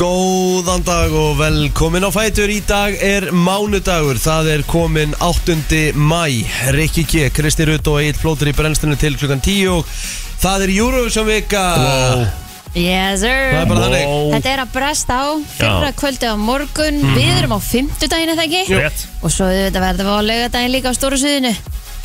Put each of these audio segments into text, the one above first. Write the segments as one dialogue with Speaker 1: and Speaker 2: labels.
Speaker 1: Góðan dag og velkomin á Fætur Í dag er mánudagur, það er komin 8. mæ Rikki G, Kristi Rutt og Egil Flótur í brennslunni til klukkan 10 og Það er Eurovision vika wow.
Speaker 2: Yes sir
Speaker 1: Það er bara þannig. Vó.
Speaker 2: Þetta er að bresta á fyrra
Speaker 3: Já. Mhm.
Speaker 2: kvöldi á morgun Við erum á fimmtudaginn eða ekki
Speaker 3: Rétt.
Speaker 2: Og svo þetta verðum við á laugardaginn líka á stóru suðinu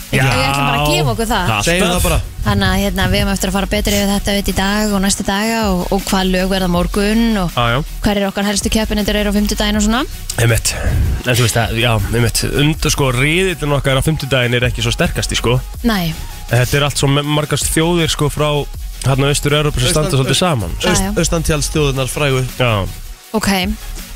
Speaker 2: Við
Speaker 3: Já.
Speaker 2: ætlum bara að gefa okkur það
Speaker 3: Alltaf.
Speaker 1: Segjum það bara
Speaker 2: Þannig að hérna, við erum eftir að fara betri yfir þetta auðvitað í dag og næstu daga og, og hvað lög verða á morgun og
Speaker 3: Já, já.
Speaker 2: hver er okkar helstu keppinendur eru á fimmtudaginn og svona
Speaker 3: Einmitt. En þú veist að, já, einmitt, undur sko, riðillin okkar á fimmtudagin er ekki svo sterkasti, sko.
Speaker 2: Nei,
Speaker 3: En Þetta er allt svo me- margast þjóðir, sko, frá hérna austur-Európa sem standa
Speaker 1: Austan-
Speaker 3: svolítið saman.
Speaker 2: Já, já.
Speaker 1: Aust- Austantjálstjóðunar frægu
Speaker 3: Já,
Speaker 2: ok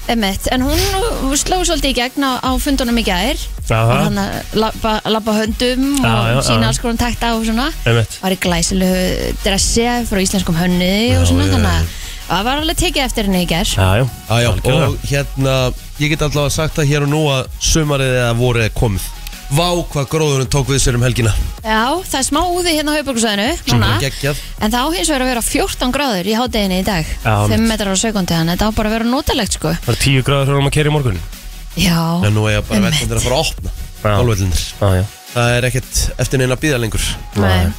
Speaker 2: Emmett, en hún sló svolítið í gegn á, á fundunum í gær og
Speaker 3: Aha.
Speaker 2: hann að labba, labba höndum
Speaker 3: Já,
Speaker 2: og
Speaker 3: já, já.
Speaker 2: sína alls konar takta og svona
Speaker 3: einmitt.
Speaker 2: var í glæsilegu dressi frá íslenskum hönniði og
Speaker 3: Já,
Speaker 2: svona
Speaker 3: já,
Speaker 2: þannig að það var alveg tekið eftir henni í ger
Speaker 3: Já, já.
Speaker 1: ah, já,
Speaker 3: Algjörlega.
Speaker 1: Og hérna, ég get allavega sagt það hér og nú að sumarið eða vorið er komið Vá hvað gróðurinn tók við sér um helgina
Speaker 2: Já, það er smá úði hérna á höfbruksvæðinu núna,
Speaker 1: Geggjað
Speaker 2: en það á hins vegar að vera 14 gráður í hádeginu í dag,
Speaker 3: Já,
Speaker 2: 5
Speaker 3: mitt.
Speaker 2: metrar á sekundi þannig að þetta á bara að vera notalegt sko
Speaker 3: Það er tíu gráður þegar maður kerir í morgun.
Speaker 2: Já,
Speaker 1: En nú er ég bara
Speaker 2: Einmitt.
Speaker 1: vellindir að fara að opna
Speaker 3: Já.
Speaker 1: Álvellindir
Speaker 3: Já, já.
Speaker 1: Það er ekkert eftir neina að býða lengur
Speaker 2: nei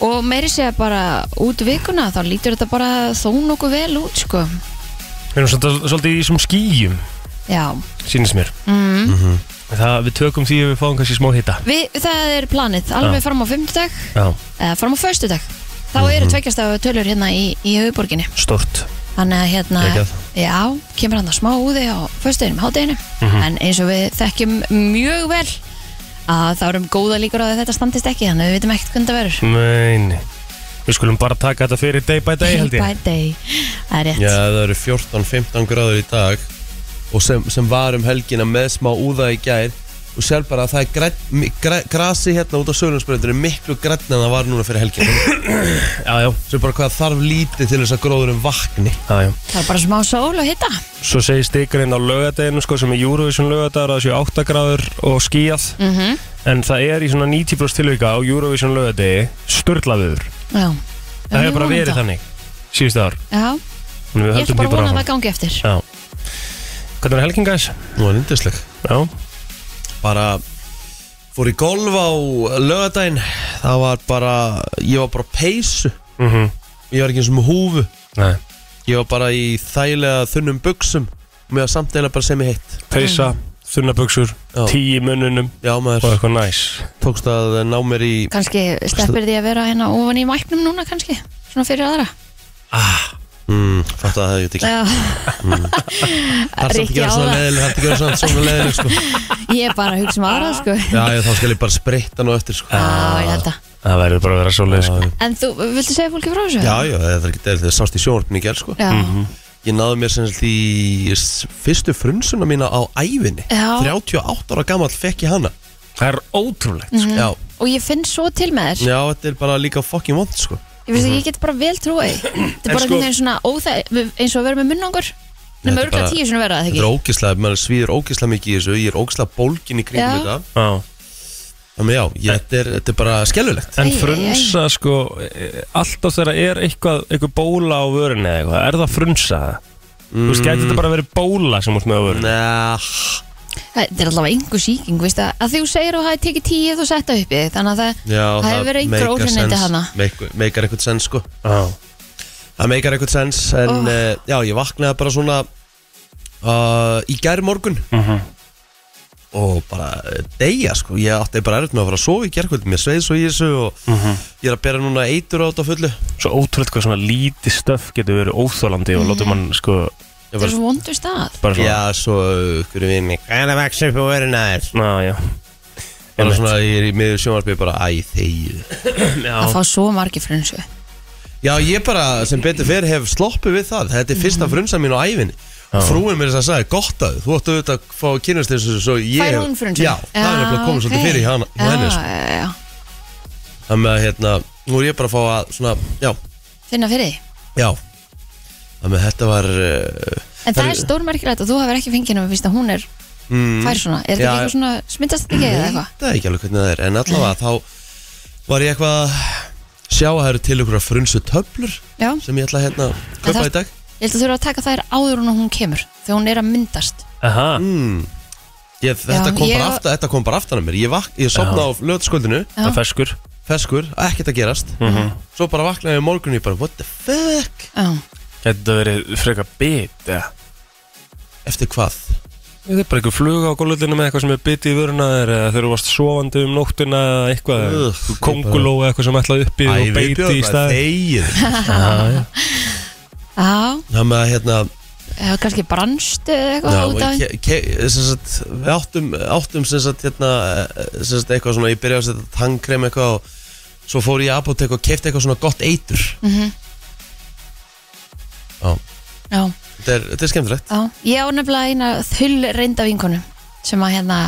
Speaker 2: Og meiri sé bara út vikuna þá lítur þetta bara þó nokkuð vel út sko
Speaker 3: Við erum svolítið, svolítið í svona skýjum,
Speaker 2: Já,
Speaker 3: sínist mér. Mm Það, við tökum því að við fáum kannski smá hitta.
Speaker 2: Við, það er planið, alveg fram á 5. dag
Speaker 3: Já,
Speaker 2: eða fram á föstu dag þá
Speaker 3: Mhm.
Speaker 2: eru tveggjast af tölur hérna í, í höfuborginni
Speaker 3: stort.
Speaker 2: þannig að hérna
Speaker 1: Geggjað.
Speaker 2: já, kemur hann að smá úði á föstuðinum, hátteginu
Speaker 3: Mhm.
Speaker 2: en eins og við þekkjum mjög vel að þá erum góða líkur á að þetta standist ekki þannig að við vitum ekkert hvernig það verður
Speaker 3: Neini. Við skulum bara taka þetta fyrir day by day, held ég.
Speaker 2: by day, það er rétt
Speaker 1: Já, það eru 14-15 gráður í dag og sem, sem var um helgina með smá úða í gær og sér bara að það er græn, mi- græ, grasi hérna út á Sölundsbreyndinu miklu grænn en það var núna fyrir helgina
Speaker 3: Já, já.
Speaker 1: sem bara hvað þarf lítið til þess að gróðurinn vakni
Speaker 3: Já, já.
Speaker 2: það er bara smá sól og hitta
Speaker 3: Svo segir stikurinn á lögadeginu sko, sem er Eurovision lögadagur að það séu 8 gráður og skíjað
Speaker 2: Mhm.
Speaker 3: en það er í svona 90% tilvika á Eurovision lögadegi störlaður
Speaker 2: já
Speaker 3: það
Speaker 2: Við
Speaker 3: hefur bara
Speaker 2: vonum
Speaker 3: verið þannig síðustu ár
Speaker 2: já,
Speaker 3: Þannig við
Speaker 2: ég ætla
Speaker 3: höldum
Speaker 2: bara
Speaker 3: því
Speaker 2: að vona að
Speaker 3: áfram.
Speaker 2: það gangi eftir
Speaker 3: Já. Hvernig er helgin gæs?
Speaker 1: Nú er yndisleg
Speaker 3: Já,
Speaker 1: Bara fór í golf á lögadaginn það var bara, ég var bara á peysu
Speaker 3: mhm,
Speaker 1: ég var ekki eins og með húfu
Speaker 3: nei
Speaker 1: ég var bara í þægilega þunnum buksum og mér var samt eða bara sem ég heitt
Speaker 3: Peysa,
Speaker 2: Mm.
Speaker 3: þunnabuxur,
Speaker 1: Já.
Speaker 3: tíi mununum
Speaker 1: Já
Speaker 3: og
Speaker 1: maður,
Speaker 3: eitthvað næs
Speaker 1: tókst að ná mér í
Speaker 2: kannski sleppir því að vera hérna ofan í mæknum núna kannski, svona fyrir aðra
Speaker 1: mm, Fattu að það hefði ekki
Speaker 2: já,
Speaker 3: Mm.
Speaker 1: Það er samt ekki
Speaker 2: Rikki
Speaker 1: að
Speaker 2: á
Speaker 1: vera svona
Speaker 2: það
Speaker 1: leðileg, það er ekki að vera svona, svona leðileg sko.
Speaker 2: ég er bara að hugsa um aðra sko
Speaker 1: Já, já, þá skal ég bara spritta nú eftir sko.
Speaker 2: já, ég held að
Speaker 3: Það verður bara að vera svolítið sko.
Speaker 2: En þú, viltu segja fólki frá þessu?
Speaker 1: Já, já, það er ekki, það er sást í sjónvarpinu í gerð sko.
Speaker 2: Já,
Speaker 1: Ég náði mér sem sagt í s- fyrstu frunsuna mína á ævinni
Speaker 2: Já.
Speaker 1: 38 ára gamall fekk ég hana
Speaker 3: Það er ótrúlegt
Speaker 2: Mm.
Speaker 3: sko.
Speaker 1: Já,
Speaker 2: Og ég finn svo til með þér
Speaker 1: já, þetta er bara líka fucking vond sko.
Speaker 2: Ég veist ekki, ég get bara vel trúið Þetta er bara
Speaker 3: sko-
Speaker 2: einhvern veginn svona óþæg Eins og að vera með munnangur Nefnum
Speaker 1: Þetta er
Speaker 2: örgulega
Speaker 1: bara-
Speaker 2: tíu sinni verða það
Speaker 1: Þetta er
Speaker 2: ekki
Speaker 1: ógislega, maður svíður ógislega mikið í þessu Ég er ógislega bólgin í kringum
Speaker 2: Já.
Speaker 1: þetta
Speaker 3: Já.
Speaker 1: Þannig já, ég, þetta, er, þetta er bara skellulegt
Speaker 3: En
Speaker 2: Æ, æ, æ.
Speaker 3: frunsa sko e, Alltaf þegar er eitthvað Eitthvað bóla á vörunni eða eitthvað Er það frunsa? Þú veist, gæti
Speaker 1: Mm.
Speaker 3: þetta bara verið bóla sem út með á vörunni
Speaker 1: Næ,
Speaker 2: Þetta er allavega einhver sýking, veist að Að þú segir og það er tekið tíu þú setta uppi Þannig að það,
Speaker 1: já,
Speaker 2: það hefur verið einhver
Speaker 1: meikar
Speaker 2: óhreinindi
Speaker 1: sens.
Speaker 2: hana
Speaker 1: Meik- Meikar eitthvað sens sko
Speaker 3: Já,
Speaker 1: Það meikar eitthvað sens En
Speaker 2: Oh.
Speaker 1: uh, já, ég vaknaði bara svona uh, Í gær morgun
Speaker 3: Mhm.
Speaker 1: Og bara eh, deyja sko Ég átti bara erfitt með að fara að sofa í gærkvöld Mér sveið svo í þessu og Ég er að bera núna eitur á þetta fullu
Speaker 3: Svo ótrúlega hvað svona lítið stöf getur verið óþólandi og
Speaker 2: Mm.
Speaker 3: látum mann sko
Speaker 1: Ég
Speaker 2: Þetta er
Speaker 1: bara,
Speaker 2: svo vondur stað
Speaker 3: bara svona
Speaker 1: Já, svo ykkur við mig Hvað er að vaksa upp á verðina þér?
Speaker 3: Ná, já.
Speaker 1: Bara
Speaker 3: Einmitt.
Speaker 1: svona, ég er í miður sjónvarpið bara Æ, þegið
Speaker 3: já
Speaker 2: Að fá svo margi frunsu
Speaker 1: Já, ég bara sem betur fer hef sloppið við það Þetta er
Speaker 2: Mhm.
Speaker 1: fyrsta frunsa mín á ævinni
Speaker 3: Já.
Speaker 1: Frúin mér þess að sagði, gott að þú, þú áttu auðvitað að fá að kynast þessu svo ég
Speaker 2: Fær
Speaker 1: hef-
Speaker 2: hún frunsu?
Speaker 1: Já, það er nefnilega komið svolítið fyrir hjá hana- hjá henni sko.
Speaker 2: henni
Speaker 1: Þannig að hérna, nú er ég bara að fá að svona, já,
Speaker 2: Finna fyrir því
Speaker 1: já Þannig að þetta var uh,
Speaker 2: En það
Speaker 1: Herri-
Speaker 2: er stórmerkilegt að þú hefur ekki fengið henni Vist að hún er,
Speaker 1: mm,
Speaker 2: fær svona Er þetta
Speaker 1: Já,
Speaker 2: ekki eitthvað svona, smittast þetta ekki eða eitthvað?
Speaker 1: Það er ekki alveg hvernig það er, en allavega þá var ég eitthvað að sjá að það eru til ykkur að frunsu töflur
Speaker 2: Já,
Speaker 1: sem ég ætla að hérna
Speaker 2: En
Speaker 1: köpa
Speaker 2: það-
Speaker 1: í dag
Speaker 2: Ég held að þurfa að taka þær áður en hún kemur þegar hún er að myndast
Speaker 3: Aha,
Speaker 1: mm. ég, þetta,
Speaker 2: Já,
Speaker 1: kom
Speaker 2: ég-
Speaker 1: bara aftan, þetta kom bara aftan að mér Ég, vak, ég sopna á löðsköldinu
Speaker 3: það er ferskur
Speaker 1: Feskur, ekkert að gerast
Speaker 3: Mhm.
Speaker 1: Svo bara vaknaði ég morgun og ég bara What the fuck?
Speaker 2: Já,
Speaker 3: Gæti þetta verið freka bit ja.
Speaker 1: Eftir hvað?
Speaker 3: Þetta er bara einhver fluga á gólutinu með eitthvað sem er bitið í vöruna þér eða þegar þú varst sofandi um nóttina eða eitthvað,
Speaker 1: Ugh, ég
Speaker 3: konguló eða eitthvað sem ætlaði uppi og beiti í stað
Speaker 1: þegið
Speaker 2: já,
Speaker 1: Það með að hérna
Speaker 2: eða kannski brannstu eða
Speaker 1: Já,
Speaker 2: eitthvað
Speaker 1: og
Speaker 2: út af
Speaker 1: ke- ke- sem sagt, við áttum, áttum sem sagt, hérna, eh, sem sagt, eitthvað svona, ég byrjaði að setja tannkrem eitthvað og svo fór ég í apotek og kefti eitthvað svona gott eitur
Speaker 2: Mhm.
Speaker 1: Já,
Speaker 2: Já,
Speaker 1: þetta er, þetta er skemmtilegt
Speaker 2: já, ég á nefnilega eina þull reynda vinkonu sem að hérna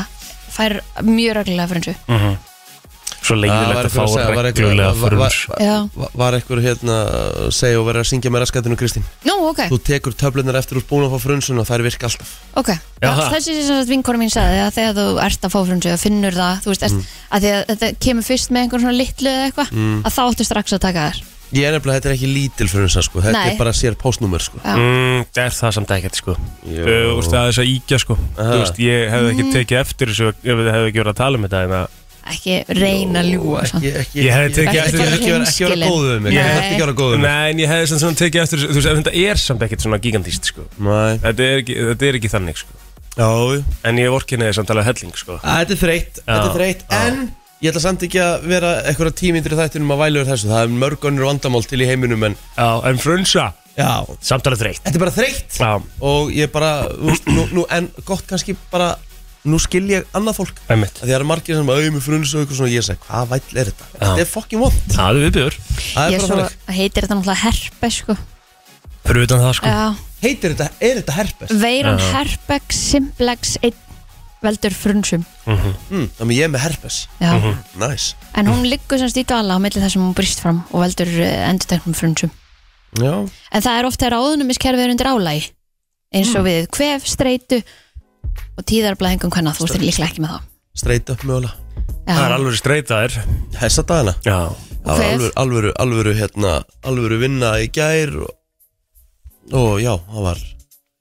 Speaker 2: fær mjög reglulega frunsu
Speaker 3: Mhm.
Speaker 1: Það
Speaker 3: Svo
Speaker 1: var
Speaker 3: leiðilegt að
Speaker 1: einhver
Speaker 3: fá
Speaker 1: að segja- var einhver-
Speaker 3: reglulega
Speaker 1: var- var-
Speaker 3: fruns
Speaker 2: Já,
Speaker 1: Va- Var eitthvað hérna að segja og verið að syngja með raskatinu Kristín
Speaker 2: nú, ok,
Speaker 1: Þú tekur töflunar eftir úr búin að fá frunsun og þær virka alltaf
Speaker 2: ok
Speaker 3: Já,
Speaker 2: Já,
Speaker 3: það.
Speaker 2: Þessi sem sagt vinkonu mín sagði að þegar þú ert að fá frunsu og finnur það, þú veist, ert,
Speaker 1: Mm.
Speaker 2: að því að þetta kemur fyrst með einhvern svona litlu eða eitthvað að þá áttu strax að taka þær
Speaker 1: Ég er nefnilega, þetta er ekki lítil frunsa sko Þetta
Speaker 2: Nei.
Speaker 1: er bara sér postnúmer sko
Speaker 2: Já.
Speaker 3: Mm, það er það samt ekkert sko
Speaker 1: Jú.
Speaker 3: Þú veist það er þess að íkja sko Þú veist ég hefði ekki tekið eftir þessu ef við hefði ekki verið að tala um þetta en að
Speaker 2: Ekki reyna að ljúga samt.
Speaker 1: Ekki, ekki,
Speaker 3: Ég hefði tekið
Speaker 1: ekki, ekki,
Speaker 3: eftir-
Speaker 1: ekki, vera- ekki vera
Speaker 2: Hreinskilin.
Speaker 1: góðu um mig
Speaker 3: Nei.
Speaker 1: Ég hefði ekki vera góðu um mig
Speaker 3: Nei en ég hefði samt svona tekið eftir þessu Þú veist en þetta er samt ekkert svona gigantíst sko
Speaker 1: Nei.
Speaker 3: Þetta er ekki, þetta er ekki þannig sko
Speaker 1: Já, jú.
Speaker 3: En ég vorkinni þess að tala helling sko
Speaker 1: Að Þetta er þreytt, þetta er þreytt
Speaker 3: já.
Speaker 1: En ég ætla samt ekki að vera einhverja tímyndir í þættinum að væla úr þessu Það er mörg önnur vandamál til í heiminum en
Speaker 3: Já en frunsa
Speaker 1: Já,
Speaker 3: Samtala þreytt
Speaker 1: þetta er bara þreytt
Speaker 3: Já
Speaker 1: Og ég bara, þú veist, nú, nú, en gott kannski bara Nú skil ég annað fólk
Speaker 3: Einmitt.
Speaker 1: Af Því það eru margir sem auðvitað frunns og eitthvað svona Ég segi, hvað væll er þetta? Þetta er fucking vond
Speaker 3: Það er viðbjör
Speaker 1: Það
Speaker 2: Ég
Speaker 1: er bara
Speaker 2: svo
Speaker 1: þannig
Speaker 2: heitir þetta náttúrulega herpes sko.
Speaker 3: Fyrir utan það sko
Speaker 2: Já,
Speaker 1: Heitir þetta, er þetta herpes?
Speaker 2: veiran
Speaker 3: Já.
Speaker 2: herpes simplex 1 veldur frunsum
Speaker 1: Mm, þannig að ég er með herpes
Speaker 2: Já.
Speaker 1: Mhm. Nice
Speaker 2: en hún liggur semst í dvala á milli þar sem hún brýst fram og veldur eh, endurteknum frunsum
Speaker 1: Já
Speaker 2: en það er oft þegar áðunumiskerfið er undir álægi eins og við kvef, streitu og tíðarblæðingum hvenna þú ert líklega ekki með það
Speaker 1: Straight up mögulega
Speaker 3: Það er
Speaker 2: Já,
Speaker 3: alveg streytaðir
Speaker 1: Hessa dagana
Speaker 3: Já
Speaker 1: Það var
Speaker 2: Hver?
Speaker 1: alvöru, alvöru, alvöru, hérna, alvöru vinna í gær og, og já, það var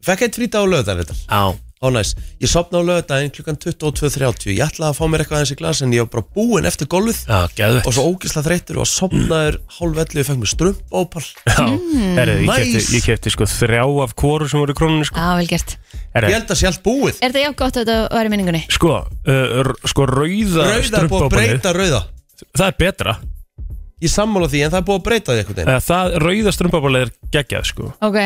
Speaker 1: Fekk eitt frýta á löðan þetta
Speaker 3: Já
Speaker 1: Ó næs, ég sopna á löðan klukkan 22.30 Ég ætlaði að fá mér eitthvað aðeins í glas en ég var bara búinn eftir golfið
Speaker 3: Já, geðvett
Speaker 1: og svo ógisla þreyttur og sopnaður
Speaker 3: Mm.
Speaker 1: hálf ellu ég fekk mér strumpópal
Speaker 3: Já, herru, ég,
Speaker 1: Nice.
Speaker 3: kefti, ég kefti sko þrjá af kóru sem voru í krónunni sko
Speaker 2: Já, vel gert
Speaker 1: Ég
Speaker 3: Herru,
Speaker 1: held að sé allt
Speaker 3: Eh,
Speaker 1: búið
Speaker 2: Er þetta jáfn gott að þetta var í minningunni?
Speaker 3: sko, uh, r- sko rauða
Speaker 1: Rauða er búið að
Speaker 3: strumpópanir
Speaker 1: breyta rauða
Speaker 3: Það er betra
Speaker 1: Ég sammála því en það er búið að breyta því einhvern veginn
Speaker 3: Eða, það, Rauða strumpópanir er geggjað sko
Speaker 2: Ok,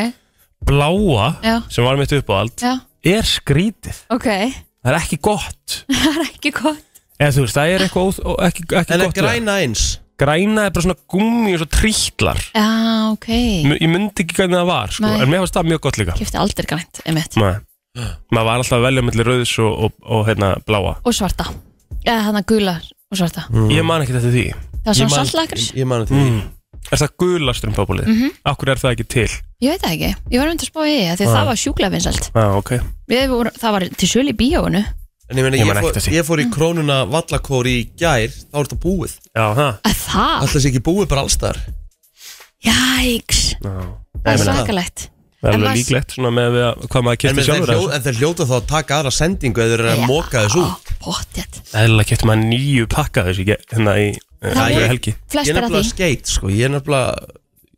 Speaker 3: Bláa,
Speaker 2: Já.
Speaker 3: sem var mitt upp á allt
Speaker 2: já,
Speaker 3: Er skrítið,
Speaker 2: ok
Speaker 3: það er ekki gott
Speaker 2: Það er ekki gott
Speaker 3: Eða þú veist, það er eitthvað óþ- ó, ekki, ekki
Speaker 1: En er
Speaker 3: Eh, gott við það.
Speaker 1: græna eins
Speaker 3: græna er bara svona gummi og svo trítlar
Speaker 2: Já, ok
Speaker 3: M Ég myndi ekki hvernig það var sko
Speaker 2: Nei.
Speaker 3: En mér fannst það mjög gott líka
Speaker 2: Kifti aldrei grænt, einmitt
Speaker 3: Nei. Maður var alltaf að velja mellir rauðs og, og, og hérna, bláa
Speaker 2: og svarta eða hann að gula og svarta
Speaker 3: Ég man ekki þetta því
Speaker 2: það var
Speaker 1: Ég
Speaker 2: svona
Speaker 1: man-
Speaker 2: saltlakris,
Speaker 1: Ég man því
Speaker 3: Mm. Er það gula strumpabólið? Mm
Speaker 2: Mhm.
Speaker 3: -hmm. Akkur er það ekki til?
Speaker 2: ég veit það ekki ég var myndið að spá í því að
Speaker 3: Ah.
Speaker 2: það var sjúklega vinsælt
Speaker 3: Já, ah, ok
Speaker 2: Við vorum- það var til sölu í bíóinu
Speaker 1: En ég meina,
Speaker 3: Ég
Speaker 1: ég,
Speaker 3: man
Speaker 1: fór,
Speaker 3: ekkert eftir því.
Speaker 1: ég fór í krónuna vallakór í gær Þá er þetta búið
Speaker 3: Já, ha
Speaker 2: að það,
Speaker 1: Alltaf sé ekki búið bara allstaðar
Speaker 2: jæks
Speaker 3: Já.
Speaker 2: það er
Speaker 1: meina-
Speaker 2: svakalegt
Speaker 3: Það
Speaker 2: En
Speaker 3: er alveg
Speaker 2: maður-
Speaker 3: líklegt svona með við að, hvað maður
Speaker 1: En
Speaker 3: kipti
Speaker 1: þeir,
Speaker 3: sjálfur
Speaker 1: hljó, en þeir hljóta þá að taka aðra sendingu eða þeir eru að móka þessu út
Speaker 2: pottet
Speaker 3: Eðlilega kipti maður nýju pakka þessu ekki hérna í
Speaker 2: Það
Speaker 3: Það
Speaker 1: voru-
Speaker 3: er helgi
Speaker 1: Ég er
Speaker 2: flestir af
Speaker 1: nefnilega
Speaker 2: því
Speaker 1: skeit sko, ég er nefnilega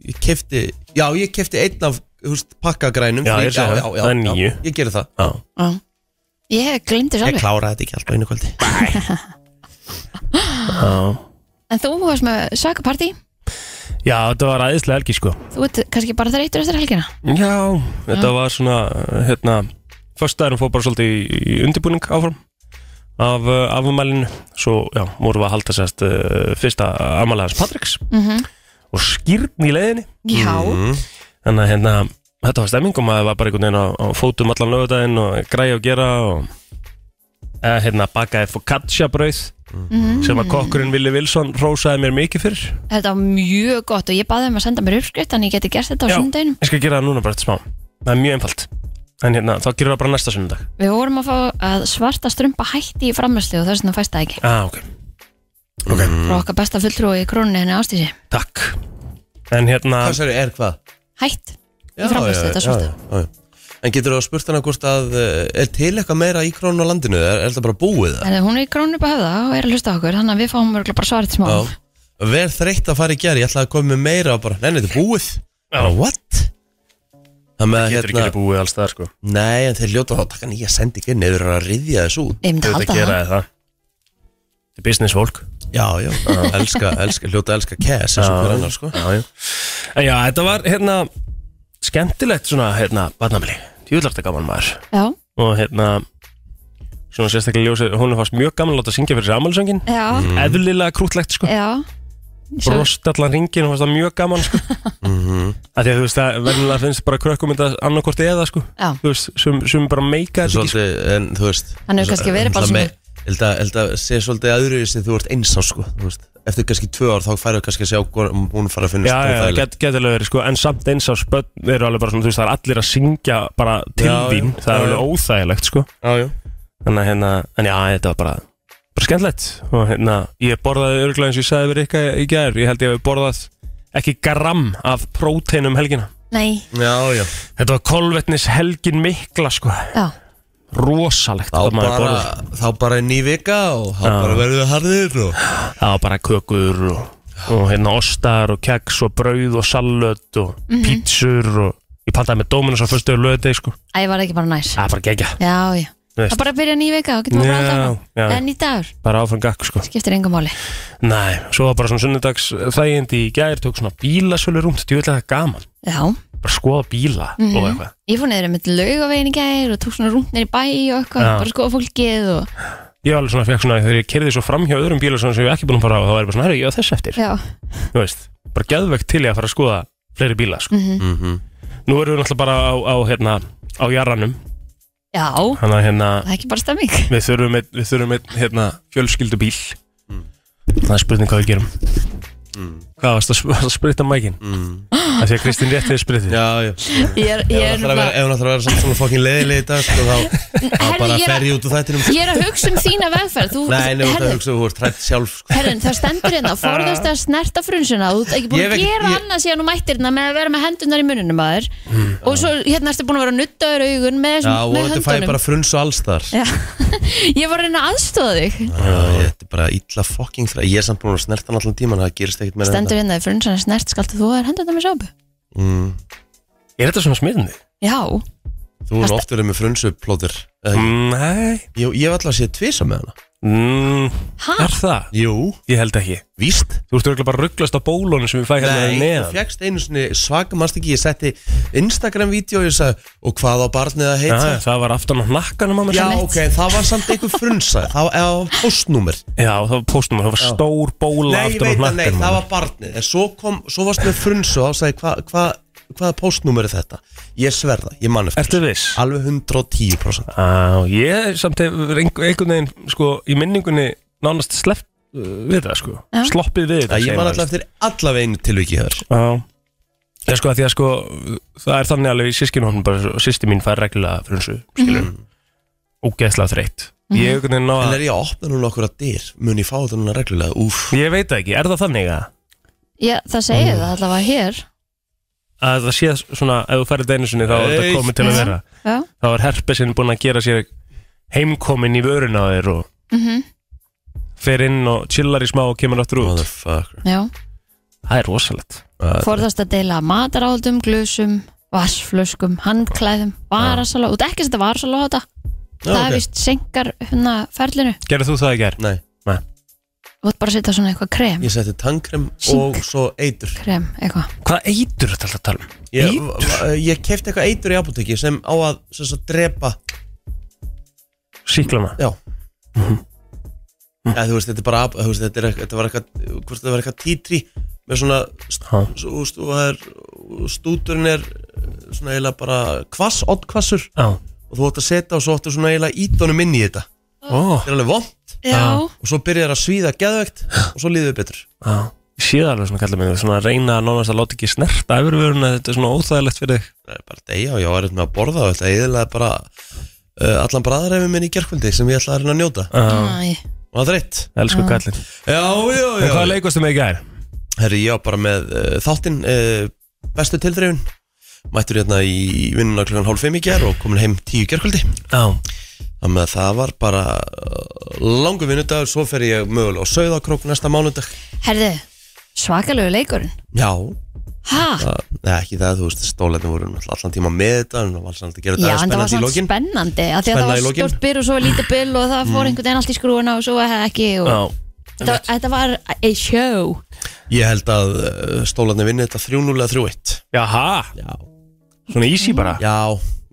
Speaker 1: Ég kefti, já ég kefti einn af húst, pakkagrænum
Speaker 3: Já,
Speaker 1: Því-
Speaker 3: ég sá það. Það er níu.
Speaker 1: já, Ég geri það,
Speaker 3: Já
Speaker 2: Já. ég glemdi
Speaker 1: ég
Speaker 2: sjálfi
Speaker 1: kláraði þetta ekki alltaf einu kvöldi
Speaker 3: Já,
Speaker 2: en þú varst með svakapartí
Speaker 3: Já þetta var aðeinslega helgi sko
Speaker 2: þú ert kannski bara þreytur eftir helgina
Speaker 3: Já, þetta
Speaker 2: Mm.
Speaker 3: var svona uh, hérna Föstaðurinn fór bara svolítið í, í undirbúning áfram af uh, afmælinu Svo, já, vorum við að halda sérst uh, fyrsta afmæli hans Patriks
Speaker 2: Mhm.
Speaker 3: og skýrn í leiðinni
Speaker 2: já,
Speaker 3: þannig að hérna, þetta var stemming og maður var bara einhvern veginn á, á fótum allan lögudaginn og græja og gera og eh, hérna bakaði focaccia brauð
Speaker 2: Mhm.
Speaker 3: sem að kokkurinn Willi Wilson rósaði mér mikið fyrir
Speaker 2: þetta var mjög gott og ég baði um að senda mér uppskrift þannig ég geti gert þetta á
Speaker 3: Já.
Speaker 2: sundaginum
Speaker 3: ég skal gera það núna bara eftir smá, það er mjög einfalt en hérna, þá gerir það bara næsta sundag
Speaker 2: við vorum að fá að svarta strumpa hætti í framherslu og þess vegna fæst það ekki
Speaker 3: ah, ok, ok,
Speaker 1: Mm.
Speaker 2: frá okkar besta fulltrúi í króninni henni ástísi
Speaker 3: takk en hérna,
Speaker 1: Hvað sér er hvað?
Speaker 2: hætt í framhæslu þetta svarta
Speaker 1: Ah. já, já. En getur þú að spurt hana hvort að eh, er til eitthvað meira í krónu á landinu er, er það bara búið það?
Speaker 2: En hún er í grónu upp að höfða og er að hlusta á okkur þannig að við fáum mörgulega bara svarið til smá
Speaker 1: Já. Vel þreytt að fara í gerð, ég ætlaði að koma með meira og bara, nei, nei, þetta er búið bara, What? Það með að, hérna-
Speaker 3: Getur ekki verið búið alls það sko
Speaker 1: Nei, en þeir hljóta þá að taka nýja sendingu niður og að riðja þessu út
Speaker 2: Ég myndi að
Speaker 3: Þetta
Speaker 2: halda
Speaker 3: gera
Speaker 2: það
Speaker 3: þið það Þetta er business fólk
Speaker 1: Já, já, elska, elska, hljóta elska cash eins og hver annar, sko
Speaker 3: já, já. En já, þetta var hérna skemmtilegt svona hérna barnamli Júðlarta gaman maður
Speaker 2: Já,
Speaker 3: og hérna svona sérstaklega ljósið hún fannst mjög gaman að láta syngja fyrir sammálsöngin
Speaker 2: já,
Speaker 3: mm.
Speaker 1: Mhm.
Speaker 3: eðlilega krútlegt sko
Speaker 2: já Svo-
Speaker 3: brost allan ringin og fannst það mjög gaman sko mm
Speaker 1: Mhm.
Speaker 3: að því að þú veist það verðilega finnst bara krökkum þetta annarkort eða sko
Speaker 2: Já.
Speaker 3: þú veist sem, sem bara meika þetta ekki sko.
Speaker 1: Svolítið, en þú veist
Speaker 2: Hann hefur kannski verið bara svona-
Speaker 1: Held að, held að sé svolítið aðurið sem þú ert einsá, sko þú veist. Eftir kannski tvö ár þá færðu kannski að sjá hvor- um hún fara að finnast
Speaker 3: Já, já,
Speaker 1: óþægileg.
Speaker 3: get, getilega verið sko en samt eins á spönn eru alveg bara svona þú veist það er allir að syngja bara til
Speaker 1: Já, já.
Speaker 3: þín það
Speaker 1: Já,
Speaker 3: er
Speaker 1: já.
Speaker 3: alveg óþægilegt sko
Speaker 1: já, já.
Speaker 3: Þannig að hérna, en já, þetta var bara bara skemmtilegt og hérna, ég borðaði örgulega eins og ég sagði við Rikka í gær ég held ég hafi borðað ekki gram af próteinum helgina
Speaker 2: Nei,
Speaker 1: já, já.
Speaker 3: Þetta var kolvetnis helgin mikla sko
Speaker 2: já,
Speaker 3: rosalegt
Speaker 1: Þá,
Speaker 3: hvað maður
Speaker 1: bara,
Speaker 3: borðar.
Speaker 1: þá bara er ný vika og þá
Speaker 3: Já.
Speaker 1: bara verður það harðir og...
Speaker 3: það var bara kökur og, og hérna ostar og keks og brauð og salut og pítsur og ég pantaði með Dominos á fyrstu löðdeg sko,
Speaker 2: Æ, var það ekki bara næs
Speaker 3: það er bara gegja
Speaker 2: Já, já,
Speaker 3: Þú veist.
Speaker 2: það er bara að byrja nýja vika og getum
Speaker 3: Já,
Speaker 2: bara alltaf
Speaker 3: já.
Speaker 2: En í dagur,
Speaker 3: bara áfram gakk sko
Speaker 2: skiptir engum máli
Speaker 3: Nei, svo var bara svona sunnudags þægindi í gær, tók svona bílasölu rúmt, þetta er gaman
Speaker 2: Já,
Speaker 3: bara skoða bíla og eitthvað
Speaker 2: ég fór niður með laugavegin í gær og tók svona rúnt niður í bæ og eitthvað,
Speaker 3: Já.
Speaker 2: bara skoða fólkið og
Speaker 3: ég var alveg svona fekk svona þegar ég kerði svo fram hjá öðrum bíla svona sem ég var ekki búin að fara á þá var ég bara svona, herru, ég á þess eftir
Speaker 2: já,
Speaker 3: þú veist, bara geðvegt til ég að fara að skoða fleiri bíla, sko nú erum við náttúrulega bara á, á hérna á jarranum,
Speaker 2: já, það
Speaker 3: þannig að hérna
Speaker 2: er ekki bara stemming
Speaker 3: við þurfum einn, við þurfum einn, hérna fjölskyldubíl það er spurning hvað við gerum hvað varst að, sp- varstu að sprita mækin mm. af því að Kristín rétti þið spritið
Speaker 1: Já, já.
Speaker 2: Ég er,
Speaker 1: Ef
Speaker 2: ég er,
Speaker 1: hún ætlar að
Speaker 2: nefnilega-
Speaker 1: vera, ef hún ætlar að vera svona, svona fokkin leiðileg í dag sko, þá, þá
Speaker 2: Herri,
Speaker 1: bara
Speaker 2: ég er að-
Speaker 1: fer ég út úr þættinum sko.
Speaker 2: ég er að hugsa um þína vegferð Þú,
Speaker 1: Nei, nefnum þetta
Speaker 2: herðu,
Speaker 1: að hugsa þú ert hrætt sjálf sko.
Speaker 2: Herrin, það stendur hérna, forðast að snerta frunsuna Þú ert ekki búin
Speaker 1: Ég hef
Speaker 2: að
Speaker 1: ekki-
Speaker 2: gera
Speaker 1: ég-
Speaker 2: annað síðan og mættir hérna með að vera með hendunar í mununum aður og svo hérna ertu búin að vera að nutta þér augun með,
Speaker 1: Já,
Speaker 2: þessum- með
Speaker 1: vonandi fæ ég
Speaker 2: höndunum
Speaker 1: bara frunns og alls þar Já,
Speaker 2: Já. Ég var að reyna að aðstofa þig
Speaker 1: ég- Þetta er bara illa fokking þrætt Ég er samt búin að snerta hann allan tíman Það gerist ekkert meira en
Speaker 2: Stendur hérna, frunsan er snert, skaltu þú að þér hendunar með sápu?
Speaker 1: þetta. mm.
Speaker 3: er þetta svona smitandi?
Speaker 2: Já,
Speaker 1: Þú erum oft verið með frunsuplóðir mm.
Speaker 3: nei,
Speaker 1: Ég ég hef alltaf séð tvisa með hana
Speaker 3: mm,
Speaker 2: ha?
Speaker 3: er það?
Speaker 1: Jú,
Speaker 3: ég held ekki
Speaker 1: víst
Speaker 3: Þú ert örugglega bara rugglast á bólunum sem við fæ hérna
Speaker 1: Nei, þú
Speaker 3: neðan
Speaker 1: fjækst einu sinni svaka mannst ekki Ég setti Instagram-vídeó og ég sagði Og hvað á barnið að
Speaker 3: Já,
Speaker 1: heita
Speaker 3: já, Það var aftan á nakkanum á mér
Speaker 1: Já, ok, það var samt einhver frunsa Það var eða postnúmer
Speaker 3: Já, það var póstum, það var stór bóla
Speaker 1: Nei, ég
Speaker 3: aftan á
Speaker 1: veit að nei,
Speaker 3: nakkanum á
Speaker 1: það
Speaker 3: mér.
Speaker 1: var barnið En svo kom, svo varst með frunsu og sagði hva, hva, hvaða postnúmer er þetta Ég sverða, ég mann eftir
Speaker 3: Ertu viss?
Speaker 1: Alveg 110%
Speaker 3: Já, ég samt hefur einhver- einhvern veginn sko, í minningunni nánast sleppt uh, við það sko,
Speaker 2: Já.
Speaker 3: sloppið við
Speaker 1: Að
Speaker 3: þetta
Speaker 1: Ég
Speaker 3: segir
Speaker 1: mann
Speaker 3: maður.
Speaker 1: alltaf eftir allaveg einu tilviki hér
Speaker 3: Já Já sko að því að sko það er þannig alveg í sískinhófnum bara svo- sýsti mín fær reglulega frunsu skilur mm. ógeðslega þreytt Ég einhvern veginn ná
Speaker 1: En
Speaker 3: að
Speaker 1: er ég að opna núna okkur að dyr Mun ég fá þetta núna reglulega, úf
Speaker 3: Ég veit það ekki, er það þannig að
Speaker 2: Já, það segir það allavega hér
Speaker 3: að það sé svona ef þú færir einu sinni þá er þetta
Speaker 1: Eitt.
Speaker 3: komið til að vera
Speaker 2: Já,
Speaker 3: þá er herpesinn búin að gera sér heimkomin í vörun á þér og fer inn og chillar í smá og kemur áttur út
Speaker 1: Motherfucker
Speaker 2: já
Speaker 3: Það er rosalegt
Speaker 2: Forðast að deila mataráldum, glösum, vassflöskum, handklæðum, varasala Þú ert ekki að setja varasala á þetta Það er vist senkar hérna ferlinu
Speaker 3: Gerðu þú það í gerð?
Speaker 1: Nei,
Speaker 2: Þú ert bara að setja svona eitthvað krem
Speaker 1: ég setti tannkrem
Speaker 2: Sink.
Speaker 1: og svo eitur
Speaker 2: Krem, eitthvað
Speaker 3: Hvað eitur þetta alltaf að tala um?
Speaker 1: Ég,
Speaker 3: Eitur?
Speaker 1: ég kefti eitthvað eitur í apoteki sem á að sem svo, drepa
Speaker 3: Síklana
Speaker 1: Já Mhm. ja, Þú veist, þetta er bara ap- þú veist, þetta, er, eitthvað- þetta var eitthvað hvort þetta var eitthvað títri með svona st-
Speaker 3: Ha.
Speaker 1: svo- st- og það er, stúturinn er eh, svona eiginlega bara kvass, oddkvassur
Speaker 3: Já
Speaker 1: og þú átt að setja og svo áttu svona eiginlega ítónum inn í þetta þetta
Speaker 3: Ó
Speaker 1: er alveg vond
Speaker 2: Já,
Speaker 1: og svo byrjar að svíða geðvegt og svo líður við betur
Speaker 3: Já Ég sé það alveg svona kallar minn Svona að reyna að nánast að láta ekki snerta Efurvöruna þetta er svona óþægilegt fyrir þig
Speaker 1: það er bara degja og ég var eitthvað með að borða og þetta eiginlega bara uh, allan bræðarefi minn í gerkvöldi sem ég ætla að reyna að njóta
Speaker 3: Já
Speaker 2: Æ,
Speaker 1: og það er reitt
Speaker 3: Elsku kallinn
Speaker 1: Já, já,
Speaker 3: En
Speaker 1: já
Speaker 3: hvað leikastu með í gær?
Speaker 1: eh, Herri, ég var bara með uh, þáttinn uh, bestu tilþrifin mættur hérna í vinnuna klukkan hálf fimm í ger og komin heim tíu gerkvöldi
Speaker 3: Já,
Speaker 1: þannig að það var bara uh, langur vinnudagur, svo fer ég mögulega á Sauðárkrók næsta mánudag
Speaker 2: Herðu, svakalegu leikurinn
Speaker 1: já,
Speaker 2: Hæ?
Speaker 1: það, neða, Eh, ekki það, þú veist stólarnir voru náttúrulega allan tíma með þetta en það var alltaf að gera
Speaker 2: Já,
Speaker 1: þetta
Speaker 2: en það var
Speaker 1: spennandi í
Speaker 2: svona
Speaker 1: lokin
Speaker 2: spennandi af því að
Speaker 1: Spenna
Speaker 2: það var
Speaker 1: í lokin. Mm.
Speaker 2: stort byr og svo var lítið byr og það fór einhvern veginn allt í skrúuna og svo ekki og
Speaker 3: já,
Speaker 2: það, Þetta var a show
Speaker 1: ég held að uh, stólarnir vinni þetta 3-0 eða 3-1
Speaker 3: jaha,
Speaker 1: já,
Speaker 3: svona easy bara
Speaker 1: já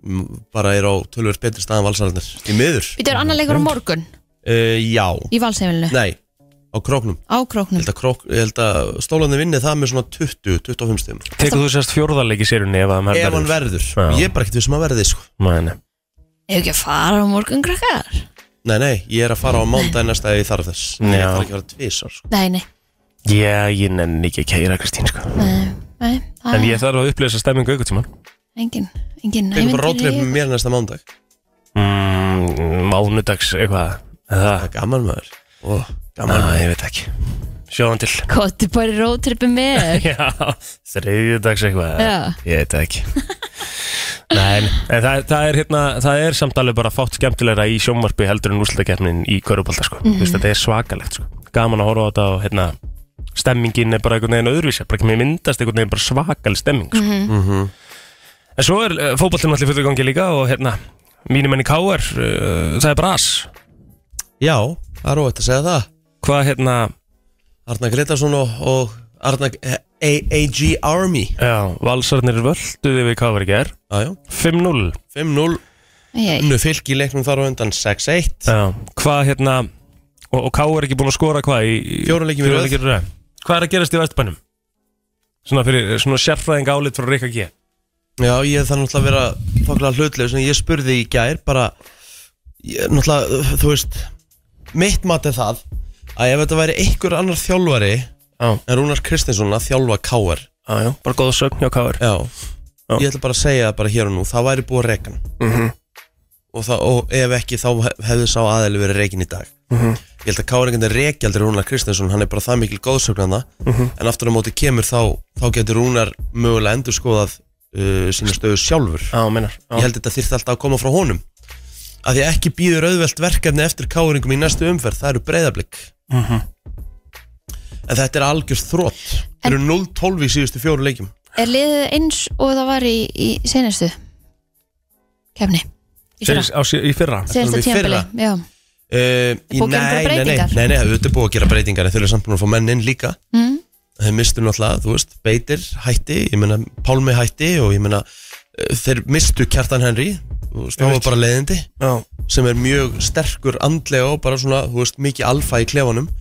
Speaker 1: m- bara er á tölvöld betri staðan valsararnir í miður
Speaker 2: Við erum annar leikur á morgun
Speaker 1: uh, já,
Speaker 2: í valsheimilinu
Speaker 1: nei, á króknum
Speaker 2: á króknum
Speaker 1: Ég held að, krók, ég held að stólarnir vinni það með svona 20-25 stíðum
Speaker 3: Tekur þú sérst fjórðarleiki sérunni ef að maður
Speaker 1: Ef hann verður,
Speaker 3: Já.
Speaker 1: ég er bara ekkert við sem að verði sko.
Speaker 3: Mæni.
Speaker 2: Hefur ekki að fara á morgun krakkar?
Speaker 1: Nei, nei, ég er að fara á mándaginn næsta ef ég þarf þess Ég
Speaker 3: Já.
Speaker 1: þarf ekki að vera tvisar sko.
Speaker 2: Nei, nei,
Speaker 3: Já, ég nenni ekki að kæra Kristín sko.
Speaker 2: nei, nei það
Speaker 3: En ég þarf að upplýsa stemmingu ykkur tíma
Speaker 2: er engin, engin
Speaker 1: Tekum bara
Speaker 2: ævintýri.
Speaker 1: rótrið með mér næsta mándag
Speaker 3: mm, Mánudags eitthvað
Speaker 1: Það
Speaker 3: Það,
Speaker 1: er gaman maður Ó,
Speaker 3: Ná,
Speaker 1: gaman maður
Speaker 3: ég veit ekki Sjóðan til
Speaker 2: Kottu bara rótripi með þér.
Speaker 3: Já, þriðjudags eitthvað
Speaker 2: Já.
Speaker 3: Ég veit það ekki Nei, en en það, það, er hérna, það er samt alveg bara fátt skemmtilegra í sjónvarpi heldur en úrslutakeppnin í Körubalda sko. mm -hmm. Þetta er svakalegt sko. Gaman að horfa á þetta og hérna, stemmingin er bara einhvern veginn öðruvísi bara ekki með myndast einhvern veginn bara svakaleg stemming sko. En svo er uh, fótballtinn allir fullu gangi líka og hérna, mínum enni K.R. Uh, það er bras
Speaker 1: Já, það er óvægt að segja það
Speaker 3: Hvað hérna,
Speaker 1: Arna Gretarsson og, og Arna AAG Army
Speaker 3: já, valsarnir völduði við K.R. í ger
Speaker 1: Já, já
Speaker 3: 5-0
Speaker 1: 5-0,
Speaker 2: Æ, æ.
Speaker 1: unnu fylg í leiknum þar á undan 6-1
Speaker 3: Já, hvað hérna og, og Ká er ekki búin að skora hvað í í-
Speaker 1: Fjóra leiki í
Speaker 3: fjóra
Speaker 1: röð.
Speaker 3: leiki í röð Hvað er að gerast í Vestbænum? Svona fyrir, svona sérfræðing álit frá Rikka G
Speaker 1: Já, ég þarf náttúrulega að vera þokkilega hlutlega sem ég spurði í gær bara, ég, náttúrulega, þú veist mitt mat er það að ef þetta væri einhver annar þjálfari
Speaker 3: Já,
Speaker 1: en Rúnar Kristinsson að þjálfa KR
Speaker 3: já, já, bara góða sögn hjá Ká er
Speaker 1: Já,
Speaker 3: Já.
Speaker 1: ég ætla bara að segja það bara hér og nú það væri búið að reykan og, það, og ef ekki þá hef- hefði sá aðeins verið reykin í dag ég held að KR einhvern veginn reyki aldrei Rúnar Kristinsson hann er bara það mikil góðsögnanda en aftur á móti kemur þá þá getur Rúnar mögulega endur skoðað uh, sína stöðu sjálfur
Speaker 3: Já, minnar
Speaker 1: ég held að þetta þyrfti alltaf að koma frá honum að því ekki býður auðvelt verkefni eftir káringum í næstu umferð, það eru breyðablík en þetta er algjörst þrótt, það eru 0-12 í síðustu fjóru leikjum
Speaker 2: Er liðið eins og það var í, í senastu kefni? Í fyrra?
Speaker 3: Á, sí- í fyrra
Speaker 1: Tölum
Speaker 2: Senasta
Speaker 1: við í
Speaker 2: tíðanbili,
Speaker 1: fyrra?
Speaker 2: já.
Speaker 1: uh, í-
Speaker 2: Búið að gera
Speaker 1: nei,
Speaker 2: einhverjar
Speaker 1: nei, nei,
Speaker 2: breytingar?
Speaker 1: nei, nei, þetta er búið að gera breytingar en þau eru samt búin að fá menn inn líka
Speaker 2: Mm.
Speaker 1: þeir mistu náttúrulega, þú veist, Beitir hætti ég meina, Pálmi hætti og ég meina uh, þeir mistu Kjartan Henry þú veist, það var bara leiðindi
Speaker 3: Já,
Speaker 1: sem er mjög sterkur andlega og bara svona, þú veist, mikið alfa í klefanum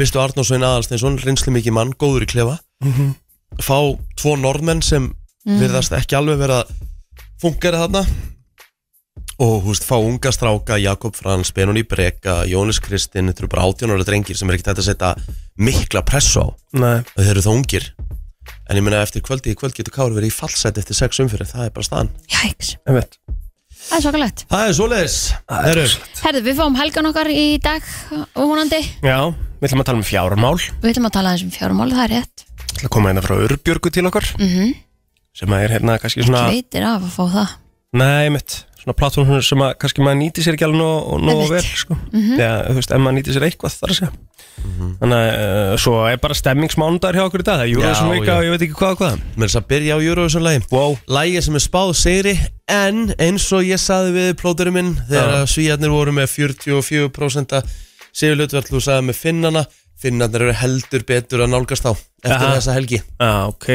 Speaker 1: mistu Arnósvein Aðalsteinsson reynslu mikið mann, góður í klefa Mhm. fá tvo norðmenn sem virðast ekki alveg vera að fungera þarna og þú veist, fá unga stráka Jakob Frans, Benóni Breka, Jónis Kristinn þetta eru bara 18 ára drengir sem er ekki hægt að setja mikla pressu á
Speaker 3: nei
Speaker 1: og þeir eru þá ungir en ég meina eftir kvöldi í kvöld getur Kári verið í fallset eftir sex umfyrir, það er bara staðan
Speaker 2: Jæks,
Speaker 3: Ég veit
Speaker 2: það er svakalegt.
Speaker 1: Það er svoleiðis,
Speaker 3: Það er
Speaker 1: Heru,
Speaker 3: rosalegt.
Speaker 2: Herðu, við fáum helgan okkar í dag og húnandi.
Speaker 3: Já, við ætlum að tala um fjármál Við
Speaker 2: Við ætlum að tala eins um fjármál, það er rétt.
Speaker 3: ætlum að koma hérna frá Urbjörgu til okkar
Speaker 2: Mm -hmm.
Speaker 3: sem að er hérna kannski svona
Speaker 2: Sveitir af að fá það.
Speaker 3: Nei, mitt, svona plattform sem að kannski maður nýti sér ekki alveg nóg, og
Speaker 2: Einmitt.
Speaker 3: nóg
Speaker 2: Mhm.
Speaker 3: vel, sko. Já, þú veist, en maður nýti sér eitthvað þar að segja. Þannig að uh, svo er bara stemmingsmánudar hjá okkur í dag, það er Eurovision
Speaker 1: Já,
Speaker 3: vika
Speaker 1: já.
Speaker 3: og ég veit ekki hvað og hvað.
Speaker 1: mér er þess að byrja á Eurovision lagi
Speaker 3: Wow.
Speaker 1: Lægið sem er spáð sigri En eins og ég saði við plóturinn minn Þegar
Speaker 3: Já.
Speaker 1: ja. svíjarnir voru með 44% Sigurlutverð Þú sagði með finnana Finnarnir eru heldur betur að nálgast á Eftir
Speaker 3: Aha.
Speaker 1: þessa helgi
Speaker 3: Já, ok.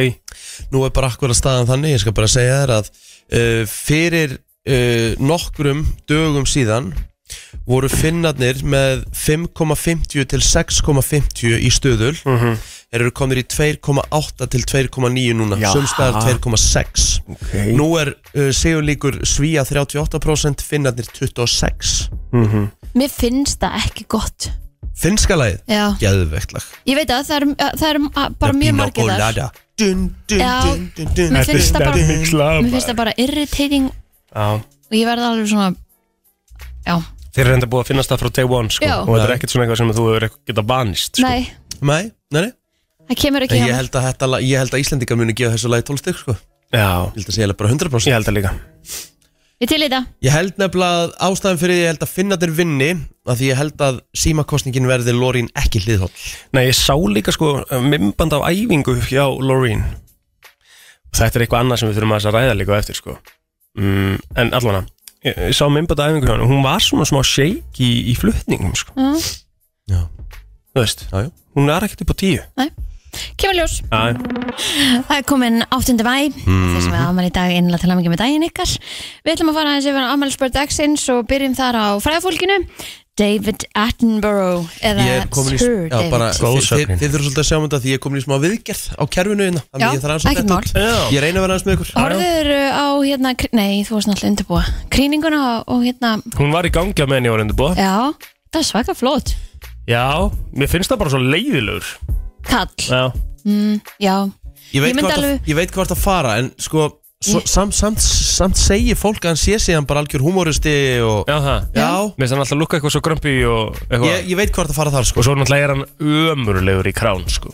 Speaker 1: Nú er bara akkur að staðan þannig Ég skal bara segja þér að uh, Fyrir uh, nokkrum dögum síðan Voru finnarnir með 5,50 til 6,50 í stöðul
Speaker 3: Mm
Speaker 1: Þeir eru komnir í 2,8 til 2,9 núna
Speaker 3: Já.
Speaker 1: Sumstaðar 2,6
Speaker 3: Ok.
Speaker 1: Nú er uh, segulíkur svíja 38%, finnarnir 26%
Speaker 3: Mm -hmm.
Speaker 2: Mér finnst það ekki gott.
Speaker 1: Finnska lagið,
Speaker 2: Já,
Speaker 1: geðveikt lag
Speaker 2: ég veit að það er, það er bara mjög margir þar.
Speaker 1: Lada. Dun, dun,
Speaker 2: Já,
Speaker 1: dun, dun, dun.
Speaker 2: mér finnst það bara-
Speaker 3: bara...
Speaker 2: Mér finnst það bara irritating
Speaker 3: Já,
Speaker 2: og ég verði alveg svona, já,
Speaker 3: þeir eru enda búið að finnast það frá day one, sko.
Speaker 2: Já.
Speaker 3: Og þetta er
Speaker 1: Já.
Speaker 3: ekkert svona eitthvað sem þú hefur eitthvað getað banist, sko.
Speaker 2: nei,
Speaker 1: Nei, nei, nei
Speaker 2: það kemur ekki
Speaker 1: En
Speaker 2: hjá
Speaker 1: ég
Speaker 2: mér.
Speaker 1: held að, þetta, lag- ég held að Íslendingar muni gefa þessu lagi 12 stygg sko.
Speaker 3: Já,
Speaker 1: Ég held að segja bara 100%
Speaker 3: ég held það líka
Speaker 2: Ég til í þetta
Speaker 1: Ég held nefnilega að ástæðan fyrir því ég held að finna þér vinni að því ég held að símakostningin verði Lorín ekki hliðhóll
Speaker 3: Nei, ég sá líka sko mymband af æfingu hjá Loreen Þetta er eitthvað annað sem við þurfum að þess að ræða líka á eftir sko mm, En allavega, ég, ég sá mymband af æfingu hjá hann Hún var svona smá shake í, í flutningum sko
Speaker 2: Mm.
Speaker 1: Já.
Speaker 3: Þú veist,
Speaker 1: Já, já.
Speaker 3: hún er ekkert upp á tíu
Speaker 2: Kemur ljós
Speaker 3: Æ,
Speaker 2: Það er komin 8. mæ Þeir sem er afmæli í dag innlega til aðmengi með daginn ykkar Við ætlum að fara aðeins yfir afmælisbörð dagsins og byrjum þar á fræðafólkinu David Attenborough eða
Speaker 1: Ég er komin í
Speaker 2: Sir
Speaker 1: já,
Speaker 2: David
Speaker 1: bara,
Speaker 3: Góð
Speaker 1: þið, þið,
Speaker 3: sögnin.
Speaker 1: þið þurfum svolítið að sjá um þetta því ég er komin í smá viðgerð á kerfinu hérna þannig
Speaker 2: Já,
Speaker 1: að ég þarf aðeins að
Speaker 2: ekkert
Speaker 1: detta
Speaker 2: mál.
Speaker 1: út. Ég reyna að vera aðeins með ykkur
Speaker 2: Horður á hérna, kr- nei þú varst náttúrulega undirbúa Krýninguna og, og hérna,
Speaker 3: hún var í gangi á meðan ég var undirbúið
Speaker 2: já, það er svaka flott
Speaker 3: Já, mér finnst það bara svo leiðilegur
Speaker 2: Kall,
Speaker 3: Já,
Speaker 2: já,
Speaker 1: Ég
Speaker 2: Ég
Speaker 1: veit,
Speaker 2: myndi
Speaker 1: hvort,
Speaker 2: alveg-
Speaker 1: að, ég veit hvort að fara en sko svo,
Speaker 2: Ég-
Speaker 1: samt, samt, samt segir fólk að hann sé síðan bara algjör humoristi og
Speaker 3: já það
Speaker 1: Já,
Speaker 3: Mér finnst hann alltaf lukka eitthvað svo grömpi og eitthvað
Speaker 1: Ég, ég veit hvort að fara þar
Speaker 3: Og
Speaker 1: sko
Speaker 3: svo náttúrulega er hann ömurlegur í krán sko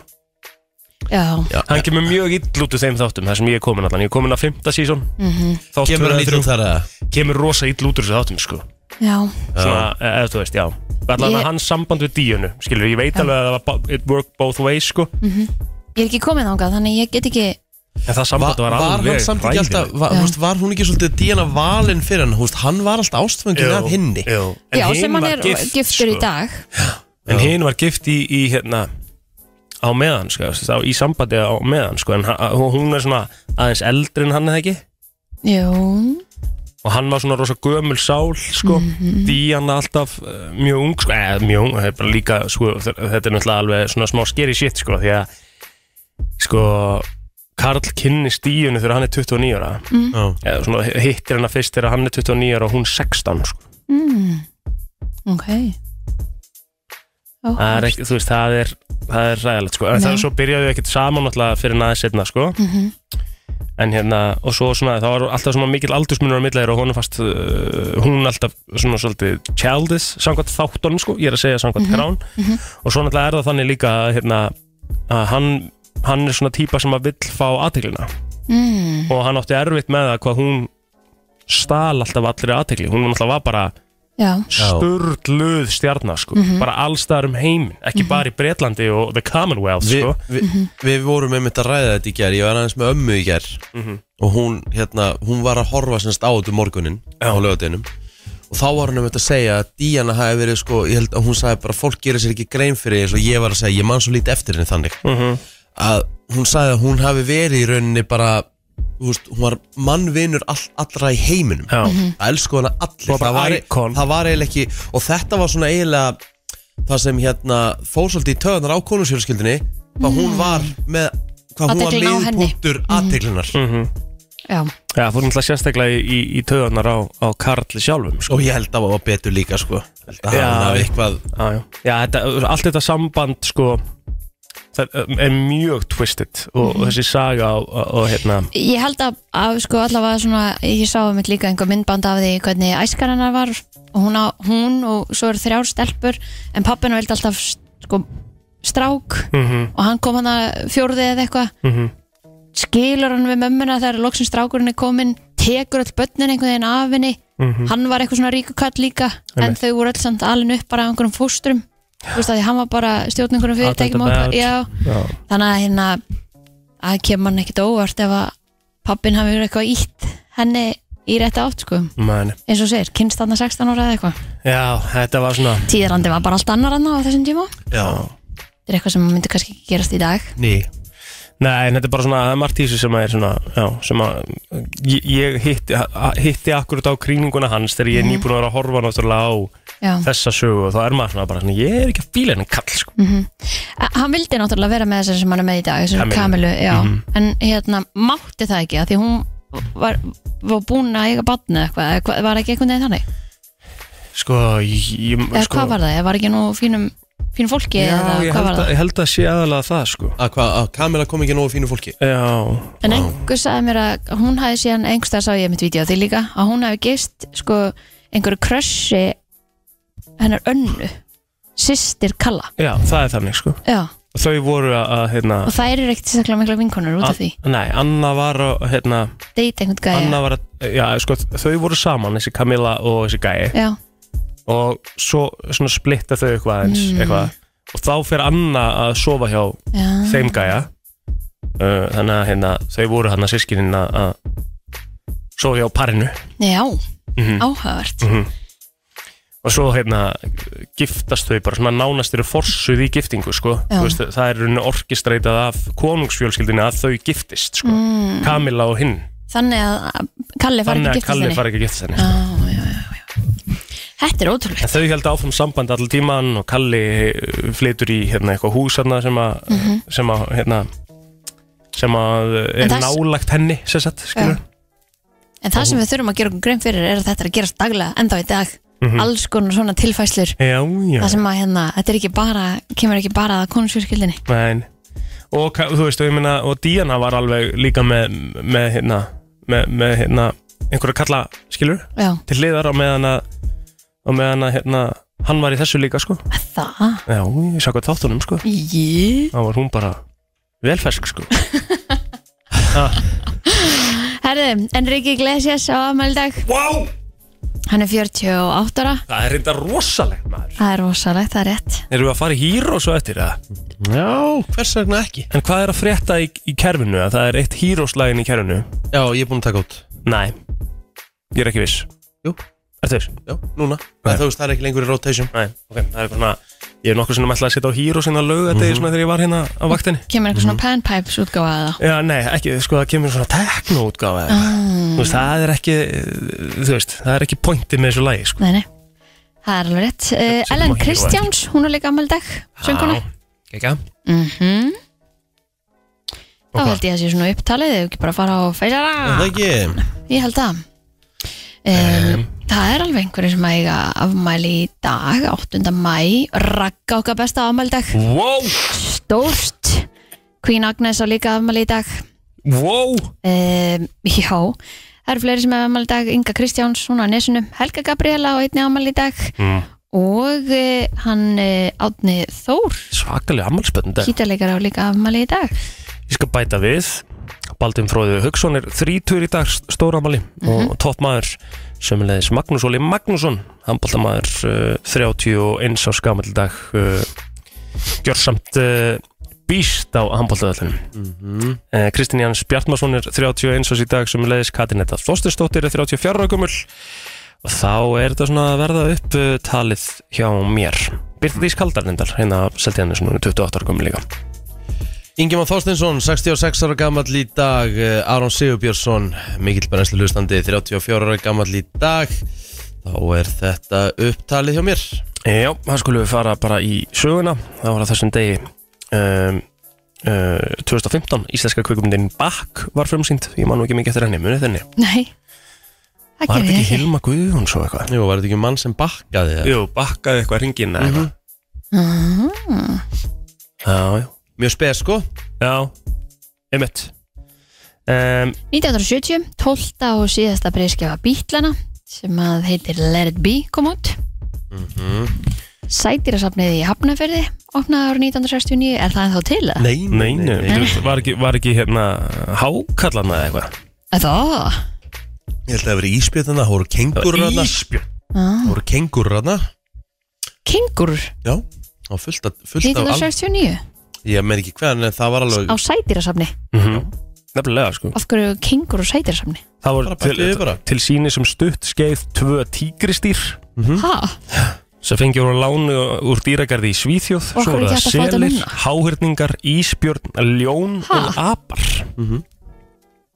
Speaker 2: já
Speaker 1: já,
Speaker 3: Hann kemur mjög ill út úr þeim þáttum þar sem ég er komin allan Ég er komin að fymta sísón mm
Speaker 2: Mhm.
Speaker 3: -hmm.
Speaker 1: Kemur hann lítið út þar eða?
Speaker 3: Kemur rosa ill út úr þessu þáttum sko
Speaker 2: Já,
Speaker 3: Svona, e- eða þú veist, já Allan
Speaker 2: Ég-
Speaker 3: að hans samband við díunu Skilur, ég veit alveg að það var bo- It worked both ways sko
Speaker 2: Mm. ég er ekki komin ángað þannig ég get ekki
Speaker 3: En það
Speaker 1: Va,
Speaker 3: samband var
Speaker 1: var
Speaker 3: alveg
Speaker 1: hann samt ekki alltaf
Speaker 3: hræðilegt.
Speaker 1: var,
Speaker 2: Já.
Speaker 1: húst, var hún ekki svolítið díana valin fyrir hann húst, hann var alltaf ástfangin
Speaker 3: Jú,
Speaker 1: af hinni
Speaker 3: jú. En
Speaker 2: Já,
Speaker 3: hin
Speaker 2: sem hann
Speaker 3: var
Speaker 2: er giftur í
Speaker 3: sko.
Speaker 2: dag
Speaker 3: En hinn var gift í, í hérna á meðan, sko, á, í sambandi á meðan, sko, en ha- hún er svona aðeins eldri en hann eða ekki
Speaker 2: Jú,
Speaker 3: og hann var svona rosa gömul sál, sko, mm alltaf uh, mjög ung, sko, eða mjög ung, það er bara líka, sko, þe- þetta er náttúrulega alveg svona smá skeri shit, sko, því að, sko, Karl kynnist díunni þegar hann er 29 ára,
Speaker 2: Mm.
Speaker 1: Já.
Speaker 3: eða svona hittir hana fyrst þegar hann er 29 ára og hún 16, sko,
Speaker 2: ok Ó,
Speaker 3: það er ekki, þú veist, það er, það er ræðilegt, sko, en
Speaker 2: Nei.
Speaker 3: það er svo byrjaðu ekkert saman náttúrulega fyrir naður setna, sko,
Speaker 2: Mhm.
Speaker 3: en hérna, og svo svona, það var alltaf svona mikil aldursmunur á milli þeirra og honum fast uh, hún alltaf svona svolítið childish, samkvæmt þáttunum sko, ég er að segja samkvæmt
Speaker 2: Mhm,
Speaker 3: krán og svo náttúrulega er það þannig líka að, hérna, að hann, hann er svona típa sem að vill fá aðteglina
Speaker 2: mm,
Speaker 3: og hann átti erfitt með það hvað hún stal alltaf allri aðtegli, hún náttúrulega var bara
Speaker 2: Já,
Speaker 3: sturgluð stjarnar sko, bara allstaðar um heiminn, ekki bara í Bretlandi og the Commonwealth
Speaker 1: Vi,
Speaker 3: sko
Speaker 1: vi, Við vorum einmitt að ræða þetta í gær Ég var aðeins með ömmu í gær
Speaker 3: Mhm.
Speaker 1: Og hún, hérna, hún var að horfa semst á þetta um morgunin
Speaker 3: Já.
Speaker 1: Á lögadeinum Og þá var hún einmitt að segja að Díana hafi verið sko, ég held að hún sagði bara Fólk gerir sér ekki grein fyrir þess og ég var að segja Ég man svo lítið eftir henni þannig
Speaker 3: Mhm.
Speaker 1: Að hún sagði að hún hafi verið í rauninni bara þú veist, Hún var mannvinur all, allra í heiminum
Speaker 3: Já,
Speaker 1: Það elsku hana allir
Speaker 3: Hún var bara icon.
Speaker 1: það var eiginlega ekki Og þetta var svona eiginlega Það sem hérna fóðsóldi í töðanar á konusjölskyldinni Hvað hún var með Hvað hún var
Speaker 2: Athyglin á henni.
Speaker 1: miðpunktur aðteglunar
Speaker 2: já,
Speaker 3: Já, fór náttúrulega sérstaklega í, í, í töðunar á, á Karli sjálfum sko.
Speaker 1: Og ég held að það var betur líka sko Held að
Speaker 3: Já.
Speaker 1: hann hafi eitthvað
Speaker 3: Já, já, já þetta, allt þetta samband sko, það um, er mjög twisted og, og þessi saga og, og, og hérna
Speaker 2: ég held að, að sko allavega svona, ég sá um líka einhver myndband af því hvernig æskar hennar var og hún, á, hún og svo eru þrjár stelpur en pappina vildi alltaf sko strák og hann kom hann að fjórði eða eitthvað skilur hann við mömmuna þegar loksins strákurinn er komin tekur öll börnin einhvern veginn af henni hann var eitthvað svona ríkukall líka en
Speaker 3: Einmitt.
Speaker 2: þau voru öll samt alin upp bara af einhverjum fóstrum þú veist að því hann var bara stjórn einhverjum
Speaker 3: Out and
Speaker 2: fyrirtækjum og-
Speaker 3: about.
Speaker 2: já,
Speaker 3: já.
Speaker 2: þannig að hérna að kemur hann ekkit óvart ef að pappin hafi verið eitthvað ítt henni í rétt átt sko
Speaker 3: Man,
Speaker 2: eins og þú segir, kynst hann 16 ára eða eitthvað
Speaker 3: já, þetta var svona
Speaker 2: tíðarandi var bara allt annar hann á þessum tíma
Speaker 1: Já,
Speaker 2: þetta er eitthvað sem myndi kannski ekki gerast í dag
Speaker 1: ný
Speaker 3: Nei, en þetta er bara svona, það er margt í þessu sem að er svona, já, sem að ég, ég hitti, hitti akkurat á krýninguna hans þegar ég er nýbúin að vera að horfa náttúrulega á
Speaker 2: Já.
Speaker 3: þessa sögu og þá er maður svona bara svona, ég er ekki að fíla henni kall, sko.
Speaker 2: Mm. A hann vildi náttúrulega vera með þessari sem hann er með í dag þessari
Speaker 3: Kamilu.
Speaker 2: Kamilu, já
Speaker 3: Mhm.
Speaker 2: en hérna, mátti það ekki að því hún var, var búin að eiga batni eitthvað, eða hvað- var ekki einhvern veginn þannig
Speaker 3: Sko, ég, ég,
Speaker 2: eða
Speaker 3: sko,
Speaker 2: hvað var það, eða var ekki nú fínum fínu fólki
Speaker 3: Já,
Speaker 2: eða
Speaker 3: ég
Speaker 2: hvað
Speaker 3: held,
Speaker 2: var
Speaker 3: að,
Speaker 2: það
Speaker 3: ég held að sé aðalega það, sko.
Speaker 1: Að hvað, að Kamila kom ekki nógu fínu fólki
Speaker 3: Já,
Speaker 2: En einhver sagði mér að hún hafi síðan einhverstað sá ég mitt vídeo af því líka að hún hafi gist sko einhverju krössi hennar önnu sýstir Kalla
Speaker 3: já, það er þannig, sko.
Speaker 2: Já,
Speaker 3: þau voru að, að hérna
Speaker 2: og þær eru ekkert sérstaklega mikla vinkonur út af því
Speaker 3: An- Nei, Anna var að, hérna,
Speaker 2: deyta einhvern
Speaker 3: Anna
Speaker 2: gæja
Speaker 3: var að, já, sko, þau voru saman, þessi Camilla og þessi gæi
Speaker 2: já,
Speaker 3: og svo svona splitta þau eitthvað eins,
Speaker 2: Mm.
Speaker 3: eitthvað og þá fer Anna að sofa hjá
Speaker 2: já,
Speaker 3: þeim gæja uh, þannig að hérna, þau voru hann að sískinin að að sofa hjá parinu
Speaker 2: já
Speaker 3: Mhm.
Speaker 2: áhugavert
Speaker 3: og svo hérna giftast þau bara svona nánast eru forsuð í giftingu sko.
Speaker 2: Já.
Speaker 3: Þú veist, það er rauninni orkistreitað af konungsfjölskyldinni að þau giftist sko. mm. Kamila og hinn
Speaker 2: þannig að að Kalli var ekki
Speaker 3: þannig að
Speaker 2: giftast
Speaker 3: Kalli
Speaker 2: henni
Speaker 3: fari ekki að giftast henni
Speaker 2: Já,
Speaker 3: sko.
Speaker 2: já, já, já. þetta er ótrúlegt
Speaker 3: en þau held áfram samband all tíman og Kalli eh, flytur í hérna, eitthvað hús hérna, sem að sem að hérna, sem að
Speaker 2: Mhm.
Speaker 3: eh,
Speaker 2: En
Speaker 3: er
Speaker 2: það-
Speaker 3: nálagt henni sem sagt, skilur
Speaker 2: en það sem við þurfum að gera okkur grein fyrir er að þetta er að gerast daglega ennþá í dag
Speaker 3: Mhm.
Speaker 2: alls konar svona tilfæslur
Speaker 3: já, já,
Speaker 2: það sem að hérna, þetta er ekki bara kemur ekki bara að konusfjörskildinni
Speaker 3: Nein. og ka- þú veist, og ég meina og Diana var alveg líka með með hérna, með, með, hérna einhverja kalla, skilur,
Speaker 2: já,
Speaker 3: til hliðar og meðan að og meðan að hérna, hann var í þessu líka, sko
Speaker 2: það
Speaker 3: já, ég sá hvað þáttunum, sko
Speaker 2: Jí.
Speaker 3: þá var hún bara velfersk, sko
Speaker 2: herðu, Enrique Iglesias á afmæli í dag
Speaker 3: wow,
Speaker 2: hann er 48 ára
Speaker 3: það er reynda rosalegt, maður
Speaker 2: það er rosalegt, það er rétt
Speaker 3: erum við að fara í Heroes og eftir það
Speaker 1: Já, hvers vegna ekki?
Speaker 3: en hvað er að frétta í, í kerfinu, að það er eitt Heroes lagin í kerfinu,
Speaker 1: Já, ég er búin að taka út
Speaker 3: næ ég er ekki viss,
Speaker 1: Jú,
Speaker 3: ertu viss?
Speaker 1: já, núna Það, þú veist, það er ekki lengur í rotation
Speaker 3: Nei, ok, það er svona Ég hef nokkur sinnum ætlað að setja á hýr og sinna lög Þetta er svona þegar ég var hérna á vaktinni
Speaker 2: kemur eitthvað
Speaker 3: Mhm.
Speaker 2: svona panpipes útgáfa að það
Speaker 3: Já, nei, ekki, sko, það kemur svona teknóutgáfa eða eitthvað. Þú veist, það er ekki Þú veist, það er ekki pointi með þessu lagi, sko
Speaker 2: nei, nei, það er alveg rétt
Speaker 3: Þetta
Speaker 2: uh,
Speaker 3: er
Speaker 2: Ellen
Speaker 3: maður
Speaker 2: Kristjáns, hún er líka afmæli í dag sönguna,
Speaker 3: Gekka
Speaker 2: þá held ég að sé svona upptalið ef ekki bara að fara á
Speaker 1: Er Það
Speaker 2: feysara
Speaker 1: ekki
Speaker 2: ég held það um, það er alveg einhverju sem að eiga afmæli í dag 8. mæ, ragga okkar besta afmæli í dag
Speaker 3: Wow,
Speaker 2: stórt Queen Agnes á líka afmæli í dag
Speaker 3: wow
Speaker 2: um, Já Það eru fleiri sem hefur afmæli í dag Inga Kristjáns, hún á nesunum Helga Gabriela á einni afmæli í dag
Speaker 3: mm.
Speaker 2: og uh, hann uh, Átni Þór
Speaker 3: Svakalega ammalspönd
Speaker 2: Kítarleikar á líka afmæli í dag
Speaker 3: Ég skal bæta við Baldin Fróði Hugson er þrítur í dag stóramali og toppmaður sömulegis Magnús Óli Magnússon handbóltamaður uh, 31 á skamall dag uh, gjörsamt uh, býst á handbóltaðallunum uh, Kristinn Jans Bjartmarsson er 31 ás í dag sömulegis Katinetta Þorstinsdóttir er 34 á gömul og þá er þetta svona að verða upp uh, talið hjá mér Byrta Dís Kaldarnindar, hérna seldi hann er 28 ára gömul líka
Speaker 1: Ingemar Þorstinsson, 66 ára gammal í dag eh, Aron Sigurbjörnsson, mikill brennslu hlustandi 34 ára gammal í dag Þá er þetta upptalið hjá mér
Speaker 3: Eh, Já, það skulum við fara bara í söguna Það var að þessum degi um, uh, 2015 Íslenska kvikmyndin Bakk var frumsýnd Ég man nú ekki mikið eftir henni, munið þenni
Speaker 2: Nei, það
Speaker 3: Var
Speaker 2: gerir ég
Speaker 3: þetta ekki
Speaker 2: ekki
Speaker 3: Hilma Guðjóns og eitthvað?
Speaker 1: Jú, var þetta ekki mann sem bakkaði það?
Speaker 3: Jú, bakkaði eitthvað ringin eða eitthvað Mhm.
Speaker 2: Mhm.
Speaker 3: Já, já,
Speaker 1: Mjög spes, sko
Speaker 3: já, einmitt um,
Speaker 2: 1970, 12. og síðasta breyskjafa Bítlana sem að heitir Let It Be kom út
Speaker 1: Mhm.
Speaker 2: Sætirasafnið í Hafnaferði opnaði árið 1969 er það þá til það?
Speaker 1: Nei,
Speaker 3: Neinu, var ekki, var ekki hérna Hákallana eða eitthvað?
Speaker 2: Það?
Speaker 1: Ég held að það veri íspjötana, það voru
Speaker 3: Það
Speaker 1: kengurur
Speaker 3: var
Speaker 1: þarna
Speaker 3: Ísbjörn
Speaker 2: Ah.
Speaker 1: Það voru kengurur þarna
Speaker 2: Kengur
Speaker 1: Já, og fullt af, fullt af al...
Speaker 2: 1969
Speaker 1: Ég meir ekki hvernig, en það var alveg
Speaker 2: á sætirasafni
Speaker 3: Mhm. Nefnilega, sko
Speaker 2: af hverju kengur og sætirasafni
Speaker 3: Það
Speaker 1: Bara
Speaker 3: voru
Speaker 1: bætti
Speaker 3: til,
Speaker 1: við bara.
Speaker 3: til síni sem stutt skeið tvö tígristýr
Speaker 1: Mhm.
Speaker 2: ha?
Speaker 3: sem fengi úr lánu úr dýragarði í Svíþjóð
Speaker 2: Og
Speaker 3: svo
Speaker 2: af hverju
Speaker 3: eru það
Speaker 2: ekki hægt að fá þetta
Speaker 3: selir,
Speaker 2: núna?
Speaker 3: háhyrningar, ísbjörn, ljón
Speaker 2: Ha?
Speaker 3: og apar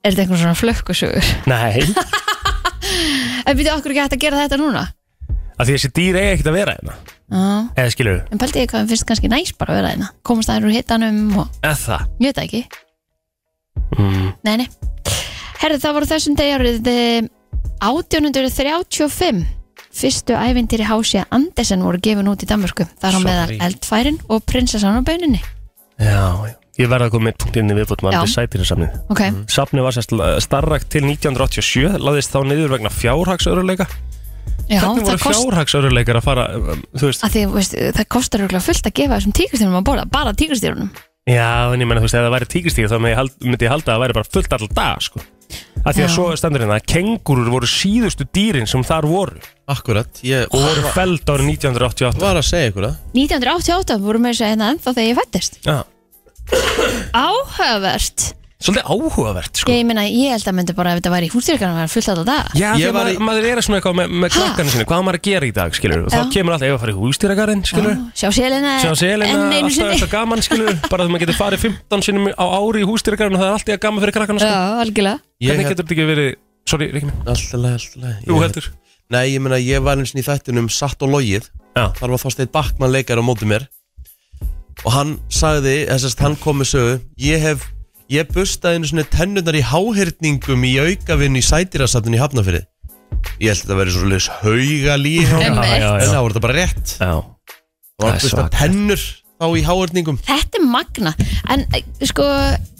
Speaker 2: er þetta einhvern svona flökkusögur
Speaker 3: Nei,
Speaker 2: en býtu okkur ekki hægt að gera þetta núna
Speaker 3: af því þessi dýr eiga ekkert að vera hérna
Speaker 2: Já.
Speaker 3: eða skilur,
Speaker 2: en pældi ég hvað þeim finnst kannski næs bara að vera þeirna komast þær úr hitanum og
Speaker 3: eða það
Speaker 2: ég veit það ekki
Speaker 3: mm.
Speaker 2: nei nei herðu það voru þessum degi árið eh, 1835 fyrstu ævintýri hásja Andersen voru gefin út í Danmörku þar á meðal
Speaker 1: Sorry.
Speaker 2: eldfærin og prinsessan á bauninni
Speaker 3: Já, já. ég verða að koma með eitt punkt inn í viðbót
Speaker 2: Já.
Speaker 3: maður við sætirinsafnið
Speaker 2: ok,
Speaker 3: Safnið var sérst starrakt til 1987 laðist þá niður vegna fjárhagsöruleika
Speaker 2: Já, það
Speaker 3: Hvernig voru
Speaker 2: kost-
Speaker 3: fjárhagsöruleikar að fara um, Þú veist,
Speaker 2: að því, veist, það kostar örugglega fullt að gefa þessum tíkristýrunum að borða, bara tíkristýrunum
Speaker 3: já, en ég menna, þú veist, ef það væri tíkistíð þá myndi ég, hald, myndi ég halda að það væri bara fullt alltaf dag, sko að því að
Speaker 2: Já.
Speaker 3: svo stendur hérna að kengurur voru síðustu dýrin sem þar voru
Speaker 1: Akkurat, ég
Speaker 3: og voru feld árið 1988
Speaker 1: var að segja ykkur það
Speaker 2: 1988 voru með þess að hérna ennþá þegar ég fættist
Speaker 3: Já.
Speaker 2: Áhugavert
Speaker 3: Svolítið áhugavert, sko
Speaker 2: Ég meina, ég held að myndi bara ef þetta væri í hústýrkanum að vera fullt alltaf dag
Speaker 3: Já,
Speaker 1: Ég
Speaker 3: þegar
Speaker 1: var í-
Speaker 3: maður, maður er að svona eitthvað með, með
Speaker 2: Ha?
Speaker 3: krakkanu sinni, hvað á maður að gera í dag, skilur Þá
Speaker 2: Já.
Speaker 3: kemur alltaf, ef að fara í hústýragarinn, skilur
Speaker 2: Sjá selina,
Speaker 3: Sjá selina,
Speaker 2: enn einu
Speaker 3: alltaf
Speaker 2: sinni
Speaker 3: eitthvað gaman, skilur Bara þegar maður getur farið 15 sinum á ári í hústýragarinn og það er alltaf jafn gaman fyrir krakkanu, sko
Speaker 2: Já, algjörlega
Speaker 3: Hvernig
Speaker 1: Ég
Speaker 3: getur þetta ekki verið, sorry, Ríkmi,
Speaker 1: Alltaf, alltaf
Speaker 3: þú heldur
Speaker 1: Nei, ég meina, ég var eins og í þættinum Satt og logið
Speaker 3: Já.
Speaker 1: Þar var Þorsteinn Backmann leikar á móti mér Og hann sagði, þessast hann kom með sögu Ég hef, ég bustaði einu svona tennurnar í háhyrningum Í aukavinn í sætirasatun í Hafnafyrði Ég held að þetta verið svo leis haugalí hjá honum.
Speaker 2: Einmitt.
Speaker 3: já,
Speaker 1: En
Speaker 3: já,
Speaker 1: það voru þetta bara rétt
Speaker 3: já.
Speaker 1: Það
Speaker 3: Það
Speaker 1: var
Speaker 3: er
Speaker 1: busta
Speaker 3: svakalegt.
Speaker 1: tennur þá í háhyrningum
Speaker 2: Þetta er magna En eh, sko,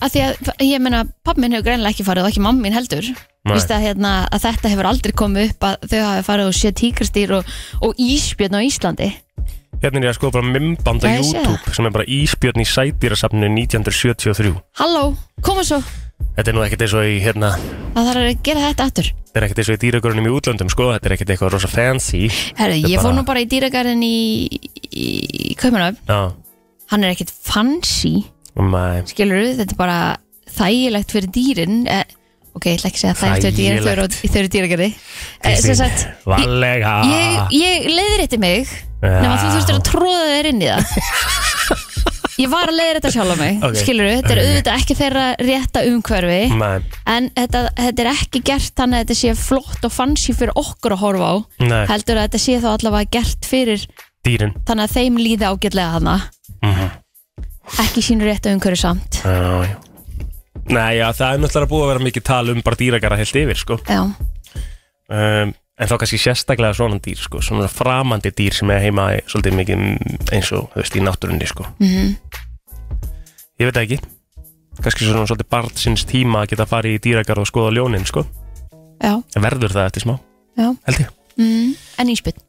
Speaker 2: að því að ég meina Pappi minn hefur greinlega ekki farið og ekki mamma mín heldur
Speaker 3: Nei.
Speaker 2: Vist að, hérna, að þetta hefur aldrei komið upp að þau hafi farið og sé tíkristýr og, og ísbjörn á Íslandi
Speaker 3: Hérna er ég að skoða bara mymband á
Speaker 2: Já, ég sé
Speaker 3: YouTube sem er bara Ísbjörn í sædýrasafnu 1973
Speaker 2: Halló, koma svo
Speaker 3: Þetta er nú ekkert eins og í, hérna,
Speaker 2: Það þarf að gera þetta aftur
Speaker 3: þetta er ekkert eins og í dýragörunum í útlöndum, sko Þetta er ekkert eitthvað rosa fancy
Speaker 2: Herru,
Speaker 3: Þetta er
Speaker 2: ég fór
Speaker 3: bara-
Speaker 2: nú bara í dýragarinn í, í, í Kaupanöfn
Speaker 3: Já,
Speaker 2: Hann er ekkit fancy
Speaker 3: mæ,
Speaker 2: Skilur þetta er bara þægilegt fyrir dýrin eh, Ok, ég ætla ekki að segja þægilegt fyrir dýrin Þau eru, þau eru dýragarði eh, sem sagt,
Speaker 3: Valega
Speaker 2: Ég, ég leiðir þetta mig
Speaker 3: Ah. Já.
Speaker 2: Nefn að þú þurftir að tróða þér inn í það Ég var að leiðir þetta sjálf á mig
Speaker 3: Ok.
Speaker 2: okay. Skilur þetta er
Speaker 3: Ok.
Speaker 2: auðvitað ekki þeirra rétta umhverfi
Speaker 3: Nei,
Speaker 2: En þetta, þetta er ekki gert þannig að þetta sé flott og fancy fyrir okkur að horfa á
Speaker 3: Nei.
Speaker 2: Heldur að þetta sé þá allavega gert fyrir
Speaker 3: dýrin
Speaker 2: Þannig að þeim líði ágætlega hana
Speaker 3: Mhm.
Speaker 2: Ekki sínu rétta umhverfi samt
Speaker 3: Já, já Nei, já, það er náttúrulega búið að vera mikið tal um bara dýragara heilt yfir, sko
Speaker 2: Já,
Speaker 3: um, En þá kannski sérstaklega svona dýr, sko Svona framandi dýr sem er heima í- svolítið mikið mm, eins og, þú veist, í náttúrunni, sko
Speaker 2: Mhm.
Speaker 3: Ég veit það ekki Kannski svona svolítið barnsins tíma að geta að fara í dýragar og skoða ljónin, sko
Speaker 2: já,
Speaker 3: En verður það eftir smá,
Speaker 2: já
Speaker 3: held ég
Speaker 2: mm. En íspytt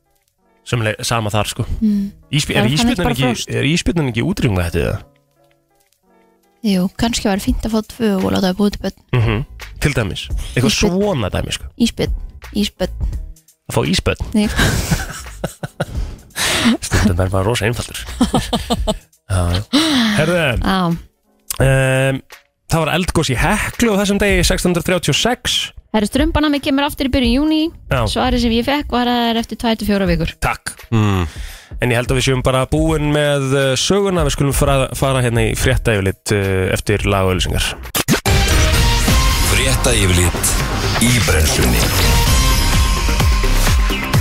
Speaker 3: Sumlega, sama þar, sko
Speaker 2: mm.
Speaker 3: Ísbj
Speaker 2: Það
Speaker 3: Er
Speaker 2: er þannig bara
Speaker 3: íspjörnin
Speaker 2: frost.
Speaker 3: ekki, er ísbjörnin ekki útrýmga þetta, eða?
Speaker 2: Jú, kannski var fínt að fá tvö og láta það búið til bönn
Speaker 3: mm Til dæmis,
Speaker 2: Mhm.
Speaker 3: eitthvað
Speaker 2: Ísbjörn.
Speaker 3: svona dæmis sko.
Speaker 2: Íspytt, íspytt
Speaker 3: Að fá íspöld,
Speaker 2: Nei,
Speaker 3: þetta er bara rosa einfaldur Já, já. Herðu,
Speaker 2: á
Speaker 3: um, það var eldgós í Heklu á þessum degi 1636
Speaker 2: Það eru strömbanami kemur aftur í byrjun júni
Speaker 3: Já,
Speaker 2: Svarið sem ég fekk var að það er eftir 24 vikur
Speaker 3: takk
Speaker 1: mm.
Speaker 3: En ég held að við séum bara búin með eh, söguna Við skulum fara, fara hérna í frétta yfirlit eh, eftir lagauðlýsingar
Speaker 4: Frétta yfirlit í brennslunni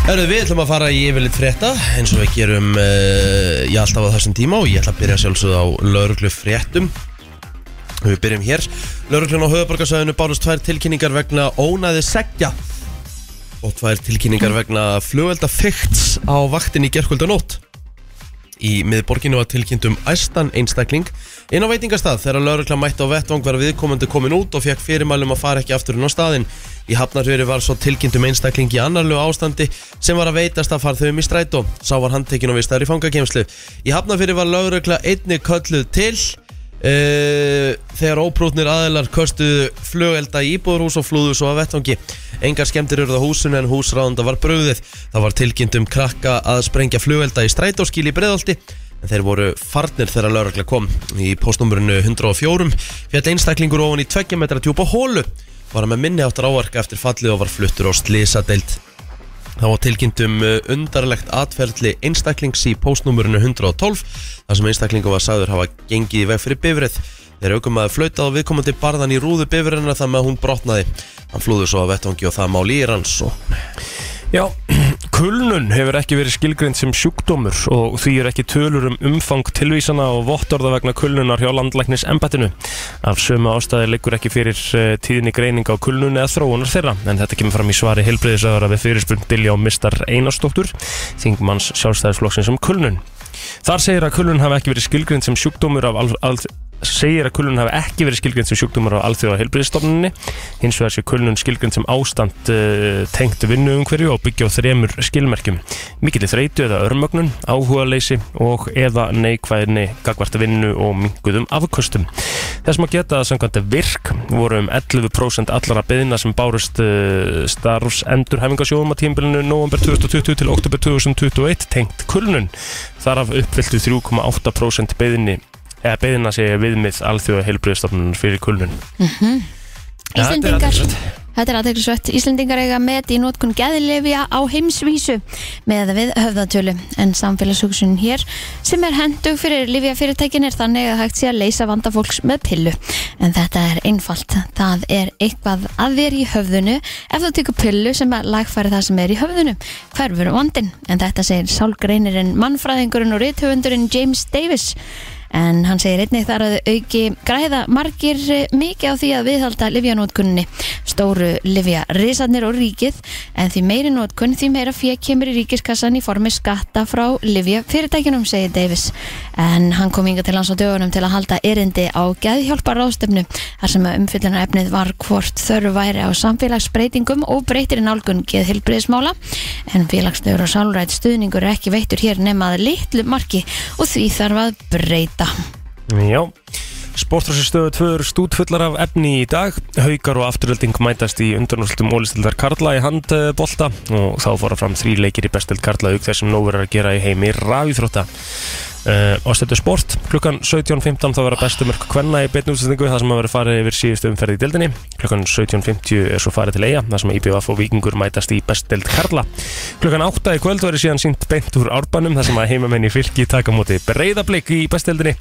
Speaker 1: Herru, við ætlum að fara í yfirleitt frétta eins og við gerum uh, já, alltaf á þessum tíma og ég ætla að byrja sjálfsögð á lauruglu fréttum Við byrjum hér Lauruglun á höfuborgarsæðinu bárust tvær tilkynningar vegna ónæði segja og tvær tilkynningar vegna flugvelda fyrts á vaktin í gerkvöldanótt Í miðborginu var tilkynnt um æstan einstakling inn á veitingastað þegar lauruglan mætti á vettvang var viðkomandi komin út og fekk fyrirmælum að fara ekki aftur inn á staðinn. Í Hafnarfjöri var svo tilkynnt um einstakling í annarlegu ástandi sem var að veitast að farþöfum í strætó. Sá var handtekinn og vistaður í fangakemslu. Í Hafnarfjöri var laurugla einni kölluð til Uh, þegar óprútnir aðilar köstuðu flugelda í íbúðurhús og flúðu svo að vettvangi. Engar skemmtir urðu á húsinu en húsráðanda var brugðið. Það var tilkynnt um krakka að sprengja flugelda í strætóskíl í breðaldi en þeir voru farnir þegar lauragla kom. Í postnumurinu 104 fjall einstaklingur ofan í 20 metra djúpa hólu var hann með minni áttar áarka eftir fallið og var fluttur á slisadeild. Það var tilkynnt um uh, undarlegt atferðli einstaklings í postnúmurinu 112 þar sem einstaklingu var sagður hafa gengið í veg fyrir bifrið. Þeir aukum að flauta og viðkomandi barðan í rúðu bifriðina þar með að hún brotnaði. Hann flúður svo að vettvangi og það máli í ranns og
Speaker 3: Já, kulnun hefur ekki verið skilgrind sem sjúkdómur og því er ekki tölur um umfang tilvísana og vottorða vegna kulnunar hjá landlæknis embættinu. Af sömu ástæði liggur ekki fyrir eh, tíðni greining á kulnun eða þróunar þeirra, en þetta kemur fram í svari helbriðisöðara við fyrirspurn Dilja og Mistar Einarstóttur, þingmanns sjálfstæðisflokksins um kulnun. Þar segir að kulnun hafi ekki verið skilgrind sem sjúkdómur af al, al, segir að kulnun hafi ekki verið skilgjönd sem sjúkdómar á alþjóða heilbriðstofnunni hins vegar sé kulnun skilgjönd sem ástand uh, tengt vinnuumhverju og byggja á þremur skilmerkjum mikill þreytu eða örmögnun, áhugaleysi og eða neikvæðinni gagvart vinnu og minguðum afkostum þess maður geta að samkvæmt virk voru um 11% allara byðina sem bárust uh, starfsendur hefingasjóðum á tímbilinu november 2020 til oktober 2021 tengt kulnun þar af uppfylltu 3,8% byðinni eða beðina sé viðmið alþjóða heilbriðstofnunar fyrir kulnun Já, þetta er
Speaker 2: Íslendingar
Speaker 3: athyglisvert.
Speaker 2: Þetta er aðteglisvett. Íslendingar eiga met í nótkun geðlifja á heimsvísu með við höfðatölu. En samfélagshugsun hér sem er hendug fyrir lifjafyrirtækin er þannig að hægt sé að leysa vanda fólks með pillu. En þetta er einfalt. Það er eitthvað að vera í höfðunu ef þú tekur pillu sem að lagfæri það sem er í höfðunu. Hverfur vandin? En þetta segir sálgreinirinn, mannfræðingurinn og rithöfundurinn James Davis. En hann segir einnig þar að auki græða margir eh, mikið á því að viðhalda livjanótkunni. Stóru livja risarnir og ríkið en því meiri nótkun því meira fér kemur í ríkiskassan í formi skatta frá livja fyrirtækinum, segir Davis. En hann kom yngar til hans á dögunum til að halda erindi á geðhjálpar ráðstöfnu þar sem að umfyllunarefnið var hvort þörf væri á samfélagsbreytingum og breytir í nálgun geðhilbriðismála en félagslegur og sálrætt stuðningur er ekki veittur hér nema að litlu marki og því þarf að breyta
Speaker 3: Já, sportrásustöðu tvöður stútfullar af efni í dag Haukar og afturölding mætast í undanúrslutum ólistildar Karla í handbolta og þá fóra fram þrý leikir í bestild Karla auk þessum nóg verður að gera í heimi rafíþrótta uh, og stöðu sport klukkan 17.15 þá verða bestu mörg kvenna í beinu útsendingu það sem að verður farið yfir síðustu umferði í deildinni klukkan 17.50 er svo farið til eiga það sem IBF og Víkingur mætast í bestild Karla klukkan 8 í kvöld verður síðan sínt beint úr árbanum þar sem að heimamenn í fylki taka á móti breyðablík í bestildinni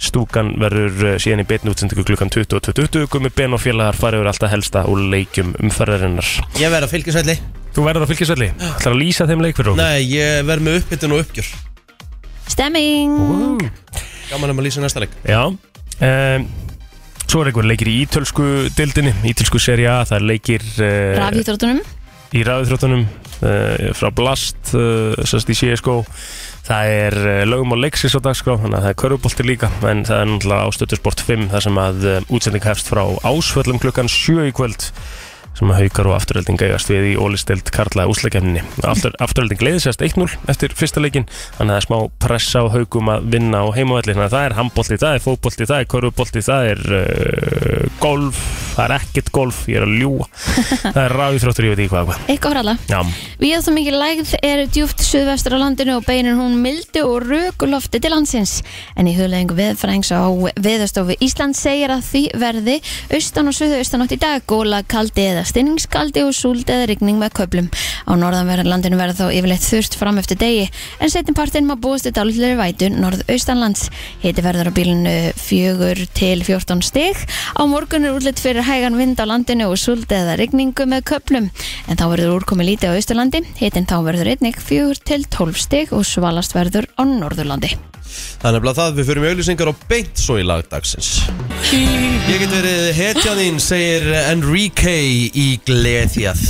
Speaker 3: stúkan verður eh, síðan í beinu útsendingu klukkan 20.20 gummi ben og félagar farið yfir alltaf helsta úr leikjum umferðarinnar
Speaker 1: Ég verð að fylgisvelli
Speaker 3: þú verður á fylkisvelli, ætlar að lýsa þeim leik fyrir okkur
Speaker 1: Nei, ég verð með uppbytun og uppgjör
Speaker 2: Stemming!
Speaker 3: Ú.
Speaker 1: Gaman um að lýsa næsta leik
Speaker 3: Já um, Svo er einhver leikir í ítölsku dildinni Ítölsku seri A, það er leikir uh,
Speaker 2: Rafíþróttunum
Speaker 3: í ræðuþróttunum uh, frá Blast uh, sérst í CSGO Það er uh, lögum og leiksins á dagskrá þannig að það er körubolti líka en það er náttúrulega ástöðusport 5 þar sem að uh, útsending hefst frá ásvöllum klukkan 7 í kvöld sem að haukar og afturölding eigast við í ólisteld Karla úslakefninni. Aftur, afturölding leiði sérst 1-0 eftir fyrsta leikin þannig að það er smá pressa á haukum að vinna á heimavalli þannig að það er handbolti, það er fótbolti, það er körubolti, það er uh, golf, það er ekkert golf, ég er að ljúa það er ráðþróttur, ég veit ekki hvað, hvað.
Speaker 2: Eitthvað fyrir alla.
Speaker 3: Já,
Speaker 2: Við þá mikið lægð er djúpt suðvestur á landinu og beinir hún mildi og rökulofti til landsins. En í hugleðingu veðfrængs á veðastofu Ísland segir að því verði austan og suðaustanátt í dag góla kaldi eða stinningskaldi og súld eða rigning með köplum. Á norðanverðan landinu verða þá yfirleitt þurft fram eftir degi en setjumpartin má búast til dálitlir vætu norðaustanlands. Hiti verður á bílinu fjögur til 14 stig. Á morgun er útlitt fyrir hægan vind á landinu og súld eða rigningu með köplum. En þá verður úrkomi lítið á Austurlandi, hitinn þá verður einnig fjögur til 12 stig og svalast verður á Norðurlandi.
Speaker 1: Þannig að það við fyrir með auðlýsingar og beint svo í lagdagsins Ég get verið hetjan þín, segir Enrique í Gleðjað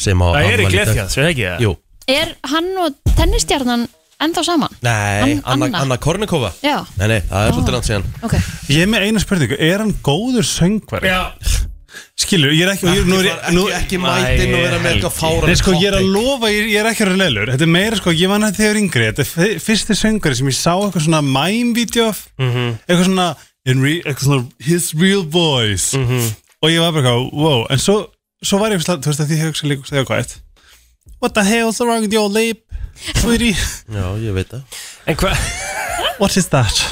Speaker 1: sem á
Speaker 3: það er
Speaker 1: afmæli
Speaker 3: í
Speaker 1: dag.
Speaker 3: gleðja, svo ekki það?
Speaker 1: Jú,
Speaker 2: Er hann og tennistjarnan ennþá saman?
Speaker 1: nei,
Speaker 2: Ann-
Speaker 1: Anna,
Speaker 2: Anna.
Speaker 1: Anna Kornikova
Speaker 2: Já,
Speaker 1: Nei, nei, það er svolítið langt síðan
Speaker 2: ok.
Speaker 5: Ég er með eina spurningu, er hann góður söngvari?
Speaker 3: Já,
Speaker 5: Skilur, ég er ekki, ég, nú er ég,
Speaker 1: Ekki,
Speaker 5: nú,
Speaker 1: ekki, ekki mætinn og vera með eitthvað fára
Speaker 5: Nei, sko, ég er að lofa, ég, ég er ekki að vera leilur Þetta er meira, sko, ég man að þegar ég var yngri Þetta er fyr- fyrsti söngari sem ég sá eitthvað svona mime-vídeó af Eitthvað svona, in re, eitthvað svona His real voice Og ég var bara eitthvað, wow En svo, svo var ég fyrst að, þú veist að því hefur ekki líka Þegar hvað eitt What the hell's wrong with your lip? Sweetie,
Speaker 1: Já, ég veit það
Speaker 3: en hvað?
Speaker 5: what is that?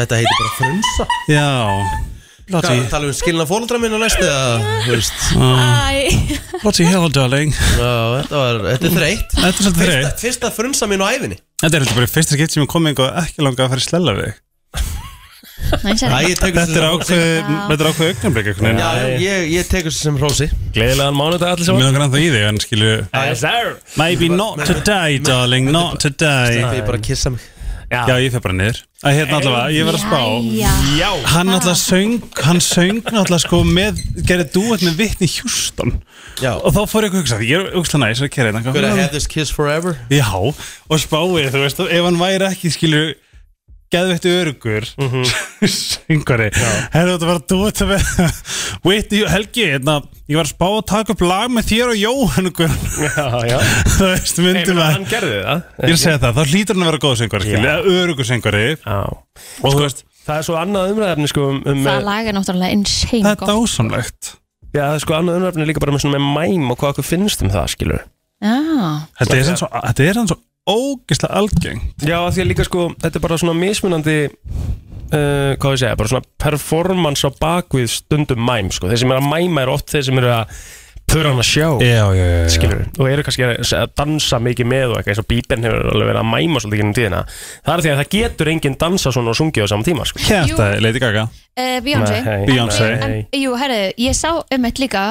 Speaker 1: Þetta heitir bara frunsa
Speaker 5: Já
Speaker 1: Það
Speaker 5: Bloody,
Speaker 1: tala um skilna fólundra minna næst eða, þú veist
Speaker 2: Æ,
Speaker 5: bloody hell, darling
Speaker 1: Já, þetta var, þetta er þreytt
Speaker 5: Þetta er
Speaker 1: Fyrsta,
Speaker 5: svolítið þreytt.
Speaker 1: fyrsta frunsa mín á æfinni
Speaker 5: Þetta er heldur bara fyrsta skipt sem ég komið og ekki langa að fara í slella við þig
Speaker 2: næs er
Speaker 1: Æ,
Speaker 2: það.
Speaker 1: ég tekur
Speaker 5: Þetta er
Speaker 1: sem hrósi.
Speaker 5: ákveð, þetta er ákveð augnablik einhvern veginn.
Speaker 1: Já, ég, ég tekur þessu sem hrósi
Speaker 3: Gleðilegan mánudag allir
Speaker 5: Mér
Speaker 3: saman
Speaker 5: langar ennþá í þig, en skilu
Speaker 3: Yes sir
Speaker 5: Maybe not today, darling, not today
Speaker 1: Ég bara kissa mig
Speaker 5: Já, ég fer bara niður Æ, hérna allavega, ég var að spá
Speaker 2: Jæja.
Speaker 3: Já
Speaker 5: Hann alltaf söng, hann söng alltaf sko með, gerði dúet með vitni Hjúston
Speaker 1: Já,
Speaker 5: Og þá fór ég að hugsa, ég er aukslega næs að hérna. kera þetta
Speaker 1: gonna have
Speaker 5: eitthvað.
Speaker 1: this kiss forever
Speaker 5: Já, og spáið, þú veist, ef hann væri ekki, skilu geðveitt örugur syngari herru þetta var að dúa þetta með wait, ég- Helgi, hérna, ég var að spá að taka upp lag með þér og Jóhann Guðrún.
Speaker 3: Já, já
Speaker 5: þú veist,
Speaker 3: Nei,
Speaker 5: myndum
Speaker 3: menn,
Speaker 5: að
Speaker 3: hann gerði það
Speaker 5: ég er að segja það, þá hlýtur hann að vera góð syngari skilja,
Speaker 3: Já. Sko,
Speaker 5: örugur syngari
Speaker 3: Já Og þú veist Það er svo annað umræðefni sko um, um
Speaker 2: Það lag er náttúrulega insane
Speaker 5: það er
Speaker 2: gott
Speaker 5: dásamlegt
Speaker 3: Já, það er sko annað umræðefni líka bara með svona með mæm og hvað okkur finnst um það, skilur
Speaker 2: Já,
Speaker 5: þetta er sann svo, þetta er sann svo ógislega algeng
Speaker 3: Já, af því að líka sko, þetta er bara svona mismunandi uh, hvað ég segja, bara svona performance á bakvið stundum mæm, sko, þeir sem eru að mæma er oft þeir sem eru að pura hann að sjá
Speaker 5: já, já, já,
Speaker 3: skilur, og eru kannski að að dansa mikið með og eitthvað, eins og Bíben hefur alveg verið að mæma svolítið gennum tíðina, það er því að það getur enginn dansa svona og sungið á saman tíma, sko
Speaker 5: Hérta, Lady Gaga
Speaker 2: uh, Beyoncé
Speaker 3: Nei,
Speaker 5: Eh, Beyoncé.
Speaker 3: nei.
Speaker 2: En, jú, herru, ég sá um eitt líka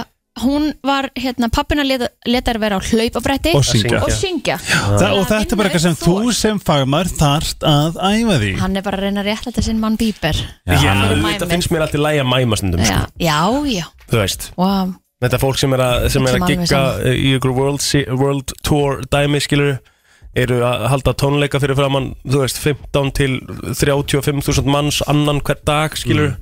Speaker 2: Hún var, hérna, pappina leta þær vera á hlaupabretti
Speaker 5: og syngja
Speaker 2: og syngja
Speaker 5: Þa, og þetta er bara eitthvað sem þú sem fagmar þarft að æfa því
Speaker 2: Hann er bara að reyna að rétta þetta sinn mann bíber
Speaker 3: Já,
Speaker 2: hann er
Speaker 3: þetta
Speaker 2: mæmir.
Speaker 3: finnst mér alltaf læg að mæma stundum, sko,
Speaker 2: Já, já, já
Speaker 3: þú veist
Speaker 2: wow.
Speaker 3: Þetta fólk sem er að, sem er
Speaker 2: Sem
Speaker 3: að
Speaker 2: alveg
Speaker 3: gigga
Speaker 2: sama.
Speaker 3: í ykkur World, Se- World Tour dæmi skilur eru að halda tónleika fyrir framann þú veist 15 til 35.000 manns annan hver dag skilur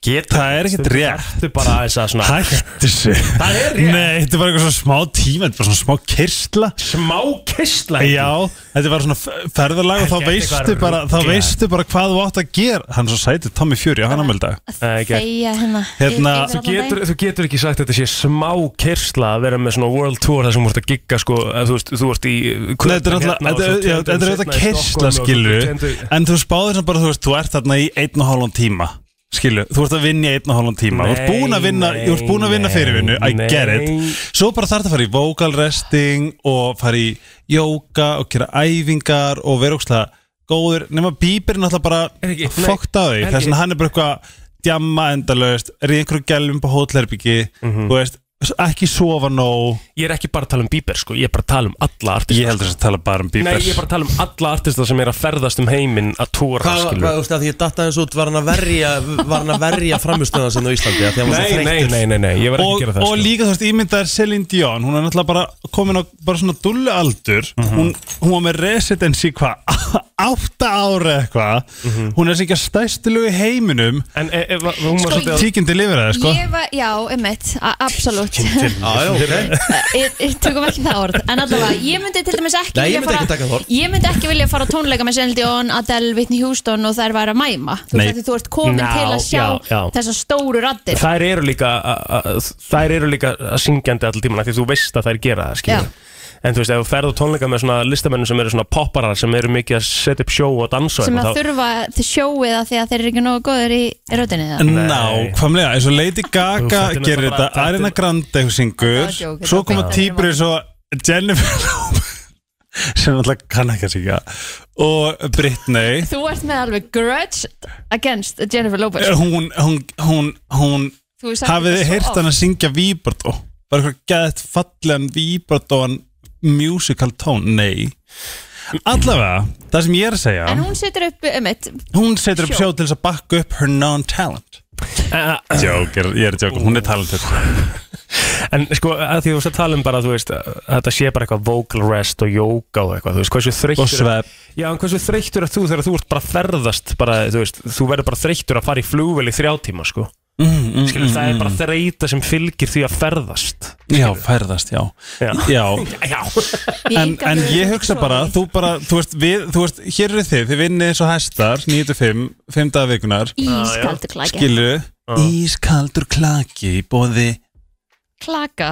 Speaker 3: geta
Speaker 5: það er ekkert rétt
Speaker 3: Ertu bara aðeins að svona
Speaker 5: hættu sig
Speaker 3: Það er rétt.
Speaker 5: nei, þetta er bara eitthvað svona smá tíma þetta er bara svona smá kyrstla
Speaker 3: smá kistla
Speaker 5: já, þetta er bara svona f- ferðalag
Speaker 3: Helgi,
Speaker 5: og þá
Speaker 3: þetta er
Speaker 5: veistu
Speaker 3: eitthvað
Speaker 5: bara, þá
Speaker 3: ruglað.
Speaker 5: veistu bara hvað þú átt að gera hann er svo sætið Tommy Fury á hann ámeldag
Speaker 3: Nei, ekki.
Speaker 2: Þeia hérna,
Speaker 5: Hérna-
Speaker 2: yfir
Speaker 3: Þú
Speaker 2: allan
Speaker 3: getur,
Speaker 2: daginn.
Speaker 3: þú getur ekki sagt að þetta sé smá kyrstla að vera með svona World Tour þar sem þú ert að gigga sko, að þú veist, þú ert í
Speaker 5: Nei, þetta er
Speaker 3: Hérna
Speaker 5: alltaf, þetta er- já, þetta er auðvitað kyrstla skilu En þú spáður sem bara, þú veist, þú ert þarna í einn og hálfan tíma Skilu, þú ert að vinna í einn og hálfan tíma Þú ert
Speaker 3: Nei,
Speaker 5: búin að vinna,
Speaker 3: nei,
Speaker 5: þú ert búin að vinna
Speaker 3: nei,
Speaker 5: fyrirvinnu I
Speaker 3: nei.
Speaker 5: get it Svo bara þarf það að fara í vocal resting Og fara í jóka og gera æfingar Og vera ógstlega góður Nefna Bieber er náttúrulega
Speaker 3: Er ekki-
Speaker 5: bara
Speaker 3: nei,
Speaker 5: fokkt á því
Speaker 3: er
Speaker 5: Þess
Speaker 3: ekki-
Speaker 5: að hann er bara eitthvað djamma endalaust Er í einhverju gelfum på hótelherbyggi Þú veist, ekki sofa nóg
Speaker 3: Ég er ekki bara að tala um Bieber sko, ég er bara að tala um alla artista
Speaker 5: Ég heldur þess að tala bara um Bieber
Speaker 3: Nei, ég er bara að tala um alla artista sem er að ferðast um heiminn að tóra,
Speaker 1: Hvað,
Speaker 3: skilur
Speaker 1: hvað, þú veist að því ég datta hans út var hann að verja, var hann að verja framistöðan sinna á Íslandi af því hann var svo
Speaker 3: Nei, nei,
Speaker 1: þreyttur.
Speaker 3: nei, nei, nei, ég var ekki að
Speaker 5: og,
Speaker 3: gera það sko.
Speaker 5: og líka þú veist, ímyndar Celine Dion hún er náttúrulega bara komin á bara svona dullu aldur
Speaker 3: Mhm.
Speaker 5: hún, hún var með residency hvað átta ára eitthvað
Speaker 3: Mhm.
Speaker 5: hún er sikið stæstilu í heiminum
Speaker 3: En e, e, va- hún var
Speaker 2: Sko,
Speaker 3: svolítið að
Speaker 5: tíkindi lifir það sko
Speaker 2: Ég var, já, um eitt, absolutt
Speaker 1: Já, já, ok
Speaker 2: Ég- ég Tökum ekki það orð En allavega, ég myndi til dæmis ekki
Speaker 1: Nei, ég
Speaker 2: vilja
Speaker 1: myndi
Speaker 2: fara-
Speaker 1: ekki taka það orð.
Speaker 2: Ég myndi ekki vilja fara á tónleika með Celine Dion, Adele, Whitney Houston og þær væri að mæma Þú
Speaker 5: Nei.
Speaker 2: veist að þú ert komin
Speaker 3: Ná,
Speaker 2: til að sjá
Speaker 3: já, já.
Speaker 2: þessar stóru raddir
Speaker 3: Þær eru líka að- að- Þær eru líka að syngjandi allir tíman Því þú veist að þær gera það, skilur
Speaker 2: Já.
Speaker 3: En þú veist, ef þú ferð á tónleika með svona listamennum sem eru svona popparar sem eru mikið að setja upp sjó og dansa og
Speaker 2: sem að
Speaker 3: eitthvað, þá-
Speaker 2: þurfa þið sjóið að því að þeir eru ekki nógu góður í röddinni það
Speaker 5: nákvæmlega, eins og Lady
Speaker 3: Þú, þetta
Speaker 5: Gaga
Speaker 3: er
Speaker 5: gerir
Speaker 3: náttúrulega
Speaker 5: þetta,
Speaker 3: bara-
Speaker 5: Arina Grande hún
Speaker 2: Það
Speaker 5: syngur,
Speaker 2: var joke,
Speaker 5: svo
Speaker 2: þetta
Speaker 5: koma
Speaker 2: var beint
Speaker 5: týpur eins og Jennifer Lopez, sem náttúrulega kann ekki að syngja og Britney
Speaker 2: Þú ert með alveg grudge against Jennifer Lopez
Speaker 5: hún, hún, hún, hún
Speaker 2: Þú hefur sagt
Speaker 5: hafið
Speaker 2: þetta
Speaker 5: þið
Speaker 2: svo
Speaker 5: heyrt
Speaker 2: oft.
Speaker 5: hann að syngja vibrato bara eitthvað gæðt fallegan vibratóan musical tón nei allavega, það sem ég er að segja
Speaker 2: En
Speaker 5: hún,
Speaker 2: hún setur upp um eitt
Speaker 5: setur upp
Speaker 2: Sjó.
Speaker 5: sjó til þess að bakka upp her non-talent
Speaker 3: Eh,
Speaker 5: Jók, er- ég er að jóka, hún er talented
Speaker 3: En sko, að því þú veist að tala um bara þú veist, að þetta sé bara eitthvað vocal rest og yoga og eitthvað, þú veist, hversu þreyttur
Speaker 5: og svepp
Speaker 3: Já, en hversu þreyttur er þú þegar þú ert bara að ferðast bara, þú veist, þú verður bara þreyttur að fara í flugvel í þrjá tíma, sko
Speaker 5: Mm,
Speaker 3: Skilur, það er bara þreyta sem fylgir því að ferðast
Speaker 5: já, ferðast, já,
Speaker 3: Já,
Speaker 5: já
Speaker 3: já
Speaker 5: en, en ég hugsa bara, þú bara, þú veist, við, þú veist hér eru þið, þið vinnið eins og hæstar 9-5, 5 dagar vikunar
Speaker 2: Ískaldur klaka
Speaker 5: skilu, ískaldur klaki í bóði
Speaker 2: Klaka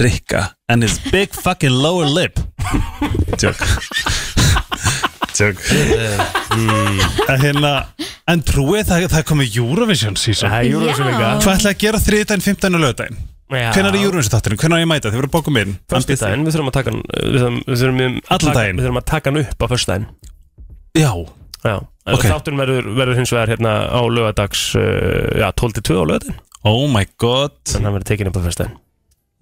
Speaker 5: Rikka and his big fucking lower lip Tjók Tjók hérna, En trúið það, það komið Eurovision season
Speaker 3: Það er Eurovision
Speaker 2: Já.
Speaker 3: líka
Speaker 5: Hvað ætlaði að gera 3. 15. lögdæn? Hvenær er Eurovision þátturinn? Hvenær á ég að mæta? Þið voru að bóka minn
Speaker 3: Föstudaginn, við þurfum að taka hann Við þurfum, við þurfum, um að
Speaker 5: Allan
Speaker 3: taka-
Speaker 5: daginn.
Speaker 3: Við þurfum að taka hann upp á föstudaginn
Speaker 5: Já
Speaker 3: Já
Speaker 5: Ok.
Speaker 3: okay. Þátturinn verður, verður hins vegar hérna á lögadags uh, Já, 12-2 á lögadaginn
Speaker 5: Oh my god
Speaker 3: Þannig að hann verður tekinn upp á föstudaginn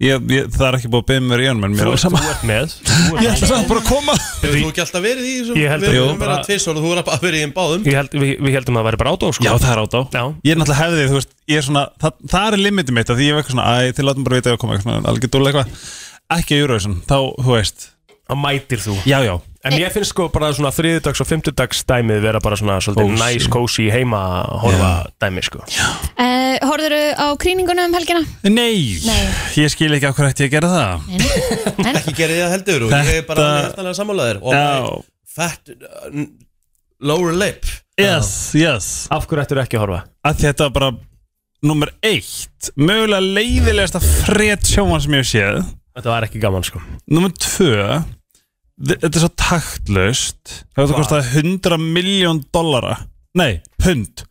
Speaker 5: ég, ég, Það er ekki búið að beða mér í önum en mér
Speaker 3: Þú
Speaker 5: var sama
Speaker 3: þú ert með þú
Speaker 5: Ég
Speaker 3: ert
Speaker 5: ætla
Speaker 3: með.
Speaker 5: samt bara að koma
Speaker 1: Hefur þú ekki alltaf verið í þessum?
Speaker 3: Ég held að-
Speaker 1: Við
Speaker 3: Jú.
Speaker 1: erum bara tvisvar og þú er að verið í þeim báðum
Speaker 3: Ég held, við, við heldum að það væri bara ádó sko.
Speaker 5: Já það er át á
Speaker 3: Já.
Speaker 5: Ég er náttúrulega hefði, þú veist, ég er svona Það, það er limitið mitt að því ég er eitthvað svona Æ, þið látum bara vita að koma eitthvað svona Algjör dúlega eitthvað Ekki Eurovision, þá, þú veist
Speaker 3: Að mætir þú
Speaker 5: Já, já,
Speaker 3: En ég finnst sko bara svona þriðdags og fimmtudags dæmið vera bara svona svolítið
Speaker 5: Kósí.
Speaker 3: næs, kósi, heima að horfa dæmi sko
Speaker 2: Uh, Horður á krýninguna um helgina?
Speaker 5: Nei,
Speaker 2: Nei.
Speaker 5: ég skil ekki af hverju ætti ég að gera það
Speaker 2: En,
Speaker 1: Ekki gerði það heldur og ég er bara
Speaker 5: Þetta-
Speaker 1: hérstanlega sammálaðir Og
Speaker 5: Já.
Speaker 1: fat uh, n- lower lip
Speaker 5: Yes, yes
Speaker 3: Af hverju ættir ekki að horfa?
Speaker 5: að þetta var bara nummer eitt mögulega leiðilegasta frétt sjóman sem ég hef séð
Speaker 3: Þetta var ekki gaman sko
Speaker 5: nummer tvö þ- þetta er svo taktlaust það þetta
Speaker 3: Hvað?
Speaker 5: kostaði 100 miljón dollara nei, pund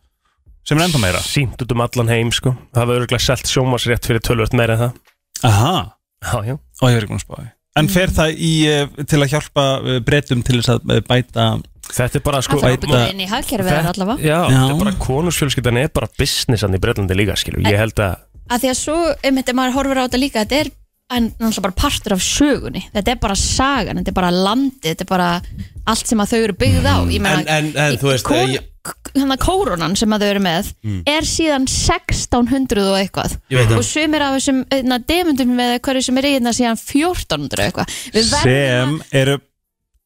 Speaker 5: sem er enda meira
Speaker 3: Sýnt út um allan heim sko Það var örgulega selt sjómasrétt fyrir tölvöld meira en það
Speaker 5: aha,
Speaker 3: Já, já
Speaker 5: og ég er ekki búin að spá því en fer það í, eh, til að hjálpa eh, bretum til þess að eh, bæta
Speaker 3: Þetta er bara sko
Speaker 2: hann þarf að
Speaker 5: Bæta-
Speaker 2: búið inn í hagkerfið þar allavega
Speaker 3: Já, þetta er
Speaker 5: Já.
Speaker 3: bara konusfjölskyldan er bara businessan í Breitlandi líka skilu Ég held að
Speaker 2: að því að svo, um þetta maður horfir á þetta líka þetta er en, náttúrulega bara partur af sögunni þetta er bara sagan, þetta er bara landið þetta er bara allt sem að þau eru byggð á ég
Speaker 1: Mm. En, en, en þú veist eh,
Speaker 2: kon,
Speaker 1: ég, Mm.
Speaker 2: hérna kórónan sem að þau eru með er síðan 1600 og eitthvað
Speaker 1: Ég veit það.
Speaker 2: og sumir af þessum einna, demundum með hverju sem er í hérna síðan 1400 og eitthvað við, verðum
Speaker 5: sem eru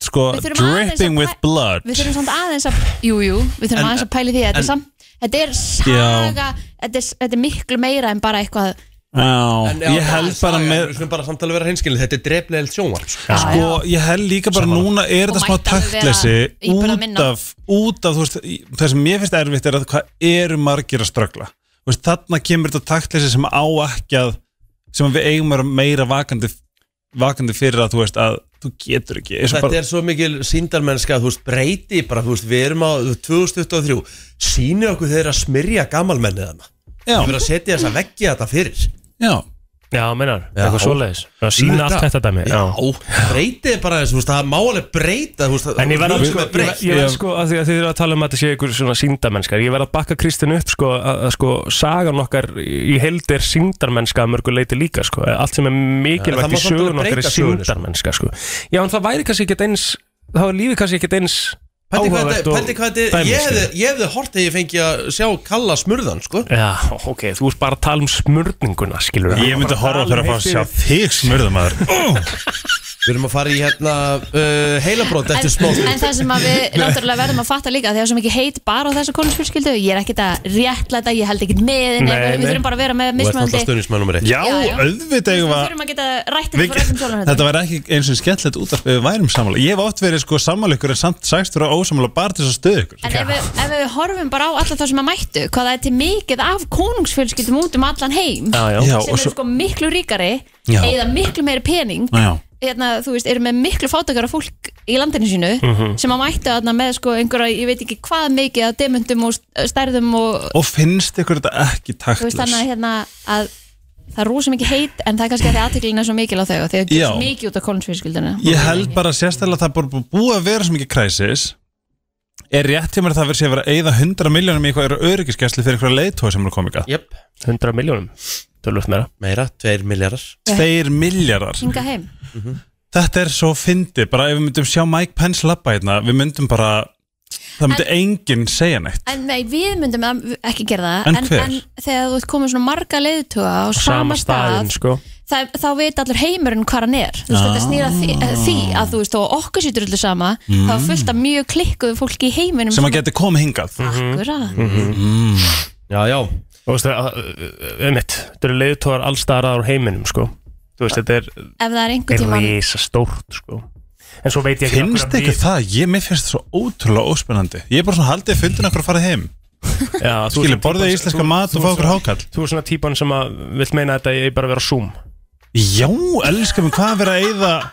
Speaker 5: sko
Speaker 2: Við þurfum aðeins að
Speaker 5: dripping with
Speaker 2: pæ-
Speaker 5: blood
Speaker 2: að, við þurfum samt aðeins að jú, jú, við þurfum
Speaker 1: En-
Speaker 2: aðeins að pæli því að þetta
Speaker 1: en-
Speaker 2: er samt þetta er saga, þetta er, þetta er miklu meira en bara eitthvað
Speaker 5: já,
Speaker 1: en,
Speaker 5: ég held bara með
Speaker 1: Við skulum bara samtala vera hreinskilin Þetta er dreflegelt sjónvarp sko.
Speaker 5: sko, ég held líka bara núna er
Speaker 2: Og
Speaker 5: þetta smá
Speaker 2: mætti alveg vera
Speaker 5: taktleysi
Speaker 2: í bara
Speaker 5: út
Speaker 2: minna.
Speaker 5: af, út af þú veist, í- það sem mér finnst erfitt er að hvað eru margir að ströggla Þú veist, þarna kemur þetta taktleysi sem á ekki að sem að við eigum að vera meira vakandi, vakandi fyrir að þú veist að þú getur ekki eins og
Speaker 1: Þetta
Speaker 5: bara,
Speaker 1: er svo mikil síndarmennska Þú veist breyti bara Þú veist við erum á þú veist, 2023 Sýni okkur þeir að smyrja gamalmennið hana Við
Speaker 5: já,
Speaker 1: verðum að setja þess að veggja þetta fyrir
Speaker 5: já,
Speaker 3: Já, meinar,
Speaker 1: Já.
Speaker 3: eitthvað svoleiðis Það sína allt þetta dæmi
Speaker 1: Já, breytið bara þessu, þú veist, það má alveg breyta þú veist,
Speaker 3: En ég verða
Speaker 1: þú veist,
Speaker 3: sko,
Speaker 1: það er
Speaker 3: ég,
Speaker 1: breytt.
Speaker 3: ég verð sko að því að þið eru að tala um að þetta sé ykkur svona síndarmennskar Ég verð að bakka Kristinn upp sko að, að sko sagan okkar í held er síndarmennska að mörgu leiti líka sko Allt sem er
Speaker 1: En það
Speaker 3: mikilvægt
Speaker 1: má
Speaker 3: í
Speaker 1: samt alveg
Speaker 3: sögun okkar er
Speaker 1: breyta sögunni, sko.
Speaker 3: síndarmennska sko Já, en það væri kannski ekkert eins Það var lífið kannski ekkert eins
Speaker 1: Pældi hvað
Speaker 3: áhugavert
Speaker 1: þetta, pældi
Speaker 3: og
Speaker 1: hvað þetta,
Speaker 3: dæmi,
Speaker 1: ég hefði,
Speaker 3: skilur.
Speaker 1: ég hefði hort að ég fengi að sjá Kalla smurðan, sko
Speaker 3: Já, ok, þú ert bara að tala um smörninguna, skilur
Speaker 5: ég myndi horfa fyrir að fá að sjá þig smörðum aður
Speaker 1: Við erum að fara í hérna uh, heilabrót
Speaker 2: en,
Speaker 1: eftir smá stund.
Speaker 2: en það sem að við náttúrulega verðum að fatta líka því að það er svo mikið heit bara á þessu konusfjölskyldu ég er ekkert að réttlæta, ég held ekkert með henni,
Speaker 3: Nei,
Speaker 2: eitthvað,
Speaker 3: nei.
Speaker 2: við þurfum bara að vera með
Speaker 1: Þú ert alltaf
Speaker 2: mismöndi
Speaker 1: stöðnismann nummer 1
Speaker 5: já,
Speaker 2: Já, já.
Speaker 5: auðvitað
Speaker 2: við
Speaker 5: eigum að
Speaker 2: þurfum að geta rætt
Speaker 5: Við-
Speaker 2: um þetta frá öllum sjólanhundum
Speaker 5: Þetta var ekki eins og skemmtilegt útvarp ef við værum sammála. Ég hef oft verið sko sammála ykkur en samt sagst vera ósammála bara til þess að stöðu ykkur.
Speaker 2: en ef við, ef við horfum bara á alla þá sem að mættu hvað það er til mikið af konungsfjölskyldum út um allan heim
Speaker 3: Já, já,
Speaker 5: Já,
Speaker 2: sem
Speaker 5: og
Speaker 2: eru
Speaker 5: svo,
Speaker 2: sko miklu ríkari
Speaker 5: Já.
Speaker 2: eða miklu meiri pening
Speaker 5: já,
Speaker 2: hérna, þú veist, eru með miklu fátakara fólk í landinu sínu sem að mættu þarna með sko einhverja, ég veit ekki hvað mikið af demundum og stærðum og
Speaker 5: og finnst ykkur þetta ekki
Speaker 2: þú veist þannig
Speaker 5: taktlust
Speaker 2: að, hérna, að það er rosa mikið heit en það er kannski að því aðteklina er svo mikil á þau og þau getur
Speaker 5: Já.
Speaker 2: svo mikið út af kólinsfjölskyldinu
Speaker 5: ég held bara sérstaklega að það er bara bú- búið að vera svo mikið kræsis er rétt hjá mér að það verið sé að vera að eyða 100 miljónum í eitthvað öryggiskesli fyrir eitthvað leiðtói sem eru komið gæt
Speaker 1: Jöp,
Speaker 3: 100 miljónum, tölvöld meira
Speaker 1: meira, 2 miljardar
Speaker 5: Þeir miljardar
Speaker 2: hinga heim
Speaker 5: Þetta er svo fyndi, bara ef við myndum sjá Mike Pence labba hérna, við myndum bara það myndi enginn segja neitt
Speaker 2: en nei, við myndum að- ekki gera það
Speaker 5: En
Speaker 2: en,
Speaker 5: hver?
Speaker 2: þegar þú ert komin svona marga leiðtuga á sama,
Speaker 3: staðinn,
Speaker 2: stað
Speaker 3: sko
Speaker 2: það, þá veit allir heimurinn hvað hann er þú veist,
Speaker 5: Ah.
Speaker 2: þetta snýra því, eh, því að þú veist og okkur sýtur allir sama þá er fullt af mjög klikkuðu fólki í heiminum
Speaker 5: sem að Mhm. geti komið hingað
Speaker 2: akkurat
Speaker 1: Já, já,
Speaker 3: Þú veist, að- uh, einmitt, þetta eru leiðtóðar allstaðar á heiminum, sko Þú veist, þetta er,
Speaker 2: ef það er einhver
Speaker 3: er
Speaker 2: tíma
Speaker 3: risa stórt, sko En svo veit ég ekki
Speaker 5: Finnst ykkur það? Ég, mér finnst það svo ótrúlega óspennandi Ég er bara svona haldið fundin okkur að fara heim
Speaker 3: Já, þú
Speaker 5: Skilja,
Speaker 3: ert-
Speaker 5: borðið íslenska mat og fá okkur hákall
Speaker 3: Þú er svona típan sem að vill meina að þetta er bara að vera Zoom
Speaker 5: Já, elskar mig, hvað er verið að eyða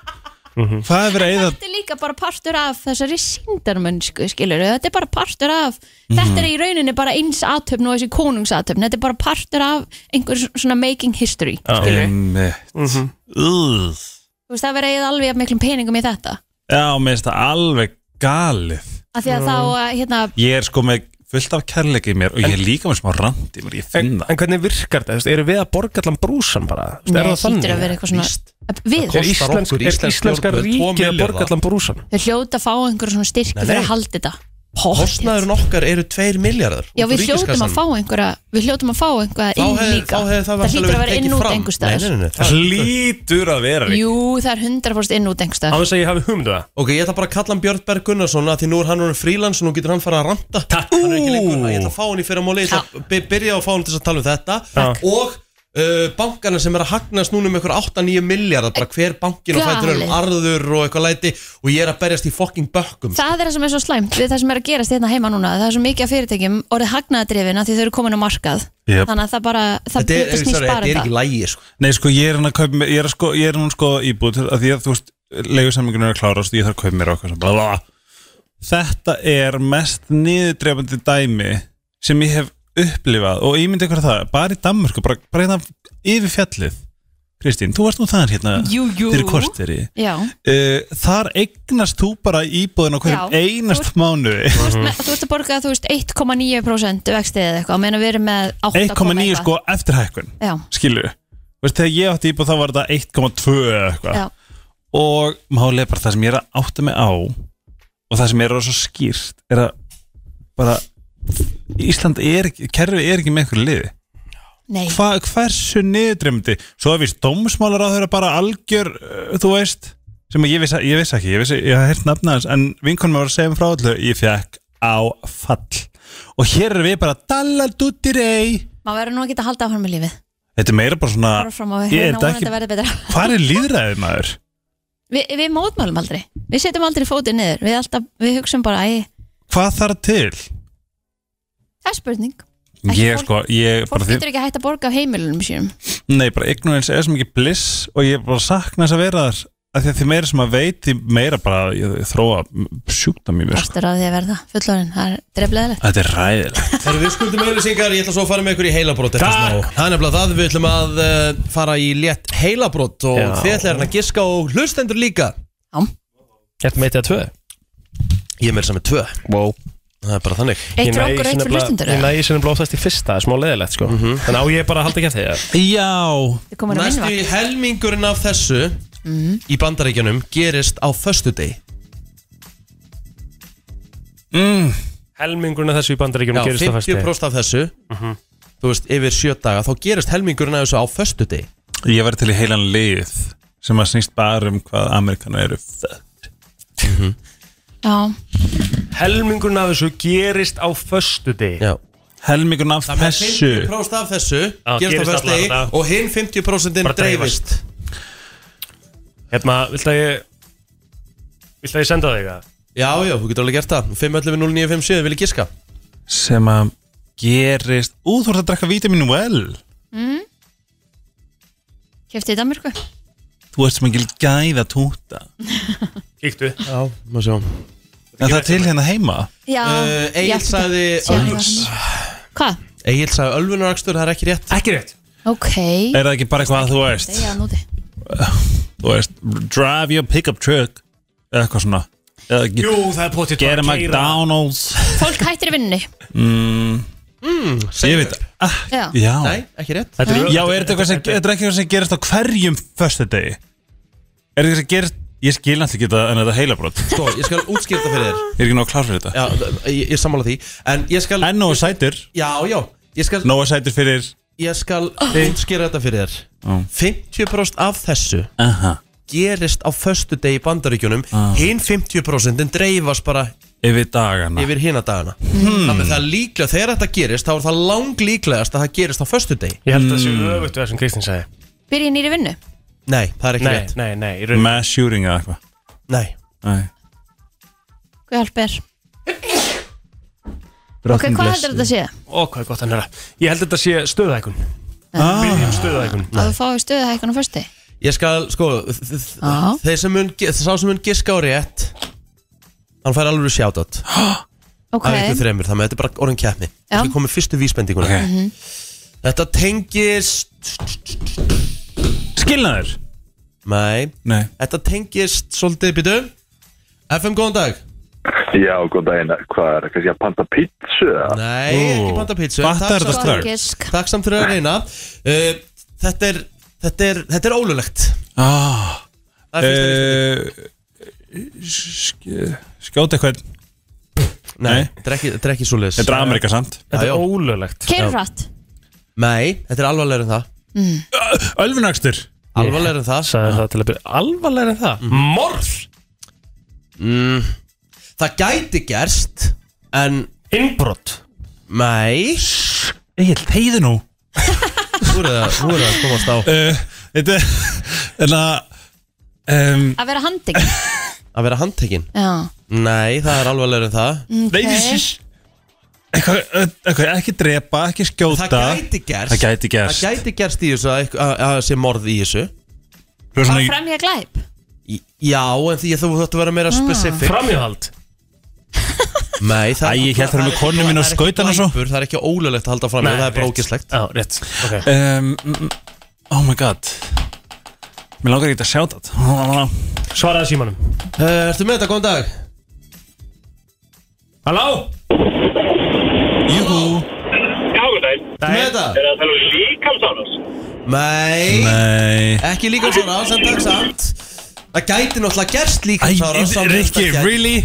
Speaker 3: Mhm.
Speaker 5: Hvað er verið að eyða
Speaker 2: þetta er líka bara partur af þessari síndarmönnsku skilur þetta er bara partur af
Speaker 1: Mhm.
Speaker 2: þetta er í rauninni bara eins aðtöfn og þessi konungsatöfn þetta er bara partur af einhver svona making history skilur
Speaker 5: Mhm. Einmitt
Speaker 2: þú veist það verið eða alveg jafn miklum peningum í þetta
Speaker 5: Já, mér finnst það alveg galið
Speaker 2: af því að þá að, hérna
Speaker 5: Ég er sko með fullt af kærleika í mér og ég er líka með smá rand í mér, ég finn
Speaker 3: en,
Speaker 5: það
Speaker 3: en hvernig virkar þetta? Þú veist, Eru við að borga allan brúsan bara? Þú veist,
Speaker 2: Nei,
Speaker 3: er það
Speaker 2: hlýtur að vera eitthvað svona
Speaker 1: Víst.
Speaker 2: Við,
Speaker 3: Er,
Speaker 1: Kostar
Speaker 3: íslensk,
Speaker 1: okkur,
Speaker 3: er
Speaker 1: íslensk
Speaker 3: íslenska
Speaker 1: stjórnvöld, tvo
Speaker 3: ríkið að
Speaker 1: milljarða?
Speaker 3: borga allan brúsan?
Speaker 2: þau hljóta að fá einhver svona styrki
Speaker 1: Nei,
Speaker 2: fyrir
Speaker 1: nei.
Speaker 2: að halda þetta pottið.
Speaker 1: Kostnaðurinn okkar eru 2 miljardar
Speaker 2: Já, við hljótum að fá einhverja Við hljótum að fá einhverja
Speaker 1: Þá
Speaker 2: inn
Speaker 1: hefði-
Speaker 2: líka
Speaker 1: þá hefði það
Speaker 2: Það hlýtur að vera inn út einhver
Speaker 1: einhverstaðar
Speaker 2: staðar
Speaker 6: Lítur að vera Rík.
Speaker 2: Jú, það er 100% inn út einhver
Speaker 3: Á
Speaker 2: staðar
Speaker 3: þess að ég hafi humdu það
Speaker 1: Ok, ég ætla bara að kalla hann Björn Berg Gunnarsson að því nú er hann orðin frílans og nú getur hann fara að ranta
Speaker 3: Takk.
Speaker 1: Hann er ekki lengur, ég ætla að fá hann í fyrra móli Ég ætla að by- byrja á að fá hann til þess að tala um þetta
Speaker 3: Takk.
Speaker 1: Og uh, bankana sem er að hagnast núna um einhver 8-9 miljardar bara hver bankin og fætur um
Speaker 2: Galið.
Speaker 1: arður og eitthvað læti og ég er að berjast í fokking bökkum
Speaker 2: Það er það sem er svo slæmt við það sem er að gerast hérna heima núna Það er svo mikið af fyrirtækjum orðið hagnaðadrifin að því þau eru komin á markað
Speaker 5: Jep.
Speaker 2: Þannig að það bara, það
Speaker 1: Þetta er,
Speaker 2: þetta snýst
Speaker 1: sorry, þetta
Speaker 2: bara
Speaker 1: er
Speaker 2: um
Speaker 1: ekki
Speaker 2: það
Speaker 1: lægi sko.
Speaker 5: Nei, sko, ég er hann að kaupa mér, ég er, að sko, ég er hann sko íbúð til- að því að þú veist, leigusamlingun er að klárast og ég þarf að kaupa mér okkar sem bara Þetta er mest niðurdrefandi dæmi sem ég hef upplifað og ég myndi ykkur það, bara í Danmörku, bara, bara hérna yfir fjallið Kristín, þú varst nú þar hérna
Speaker 2: Jú, jú.
Speaker 5: fyrir korteri
Speaker 2: Já,
Speaker 5: uh, Þar eignast þú bara íbúðin á hverjum
Speaker 2: Já.
Speaker 5: einast mánuði
Speaker 2: þú veist, með, þú veist að borga þú veist 1,9% vextið eða eitthvað, meðan við erum með 8,9
Speaker 5: 1,9 sko eftir hækkun
Speaker 2: Já,
Speaker 5: skilur veist, þegar ég átti íbúð þá var þetta 1,2 eða eitthvað
Speaker 2: já,
Speaker 5: og málið er bara það sem ég er að átta mig á og það sem er að svo skýrt er að bara Ísland er ekki, kerfi er ekki með einhverju liði
Speaker 2: nei
Speaker 5: Hva, hversu niðurdremdi svo að víst dómsmálar á þeirra bara algjör uh, þú veist, sem ég vissi, ég vissi ekki ég, vissi, ég hef hert nafna hans, en vinkonum var að segja um frá allu, ég fekk á fall og hér er við bara dalladutirei
Speaker 2: Má verður nú ekki að halda áfram með lífið
Speaker 5: þetta er meira bara svona
Speaker 2: Bara fram á við,
Speaker 5: Ah. Ég er
Speaker 2: hérna
Speaker 5: þetta
Speaker 2: vonandi
Speaker 5: ekki-
Speaker 2: verður betra
Speaker 5: hvað er líðræðið maður?
Speaker 2: Vi, við mótmálum aldrei, við setjum aldrei fótið niður við, alltaf, við hugsum bara, æ,
Speaker 5: hvað þarf til?
Speaker 2: það er spurning Ekki
Speaker 5: Ég
Speaker 2: fólk-
Speaker 5: sko, ég bara
Speaker 2: fólk
Speaker 5: því
Speaker 2: getur ekki hægt að borga af heimilunum sínum
Speaker 5: Nei, bara ignorance er svo mikið bliss og ég bara sakna þess að vera þar af því að því meira sem að veit, því meira bara ég, ég þróa sjúkdám í mér sko.
Speaker 2: fastur á því að verða fullorinn, það er drefleðilegt
Speaker 5: Þetta er ræðilegt
Speaker 1: Þegar við skuldum auðlýsingar, ég ætla svo að fara með ykkur í heilabrót eftir smá. Það er nefnilega það, við ætlum að uh, fara í létt heilabrót og
Speaker 3: Já.
Speaker 1: þið ætlaði hann að giska og hlustendur líka.
Speaker 3: Gert með þetta tvö
Speaker 1: Ég er með þess að með tvö.
Speaker 3: Wow
Speaker 1: Það er bara þannig.
Speaker 2: eitt fyrir okkur, eitt fyrir hlustundur
Speaker 3: Ég næði sinni blóðast í fyrsta, það er smá leðilegt sko Þannig á ég bara að halda ekki að þegar
Speaker 5: Já,
Speaker 2: við komum að
Speaker 1: Næstu
Speaker 2: vinna
Speaker 1: í helmingurinn af þessu
Speaker 2: Mhm.
Speaker 1: í bandaríkjunum gerist á föstudegi.
Speaker 3: Helmingurinn af þessu í
Speaker 1: Já,
Speaker 3: bandaríkjum gerist það fæsti
Speaker 1: 50% af þessu, þú veist, yfir sjö daga, þá gerist helmingurinn af þessu á föstudegi.
Speaker 5: ég var til í heilan lið sem að snýst bara um hvað Amerikana eru
Speaker 2: já,
Speaker 3: Helmingurinn af þessu gerist á föstu
Speaker 1: Já.
Speaker 5: Helmingun af
Speaker 1: Það með
Speaker 5: þessu
Speaker 1: 50% af þessu gerist á
Speaker 3: gerist allan
Speaker 1: föstudegi
Speaker 3: dag.
Speaker 1: og hinn 50%
Speaker 3: Bara dreifast.
Speaker 1: dreifist.
Speaker 3: Hérna, vilt að ég Vilt að ég senda þig það?
Speaker 1: Já, já, þú getur alveg gert það 511 0957, vil ég giska
Speaker 5: sem að gerist Ú, þú ert að drekka vítaminu vel
Speaker 2: keftið í Danmarku
Speaker 5: Þú ert sem ekki gæða túta
Speaker 3: Kíktu
Speaker 1: Já, maður sjá
Speaker 5: En það er til hérna heima
Speaker 2: já,
Speaker 1: Uh, Egill
Speaker 2: ég ætti
Speaker 1: sagði
Speaker 2: að- Sér það.
Speaker 1: Ölvus.
Speaker 2: hvað,
Speaker 1: Egil sagði ölvunarakstur, það er ekki rétt
Speaker 3: Ekki rétt
Speaker 2: ok
Speaker 5: Er það ekki bara eitthvað að þú veist,
Speaker 2: já, núti,
Speaker 5: þú veist Drive your pickup truck eða eitthvað svona eða,
Speaker 3: Jú, það er potið
Speaker 5: Get a McDonald's
Speaker 2: fólk hættir í vinninni
Speaker 5: Ég veit ah,
Speaker 2: já,
Speaker 5: Já
Speaker 1: Nei, ekki rétt
Speaker 3: Þetta
Speaker 5: Já, er þetta eitthvað sem, er þetta ekki eitthvað sem gerist á hverjum Föstudegi? Er þetta eitthvað sem gerist Ég skil alltaf ekki þetta en þetta er heilabrót Ég
Speaker 1: Sko, ég skal útskýra þetta fyrir þér
Speaker 5: er ekki nóg klár fyrir þetta
Speaker 1: Já, ég, ég sammála því En ég skal,
Speaker 5: En Nóa Sætur
Speaker 1: já, já Ég skal,
Speaker 5: Nóa Sætur fyrir
Speaker 1: ég skal útskýra þetta fyrir þér
Speaker 5: Já.
Speaker 1: 50% af þessu
Speaker 5: Aha
Speaker 1: gerist á föstu degi í bandaríkjunum Hinn 50% en dreifast bara
Speaker 5: Yfir dagana
Speaker 1: yfir hina dagana
Speaker 2: Hmm.
Speaker 1: Þannig að það er líklega, þegar þetta gerist þá er það langlíklegast að það gerist á föstu degi
Speaker 3: Ég held að það sé
Speaker 1: Mm.
Speaker 3: öfugt við það sem Kristín sagði
Speaker 2: byrja nýri vinnu
Speaker 1: Nei, það er ekki
Speaker 3: Nei,
Speaker 1: rétt
Speaker 3: nei, nei, í raun
Speaker 5: Mass shooting eða eitthvað
Speaker 1: Nei
Speaker 5: Nei.
Speaker 2: hvað hjálp er, ok, hvað heldur þetta að sé
Speaker 1: Mm.
Speaker 3: Ó, hvað er gott að nöra Ég held að þetta sé stöðhækun
Speaker 5: Ah,
Speaker 3: Byrjum stöðhækun
Speaker 2: að þú fáið stöðu hækkan á fösti
Speaker 1: Ég skal, sko þ- þ-
Speaker 2: Já.
Speaker 1: Þeir sem mun, gi- sá sem mun giska á rétt Hann fær alveg sjátt
Speaker 2: ok,
Speaker 1: Af ykkur þremur, þannig að þetta er bara orðin keppni
Speaker 2: Já.
Speaker 1: Það komið fyrstu vísbendinguna
Speaker 5: Ok.
Speaker 1: Þetta tengist
Speaker 5: Skilnaður
Speaker 1: Nei,
Speaker 5: Nei
Speaker 1: þetta tengist Svolítið, býtu FM, góðan dag
Speaker 7: Já, góð daginn, hvað er, kannski að panta pítsu eða?
Speaker 1: Nei,
Speaker 5: Ó,
Speaker 1: ekki panta pítsu
Speaker 5: fattar
Speaker 1: Takk
Speaker 5: þetta
Speaker 1: samt-
Speaker 5: strax.
Speaker 2: góð gisk
Speaker 1: Takk samt fyrir að reyna uh, Þetta er, þetta er, þetta er ólulegt
Speaker 5: ah, Eh,
Speaker 1: Það er fyrsta vísbendingin.
Speaker 5: uh, Skjóta eitthvað
Speaker 1: Nei, þetta er ekki, þetta er ekki svo
Speaker 5: Þetta er Amerika samt
Speaker 1: Já,
Speaker 3: Þetta
Speaker 1: já.
Speaker 3: er ólöglegt
Speaker 2: Keirir hratt
Speaker 1: Nei, þetta er alvarlegur en það
Speaker 5: Ölvunakstur
Speaker 1: Alvarlegur en það
Speaker 3: Sæði það til að byrja Alvarlega en
Speaker 1: Mm.
Speaker 3: það Morð
Speaker 1: Það gæti gerst En,
Speaker 3: Innbrott
Speaker 1: nei
Speaker 5: Egil, heiði nú
Speaker 1: Þú eru það, þú eru það að komast á
Speaker 5: uh, Þetta er hérna, Þetta um,
Speaker 2: Að vera handing
Speaker 1: Að vera handtekinn
Speaker 2: Já
Speaker 1: Nei, það er alvarlegur en það
Speaker 5: Nei, þessi Eitthvað, eitthvað, ekki drepa, ekki skjóta
Speaker 1: Það gæti gerst
Speaker 5: Það gæti gerst.
Speaker 1: Það gæti gerst í þessu að eitthvað- að- að sé morð í þessu
Speaker 5: Þú er
Speaker 2: Hvað
Speaker 5: svona,
Speaker 2: fremja glæp?
Speaker 1: Í- Já, en því að þú þátt að vera meira specific
Speaker 3: Framjöhald
Speaker 1: Nei, það
Speaker 5: Æ, ég hélt þeir eru með
Speaker 1: það er
Speaker 5: konuna
Speaker 1: ekki-
Speaker 5: mína á
Speaker 1: það er ekki
Speaker 5: skautan og svo.
Speaker 1: glæpur, Það er ekki ólulegt að halda fram Það er bara ógislegt
Speaker 3: Já, rétt Ok
Speaker 5: um, mm, Oh my god Mér langar ekki að sjá þetta
Speaker 3: Svaraði símanum
Speaker 1: Uh, Ertu með þetta, góðan dag?
Speaker 3: Halló
Speaker 5: Júhú
Speaker 1: Ertu með þetta?
Speaker 8: Er það að tala um líkamsárás?
Speaker 1: Nei,
Speaker 5: Nei
Speaker 1: ekki líkamsárás, en takk samt Það gæti náttúrulega gerst
Speaker 5: Æ,
Speaker 1: líkamsárás samt
Speaker 5: Rikki,
Speaker 1: þetta gæti-
Speaker 5: really?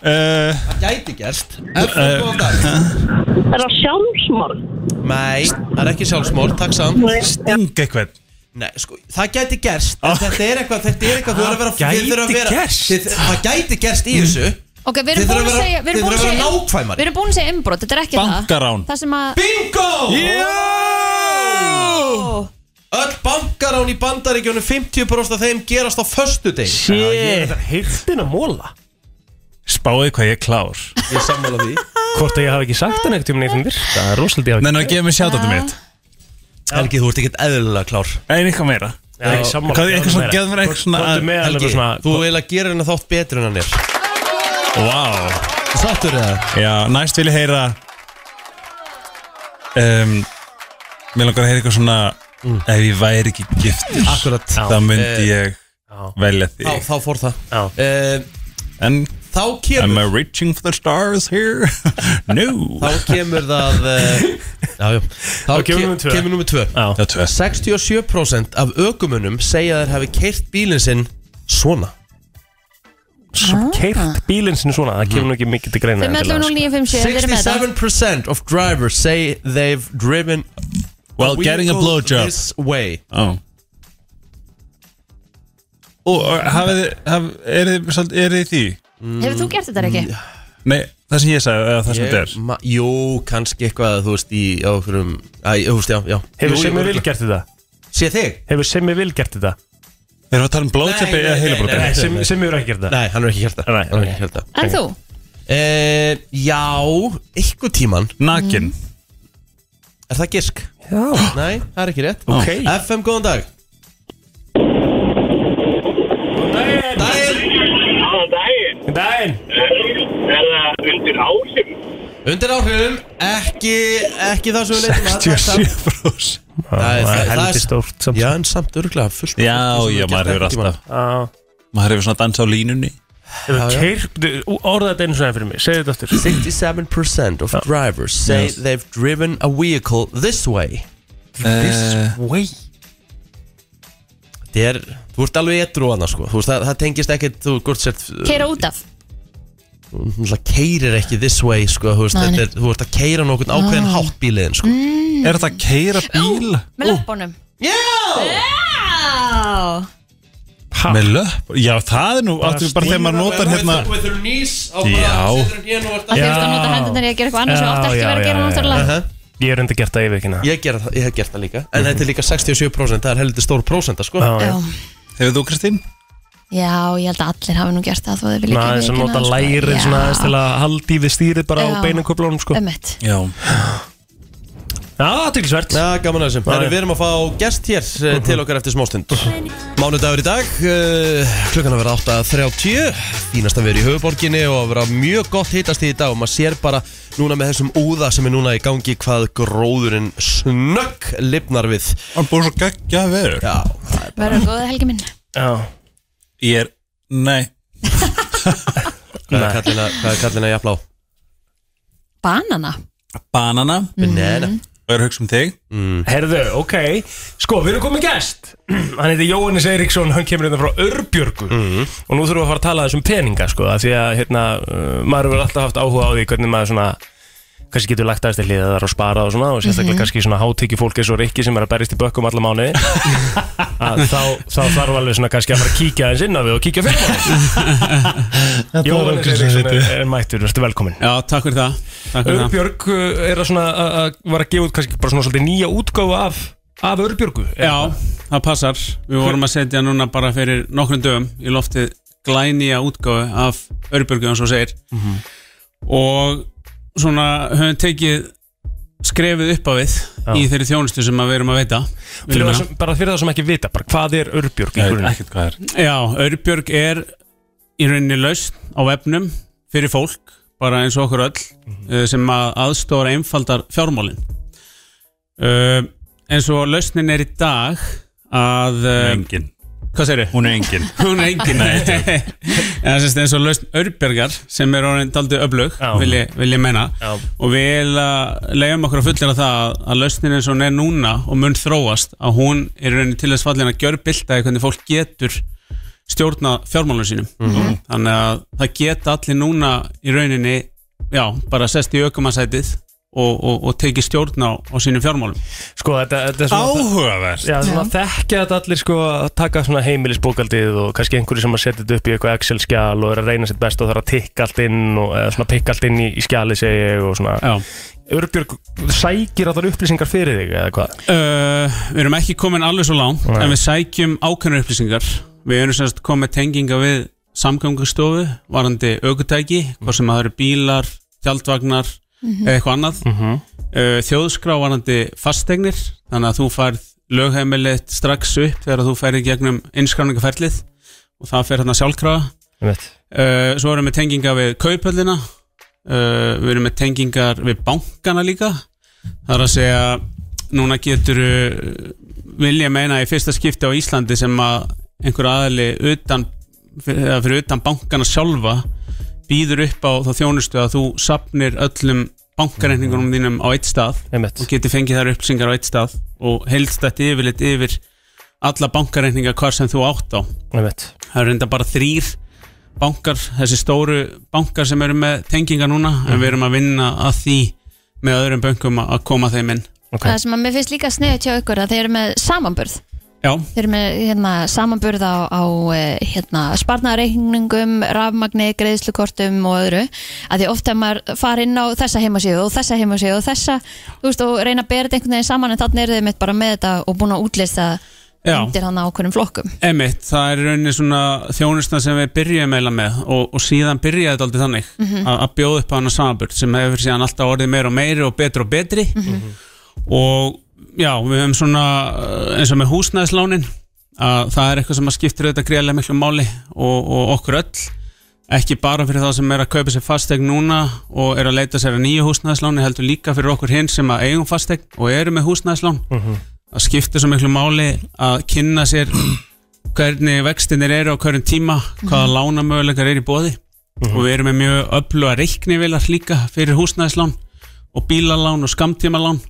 Speaker 5: Uh,
Speaker 1: Það gæti gerst Ertu með góðan
Speaker 5: Eh.
Speaker 1: dag?
Speaker 8: Er það sjálfsmorð?
Speaker 1: Nei, það er ekki sjálfsmór, takk samt
Speaker 5: Sting eitthvað
Speaker 1: Nei, sko, það gæti gerst en Þetta er eitthvað, þetta er eitthvað Þú verður að vera
Speaker 5: Það
Speaker 1: þið þurfa að
Speaker 5: Ah. gæti
Speaker 1: vera-
Speaker 5: gerst.
Speaker 1: þið- Það gæti gerst í þessu
Speaker 2: Ok,
Speaker 1: Þið
Speaker 2: við erum
Speaker 1: þurfa
Speaker 2: búin að
Speaker 1: að vera-
Speaker 2: segja Við
Speaker 1: þið
Speaker 2: erum búin að
Speaker 1: þurfa að vera
Speaker 2: segja
Speaker 1: nákvæmari.
Speaker 2: Við erum búin að segja innbrot Þetta er ekki það
Speaker 5: Bankarán.
Speaker 2: Það sem að
Speaker 1: Bingo!
Speaker 5: Yeah
Speaker 2: Ó,
Speaker 1: Öll bankarán í bandaríkjónu 50% af þeim gerast á föstu deg
Speaker 3: Shit Heyrtin að móla
Speaker 5: Spáði hvað ég er klár
Speaker 1: Ég sammála því
Speaker 3: Hvort að ég hafi ekki sagt hann eitthvað um neitt um virk Það er rosalega ég hafi
Speaker 5: Nei, ná, gefa mig sjátatum mitt
Speaker 1: Helgi, þú ert ekkert eðlilega klár
Speaker 5: Nei, eitthvað meira
Speaker 3: Já, ég er sammála.
Speaker 5: Hvað- eitthvað svona, gefðu mér eitthvað svona-
Speaker 3: Komdu með alveg
Speaker 1: Helgi,
Speaker 3: svona
Speaker 1: þú eiginlega gerir hennar þátt betur en hann er
Speaker 5: Vá
Speaker 1: Sattur það?
Speaker 5: Já, næst vil ég heyra um, Mér langar að heyra eitthvað svona Ef ég væri ekki giftur
Speaker 1: Mm. Akkurat
Speaker 5: Þá myndi ég
Speaker 3: Já.
Speaker 5: velja
Speaker 1: Þá,
Speaker 5: þig
Speaker 1: þá fór það
Speaker 3: Já.
Speaker 1: Eh,
Speaker 5: En
Speaker 1: Þá
Speaker 5: am
Speaker 1: kemur
Speaker 5: I reaching for the stars here? no
Speaker 1: Þá kemur það eh, Já, já Þá
Speaker 3: Þá kemur númer tvö.
Speaker 1: kemur nummer 2
Speaker 3: Já
Speaker 5: Það er tvö
Speaker 1: 67% af ökumunum segja að þeir hafi keirt bílinn sinn svona
Speaker 3: Keirt bílinn sinni svona Það kemur nú ekki mikið til greina
Speaker 1: sko.
Speaker 2: 511957 Við erum með þetta
Speaker 1: 67% of drivers say they've driven
Speaker 5: Well, getting a
Speaker 1: vehicle
Speaker 5: blowjob
Speaker 1: this way
Speaker 5: oh. Og og hafið þið, haf, er þið, svolítið- er þið í því?
Speaker 2: Hefur þú gert þetta
Speaker 1: Mm,
Speaker 2: ekki?
Speaker 5: Nei, það sem ég sagði, eða það sem
Speaker 1: Ég-
Speaker 5: þetta er
Speaker 1: ma- Jú, kannski eitthvað þú veist í á okkurum Æ, þú veist, já, já
Speaker 3: Hefur
Speaker 1: Jú,
Speaker 3: Simmi
Speaker 1: jú,
Speaker 3: Vil
Speaker 1: örugglega.
Speaker 3: gert þetta?
Speaker 1: Sé þig?
Speaker 3: Hefur Simmi Vil gert þetta?
Speaker 5: Erum við að tala um blowjob
Speaker 1: Nei,
Speaker 5: eða
Speaker 1: nei,
Speaker 5: heilabrót?
Speaker 1: nei,
Speaker 3: Nei, Simmi Simmi hefur ekki gert þetta
Speaker 1: Nei, hann er ekki hérta
Speaker 3: Nei,
Speaker 1: Hann er
Speaker 3: ok.
Speaker 1: ekki hérta
Speaker 2: En þú?
Speaker 1: e, Já, einhver tíman
Speaker 5: Nakin
Speaker 1: Er það gisk? Já Nei, það er ekki rétt
Speaker 5: Ok.
Speaker 1: FM, góðan dag Daginn
Speaker 8: Aðan daginn.
Speaker 3: Dæin
Speaker 8: Er það undir áhrif?
Speaker 1: Undir áhrifum, ekki, ekki það sem við leitum að takk samt.
Speaker 5: 67%
Speaker 1: Það er-
Speaker 3: Það er
Speaker 1: það er-
Speaker 3: helviti stórt samt
Speaker 1: Já, en samt örgulega fullt af
Speaker 5: Já,
Speaker 1: fólki sem
Speaker 5: já,
Speaker 1: gert
Speaker 5: maður hefur
Speaker 1: einhvern tímann.
Speaker 5: alltaf Maður hefur svona dansa á línunni
Speaker 3: Hefur keirt Orða þetta einu svona fyrir mig Segðu þetta aftur
Speaker 1: 67% of drivers say
Speaker 5: Yes.
Speaker 1: they've driven a vehicle this way
Speaker 5: This
Speaker 1: way Þetta er, þú ert alveg etru annars sko Þú veist, það, það tengist ekkert, þú gort sért
Speaker 2: Keira út af
Speaker 1: Það keirir ekki this way sko Þú veist,
Speaker 2: Nei, Mm. nei.
Speaker 1: þetta er, þú ert að keira nokkurn ákveðin hátt bíliðin sko
Speaker 5: Er þetta að keira bíl?
Speaker 2: Með löpunum
Speaker 1: Já!
Speaker 2: Já
Speaker 5: Með löpp? Já, það er nú áttu bara þegar maður notar hérna
Speaker 1: With her knees á
Speaker 5: Já.
Speaker 1: setur hérna og ert
Speaker 2: Það
Speaker 1: að-
Speaker 2: þurft að nota hendunar í að gera eitthvað annars sem
Speaker 3: Já,
Speaker 2: oft ekki
Speaker 3: já,
Speaker 2: verið að
Speaker 3: já,
Speaker 2: gera
Speaker 3: já,
Speaker 2: náttúrulega
Speaker 1: Aha.
Speaker 3: Ég er enda gert það yfir ekki hérna
Speaker 1: Ég, gera, það- ég hef gert það líka En þetta er líka 67% Það er heldur stór prósenta sko
Speaker 3: Já, já.
Speaker 2: Já.
Speaker 5: Hefur þú Kristín?
Speaker 2: Já, ég held að allir hafi nú gert það sko. þó að þau vilja
Speaker 3: Svona aðeins að nota lærið svona aðeins til að haldi við stýrið bara á
Speaker 2: Já. Um.
Speaker 3: beinanköflunum sko Já,
Speaker 2: Ömmett
Speaker 5: Já
Speaker 3: aðtilsvert
Speaker 1: Já, gaman að sko. þessum
Speaker 3: Já,
Speaker 1: Herru,
Speaker 3: já.
Speaker 1: Við erum að fá gest hér uh til okkar eftir smástund Mánudagur í dag uh, Klukkan að vera 8.30 Fínast að vera í höfuborginni og að vera mjög gott hittast í dag og maður sér bara núna með þessum úða sem er núna í gangi hvað gróðurinn snögg lifnar við
Speaker 5: Það er búin svo geggja veður
Speaker 1: Já,
Speaker 2: Verður góða helgi minn
Speaker 3: Já,
Speaker 5: Ég er, nei
Speaker 1: hvað er
Speaker 3: Nei.
Speaker 1: kallina, hvað er kallina jafnlá?
Speaker 2: Banana
Speaker 5: Banana
Speaker 3: Mm-hmm.
Speaker 1: Mm. Nei, nei,
Speaker 5: og er að hugsa um þig
Speaker 3: Herðu, ok, sko, við erum komið gæst Hann heiti Jóhannes Eiríksson, hann kemur hérna frá Örbjörgu Og nú þurfum við að fara að tala aðeins um peninga, sko af Því að, hérna, uh, maður hefur alltaf haft áhuga á því Hvernig maður svona, kannski getur lagt aðeins til hliðar og sparað og svona Og sérstaklega kannski svona hátekju fólk eins og Rikki sem er að berjast í bökkum alla mánuði að þá, þá þarf alveg svona kannski að fara að kíkja aðeins inn á við og kíkja fyrir Jóhannes Eiríksson er, er mættur, verður velkomin
Speaker 9: Já, takk fyrir það Takk fyrir það
Speaker 3: Örbjörg uh, er að svona að- að var að gefa út kannski bara svona svolítið nýja útgáfu af, af Eh, Örbjörgu
Speaker 9: Já, það passar Við vorum að setja núna bara fyrir nokkrum dögum í loftið glænýja útgáfu af Örbjörgu, eins og segir og svona höfum tekið skrefið upp á við
Speaker 3: Já.
Speaker 9: í þeirri þjónustu sem að við erum að veita
Speaker 3: fyrir
Speaker 9: Viljum
Speaker 3: það
Speaker 9: meina.
Speaker 3: sem, bara fyrir það sem ekki vita bara, hvað er Örbjörg í
Speaker 5: Ég veit
Speaker 3: grunni
Speaker 5: ekkert hvað það er
Speaker 9: Já, Örbjörg er í rauninni lausn á vefnum fyrir fólk, bara eins og okkur öll eh, sem að aðstóra einfaldar fjármálin uh, eins og lausnin er í dag að, uh,
Speaker 5: Engin,
Speaker 9: hvað segirðu?
Speaker 5: hún er engin
Speaker 9: Hún er engin Nei, En það sést eins og lausn Örbjörgar sem er orðin daldið öflög
Speaker 3: Já.
Speaker 9: vil ég, vil ég menna
Speaker 3: Já.
Speaker 9: og við leiðum okkur að fullera það að, að lausnin eins og hún er núna og mun þróast að hún er í rauninni til þess fallin að gjörbilda í hvernig fólk getur stjórna fjármálunum sínum þannig að það geta allir núna í rauninni, já, bara sest í aukumansætið og, og, og tekið stjórna á, á sínum fjármálum
Speaker 3: sko þetta, þetta er svona
Speaker 5: Áhugavert
Speaker 3: Já, svona þekkja þetta allir sko að taka svona heimilisbókaldið og kannski einhverju sem að setja þetta upp í eitthvað Excel-skjál og er að reyna sitt best og þarf að tikka allt inn og eða svona pikka allt inn í, í skjali segi ég og svona
Speaker 9: Já
Speaker 3: Örbjörg sækir allar upplýsingar fyrir þig eða hvað?
Speaker 9: Uh, við erum ekki komin alveg svo langt
Speaker 3: Nei.
Speaker 9: en við sækjum ákveðnar upplýsingar við erum semst komið tenginga við samgöngustofu, varandi aukutæki hvað sem að það eru bílar, tjaldvagnar eða eitthvað annað uh, þjóðskrá varandi fastegnir þannig að þú færð lögheimilið strax upp þegar þú færði gegnum innskráningaferlið og það fer hérna sjálfkrafa uh, svo erum við tenginga við kaupöllina uh, við erum með tengingar við bankana líka það er að segja núna getur vilja meina í fyrsta skipti á Íslandi sem að einhver aðali utan, fyrir, fyrir utan bankana sjálfa býður upp á þá þjónustu að þú sapnir öllum bankarreikningunum þínum á eitt stað
Speaker 3: Einmitt.
Speaker 9: og getur fengið þær upplýsingar á eitt stað og heildstætt yfirleitt yfir alla bankarreikninga hvar sem þú átt á
Speaker 3: Einmitt.
Speaker 9: það eru reynda bara þrýr bankar, þessi stóru bankar sem eru með tenginga núna en við erum að vinna að því með öðrum bönkum að að koma þeim inn
Speaker 3: Ok.
Speaker 2: Það sem að mér finnst líka sniðið hjá ykkur að þeir eru með samanburð
Speaker 9: Já,
Speaker 2: Þeir eru með hérna, samanburð á, á eh, hérna, sparnareikningum, rafmagni, greiðslukortum og öðru að því ofta maður fara inn á þessa heimasíðu og þessa heimasíðu og þessa þú veist, og reyna að bera þetta einhvern veginn saman en þannig eru þeir mitt bara með þetta og búin að útlista
Speaker 9: Já.
Speaker 2: undir hann á okkurum flokkum
Speaker 9: emitt, það er í rauninni svona þjónustna sem við byrjum meila með og, og síðan byrjaði þetta aldrei þannig að, að bjóða upp á hana samanbörn sem hefur síðan alltaf orðið meira og meiri og betri og betri og já, við höfum svona eh, eins og með húsnæðislánin að það er eitthvað sem að skiptir auðvitað greiðlega miklu máli og, og okkur öll ekki bara fyrir þá sem er að kaupa sér fastegn núna og er að leita sér að nýju húsnæðisláni heldur líka fyrir okkur hinn sem að eigum fastegn og eru með húsnæðislán það skiptir svo miklu máli að kynna sér hvernig vextinir eru á hverjum tíma hvaða
Speaker 3: Mhm.
Speaker 9: lánamöguleikar eru í bóði og við erum með mjög öfluga reiknivilar líka fyrir húsnæðislán og bílalán og skamtímalán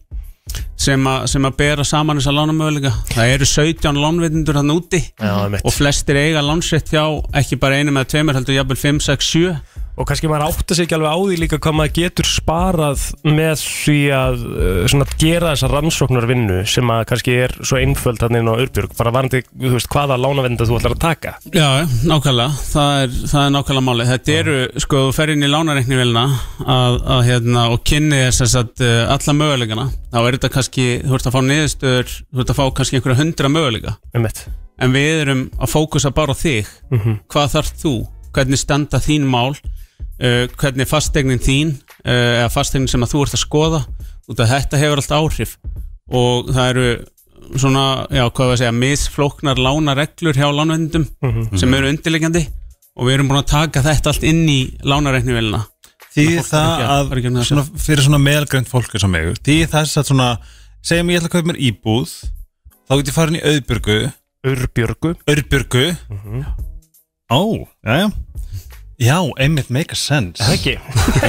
Speaker 9: sem, að- sem að bera saman þessa lánamöguleika það eru 17 lánveitindur hann úti
Speaker 3: Já, einmitt.
Speaker 9: og flestir eiga lánsrétt hjá ekki bara einum eða tveimur heldur jafnvel 5, 6, 7
Speaker 3: Og kannski maður átta sig ekki alveg á því líka hvað maður getur sparað með því að uh, svona, gera þessa rannsóknarvinnu sem að kannski er svo einföld hann inn á Örbjörg bara varandi, þú veist, hvaða lánavenda þú ætlar að taka
Speaker 9: Já, já, nákvæmlega, það er, það er nákvæmlega máli Þetta eru, sko, þú fer inn í lánareiknivélina að, að, hérna, og kynni þess að sagt, eh, alla möguleikana þá er þetta kannski, þú ert að fá niðurstöður þú ert að fá kannski einhverja hundra möguleika
Speaker 3: um
Speaker 9: en við erum að fókusa bara á þig hvað þarf þú, hvernig standa þín mál uh, hvernig er fastegnin þín uh, eða fastegnin sem að þú ert að skoða út að þetta hefur allt áhrif og það eru svona, já, hvað var að segja, misflóknar lánareglur hjá lánvendum sem eru undirleikjandi og við erum búin að taka þetta allt inn í lánareiknivélina
Speaker 5: Því
Speaker 9: Þannig að fólk
Speaker 5: það
Speaker 9: er ekki að
Speaker 5: að,
Speaker 9: fara í gegnum þetta.
Speaker 5: svona, fyrir svona meðalgrænt fólk eins og mig, því þess að svona segjum ég ætla að kaupa mér íbúð þá get ég farin í auðbjörgu
Speaker 3: Örbjörgu
Speaker 5: Örbjörgu Ó, jæja Já, einmitt make a sense
Speaker 3: Það ekki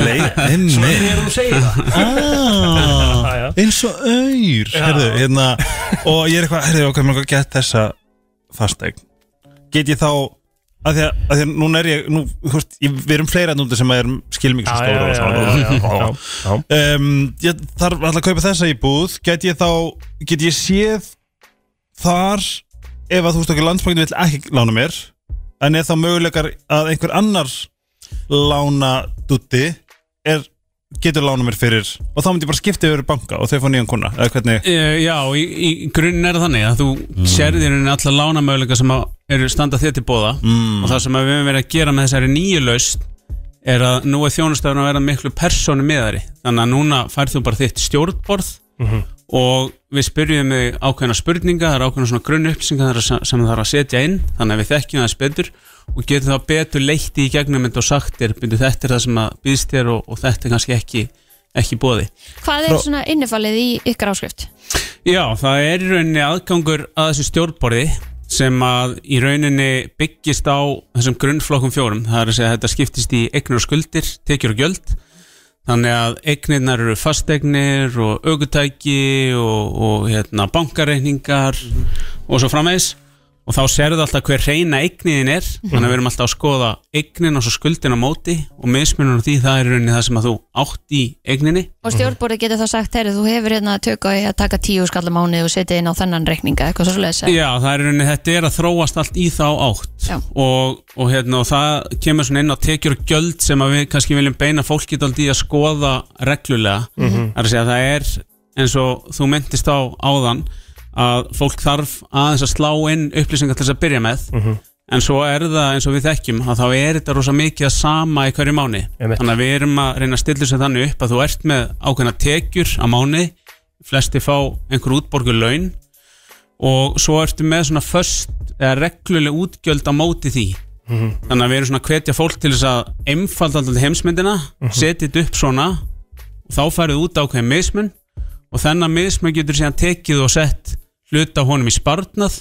Speaker 5: Leit, einmitt
Speaker 3: Þegar þú segir það Já, já.
Speaker 5: Ah, eins og auður herðu, hérna, og ég er eitthvað herðu, ok, mér get þessa fasteign get ég þá að því að, að, því að núna er ég nú, húst, ég, við erum fleira núti sem að erum skilmikið
Speaker 3: Já,
Speaker 5: stóra
Speaker 3: já,
Speaker 5: og
Speaker 3: já,
Speaker 5: svona
Speaker 3: já, já, já, já.
Speaker 5: um, ég þarf alltaf að kaupa þessa í búð get ég þá, get ég séð þar ef að þú veist okkur landsbankinu vill ekki lána mér en er þá möguleikar að einhver annar lána dutti er, getur lána mér fyrir og þá myndi ég bara skipta yfir í banka og þau fá nýjan kuna eða hvernig,
Speaker 9: Uh, já, í, í grunin er það þannig að þú mm. sérðir henni alla lánamöguleika sem að eru standa þér til bóða og það sem að við höfum verið að gera með þessari nýju laust er að nú er þjónustafun að vera miklu persónu meðari þannig að núna færð þú bara þitt stjórnborð og við spyrjum þig ákveðna spurninga, það er ákveðna svona grunn upplýsingar sem sem það þarf að setja inn þannig að við þekkjum þess betur og getum þá betur leitt í gegnum þetta og sagt þér, "Bíddu, þetta er það sem að býðst þér og, og þetta er kannski ekki, ekki bóði
Speaker 2: Hvað er svona innifalið í ykkar áskrift?
Speaker 9: Já, það er í rauninni aðgangur að þessu stjórnborði sem að í rauninni byggist á þessum grunnflokkum fjórum það er að segja að þetta skiptist í eignir og skuldir tekjur og gjöld þannig að eignirnar eru fastegnir og aukutæki og, og hérna, bankareikningar og svo framvegis og þá sérðu alltaf hver reyna eigniðin er þannig að við erum alltaf að skoða eignin og svo skuldin á móti og mismunum því það er í rauninni það sem að þú átt í eigninni
Speaker 2: Og stjórnbórið getur þá sagt, heyrðu, þú hefur hérna tök á því að taka tíu skallum mánuð og setja inn á þennan reikninga, eitthvað svo leiðis.
Speaker 9: Já, það er í rauninni, þetta er að þróast allt í þá átt
Speaker 2: Já.
Speaker 9: og, og, hérna, og það kemur svona inn á tekjur og gjöld sem að við kannski viljum beina fólki daldi í að skoða reglulega það er að segja það er eins og þú myndist á áðan að fólk þarf aðeins að slá inn upplýsingar til þess að byrja með en svo er það eins og við þekkjum að þá er þetta rosa mikið að sama í hverju mánu
Speaker 3: Einmitt.
Speaker 9: þannig að við erum að reyna að stilla sér þannig upp að þú ert með ákveðna tekjur á mánu flesti fá einhver útborgu laun og svo ertu með svona först eða regluleg útgjöld á móti því þannig að við erum svona að hvetja fólk til þess að einfalda alltaf heimsmyndina setja þetta upp svona og þá færið út ákveðin mismun og þennan mismun getur síðan tekið og sett hluta af honum í sparnað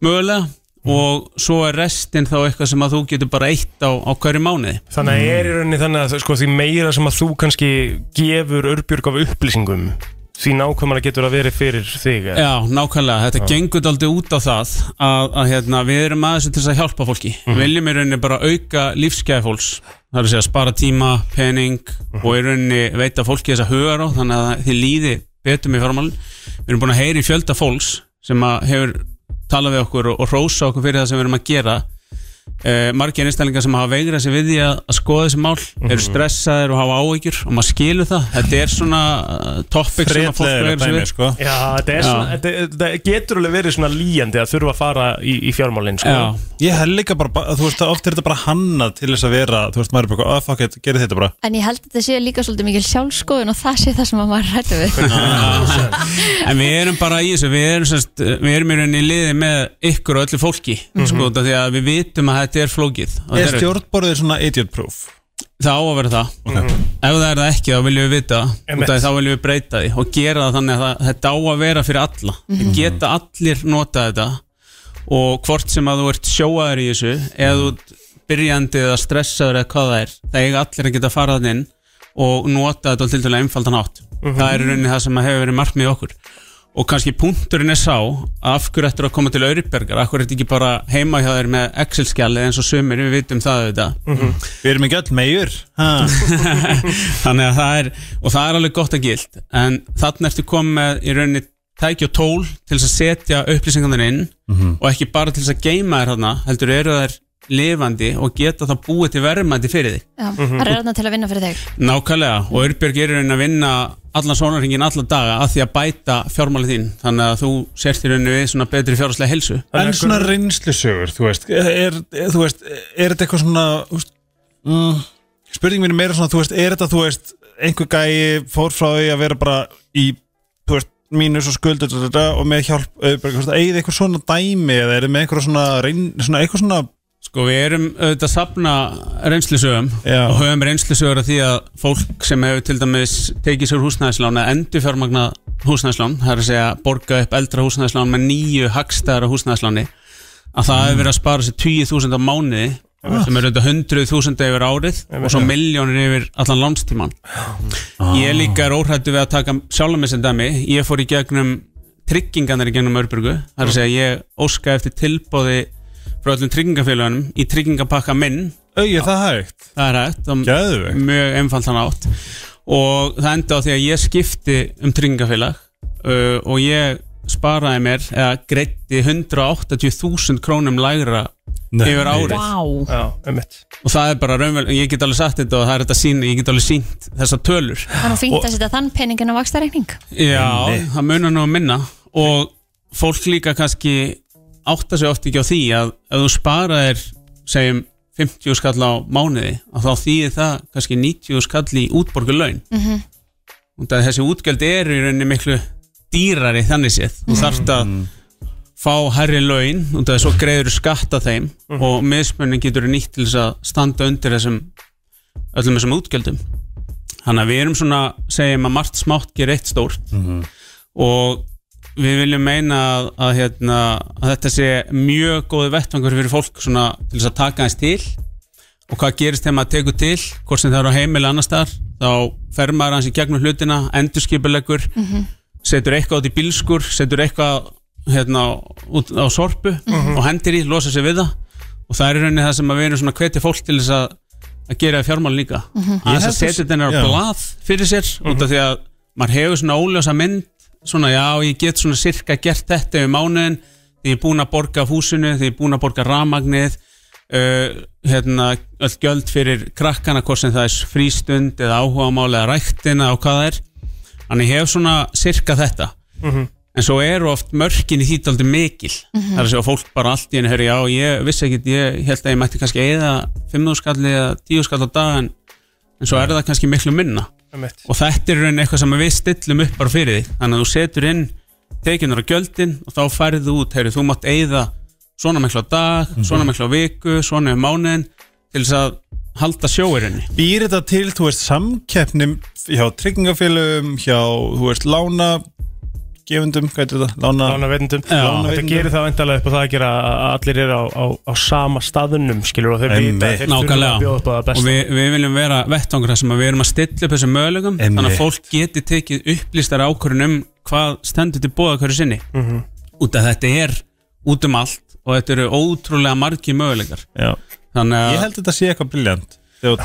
Speaker 9: mögulega og svo er restin þá eitthvað sem að þú getur bara eitt á, á hverju mánuði
Speaker 3: Þannig að er í rauninni þannig að sko, því meira sem að þú kannski gefur örbjörg af upplýsingum því nákvæmlega getur að verið fyrir þig eða?
Speaker 9: Já, nákvæmlega, þetta gengur aldrei út á það að, að hérna, við erum aðeins til þess að hjálpa fólki Við viljum í rauninni bara auka lífsgæði fólks Það er að segja spara tíma, pening og í rauninni veita fólki þess að huga á þannig að þið líði betur með fjármálin Við erum búin að heyri fjölda fólks sem að hefur talað við okkur og, og rósa okkur fyrir það sem við erum að gera eh, margir einstaklingar sem hafa veigrað sér við því að, að skoða þessi mál eru stressaðir og hafa áhyggjur og maður skilur það, þetta er svona eh, topic sem að fólk
Speaker 5: þreitlega
Speaker 9: veigrað sér við
Speaker 5: dæmi sko.
Speaker 3: Já, þetta, er
Speaker 9: Já.
Speaker 3: Svona, þetta, þetta getur alveg verið svona líjandi að þurfa að fara í, í fjármálinn sko.
Speaker 9: Já,
Speaker 5: ég held líka bara, ba- þú veist, oft er þetta bara hannað til þess að vera, þú veist, maður er bara eitthvað, oh fuck it, gerir þetta bara
Speaker 2: En ég held að þetta sé líka svolítið mikil sjálfskoðun og það sé það sem að maður rættu við.
Speaker 9: En við erum bara í þessu, við erum, semst, við erum í rauninni í liði með ykkur og öllu fólki sko, út af því að við vitum að þetta er flókið Og
Speaker 5: er
Speaker 9: þetta er-
Speaker 5: stjórnborðið svona idiot proof
Speaker 9: Það á að vera það Ef það er það ekki þá viljum við vita það.
Speaker 3: Einmitt.
Speaker 9: Út af því þá viljum við breyta því og gera það þannig að það, þetta á að vera fyrir alla Það geta allir notað þetta og hvort sem að þú ert sjóaður í þessu eða þú ert byrjandi eða stressaður eða hvað það er það eiga allir að geta farað þarna inn og nota þetta á til dælega einfaldan átt Það er í rauninni það sem að hefur verið markmið okkur og kannski punkturinn er sá að af hverju ættir að koma til Örybergar af hverju ertu ekki bara heima hjá þér með Excel-skjalið eins og sumir, við vitum það auðvitað
Speaker 5: við erum ekki öll meir
Speaker 9: þannig að það er og það er alveg gott að gild en þannig ertu komið með í rauninni tæki og tól til þess að setja upplýsingarnir inn og ekki bara til þess að geima þér þarna heldur eru þær lifandi og geta það búið til verðmæti fyrir þig
Speaker 2: Já, það er þarna til að vinna fyrir þig.
Speaker 9: nákvæmlega og Örbjörg er í rauninni að vinna allan sónarhingin alla daga að því að bæta fjármálið þín þannig að þú sért í rauninni við svona betri fjárháslega helsu
Speaker 5: en svona reynslusögur, þú veist er, er, þú veist, er þetta eitthvað svona þú veist, mm, spurning mín er meira svona þú veist, er þetta, þú veist, einhver gæi fór frá því að vera bara í þú veist, mínus og skuld og, og með hjálp, eða eitthvað svona dæmi eða er þetta með eitthvað svona, reyn, svona eitthvað svona,
Speaker 9: Sko við erum auðvitað að safna reynslisögum
Speaker 5: Já.
Speaker 9: og höfum reynslisögur af því að fólk sem hefur til dæmis tekið sér húsnæðislán eða endurfjármagna húsnæðislán, það er að segja borga upp eldra húsnæðislán með nýju hagstæðara húsnæðisláni að það hefur verið að spara sér 20.000 á mánuði sem eru þetta 100.000 yfir árið og svo miljónir yfir allan lánstíman ég líka er óhrættu við að taka sjálfum með sem dæmi ég fór í gegnum trygginganir í gegnum Örbrugu það er að segja ég óska eftir tilbóði frá öllum tryggingafélagunum í tryggingapakka minn
Speaker 5: Au, er það hægt?
Speaker 9: það er hægt, það
Speaker 5: Geðveikt.
Speaker 9: mjög einfaldan átt og það enda á því að ég skipti um tryggingafélag uh, og ég sparaði mér eða greitti 180.000 krónum lægra
Speaker 5: Nei.
Speaker 9: yfir árið
Speaker 2: Vá,
Speaker 3: Já, einmitt
Speaker 9: og það er bara raunvel, ég get alveg sagt þetta og það er þetta sín, ég get alveg sínt þessar tölur
Speaker 2: það er nú fínt að setja þann peningin á vakstareikning
Speaker 9: Já, það munar nú að minna og fólk líka kannski átta sig oft ekki á því að ef þú sparaðir, segjum 50 skall á mánuði að þá þýðir það kannski 90 skall í útborgu laun mm -hmm. þessi útgjöld eru í rauninni miklu dýrari þannig séð þú þarft að fá herri laun og það er svo greiður skatta þeim og mismunning getur þú nýtt til þess að standa undir þessum öllum þessum útgjöldum þannig að við erum svona, segjum að margt smátt ger eitt stórt og við viljum meina að, að, hérna, að þetta sé mjög góði vettvangur fyrir fólk svona, til þess að taka hans til og hvað gerist þegar maður tekur til hvort sem það eru á heimili annars staðar þá fer maður hans í gegnum hlutina endurskipulegur, setur eitthvað út í bílskur, setur eitthvað hérna, út á sorpu og hendir í, losa sér við það og það er í rauninni það sem að við erum svona hveti fólk til þess að, að gera fjármál líka mm -hmm.
Speaker 5: Mhm.
Speaker 9: að þess að
Speaker 5: held að-
Speaker 9: setja þennar
Speaker 5: já. Mhm.
Speaker 9: á blað fyrir sér út af því að maður hefur svona óljósa mynd svona já ég get svona sirka gert þetta yfir mánuðin því ég er búin að borga af húsinu, því ég er búin að borga ramagnið uh, hérna öll gjöld fyrir krakkana hvort sem það er frístund eða áhugamál eða ræktina og hvað það er þannig ég hef svona sirka þetta en svo eru oft mörkin í því daldi mikil það er að segja fólk bara allt í henni hörja já ég vissi ekkit, ég held að ég mætti kannski eða 5 skalli eða 10 skall á dag en, en svo er það kannski miklu minna
Speaker 3: Einmitt
Speaker 9: og þetta er í rauninni eitthvað sem við stillum upp bara fyrir því þannig að þú setur inn tekinar á gjöldin og þá færðu þú út heyri, þú mátt eyða svona miklu á dag svona miklu á viku, svona um mánuðin til þess að halda sjóirinni
Speaker 5: Býr þetta til, þú veist, samkeppnum hjá tryggingafélögum, hjá, þú veist, lána gefundum, hvað er þetta? Lána,
Speaker 3: Lána veitendum Þetta
Speaker 5: Lánaveitendum.
Speaker 3: gerir það væntalega upp á það að gera að að allir eru á, á, á sama staðunum skilur og þeir vita að
Speaker 5: Einmitt.
Speaker 3: þeir þurfa að bjóða upp á það
Speaker 9: nákvæmlega og
Speaker 3: besta
Speaker 9: við, við viljum vera vettvangur þar sem að við erum að stilla upp þessum mögulegum þannig
Speaker 5: Einmitt.
Speaker 9: að fólk geti tekið upplýstar ákvörðun um hvað stendur til bóða hverju sinni
Speaker 3: Mhm.
Speaker 9: út að þetta er út um allt og þetta eru ótrúlega margi mögulegar
Speaker 5: Já.
Speaker 9: þannig að
Speaker 5: Ég held að þetta sé eitthvað briljant, að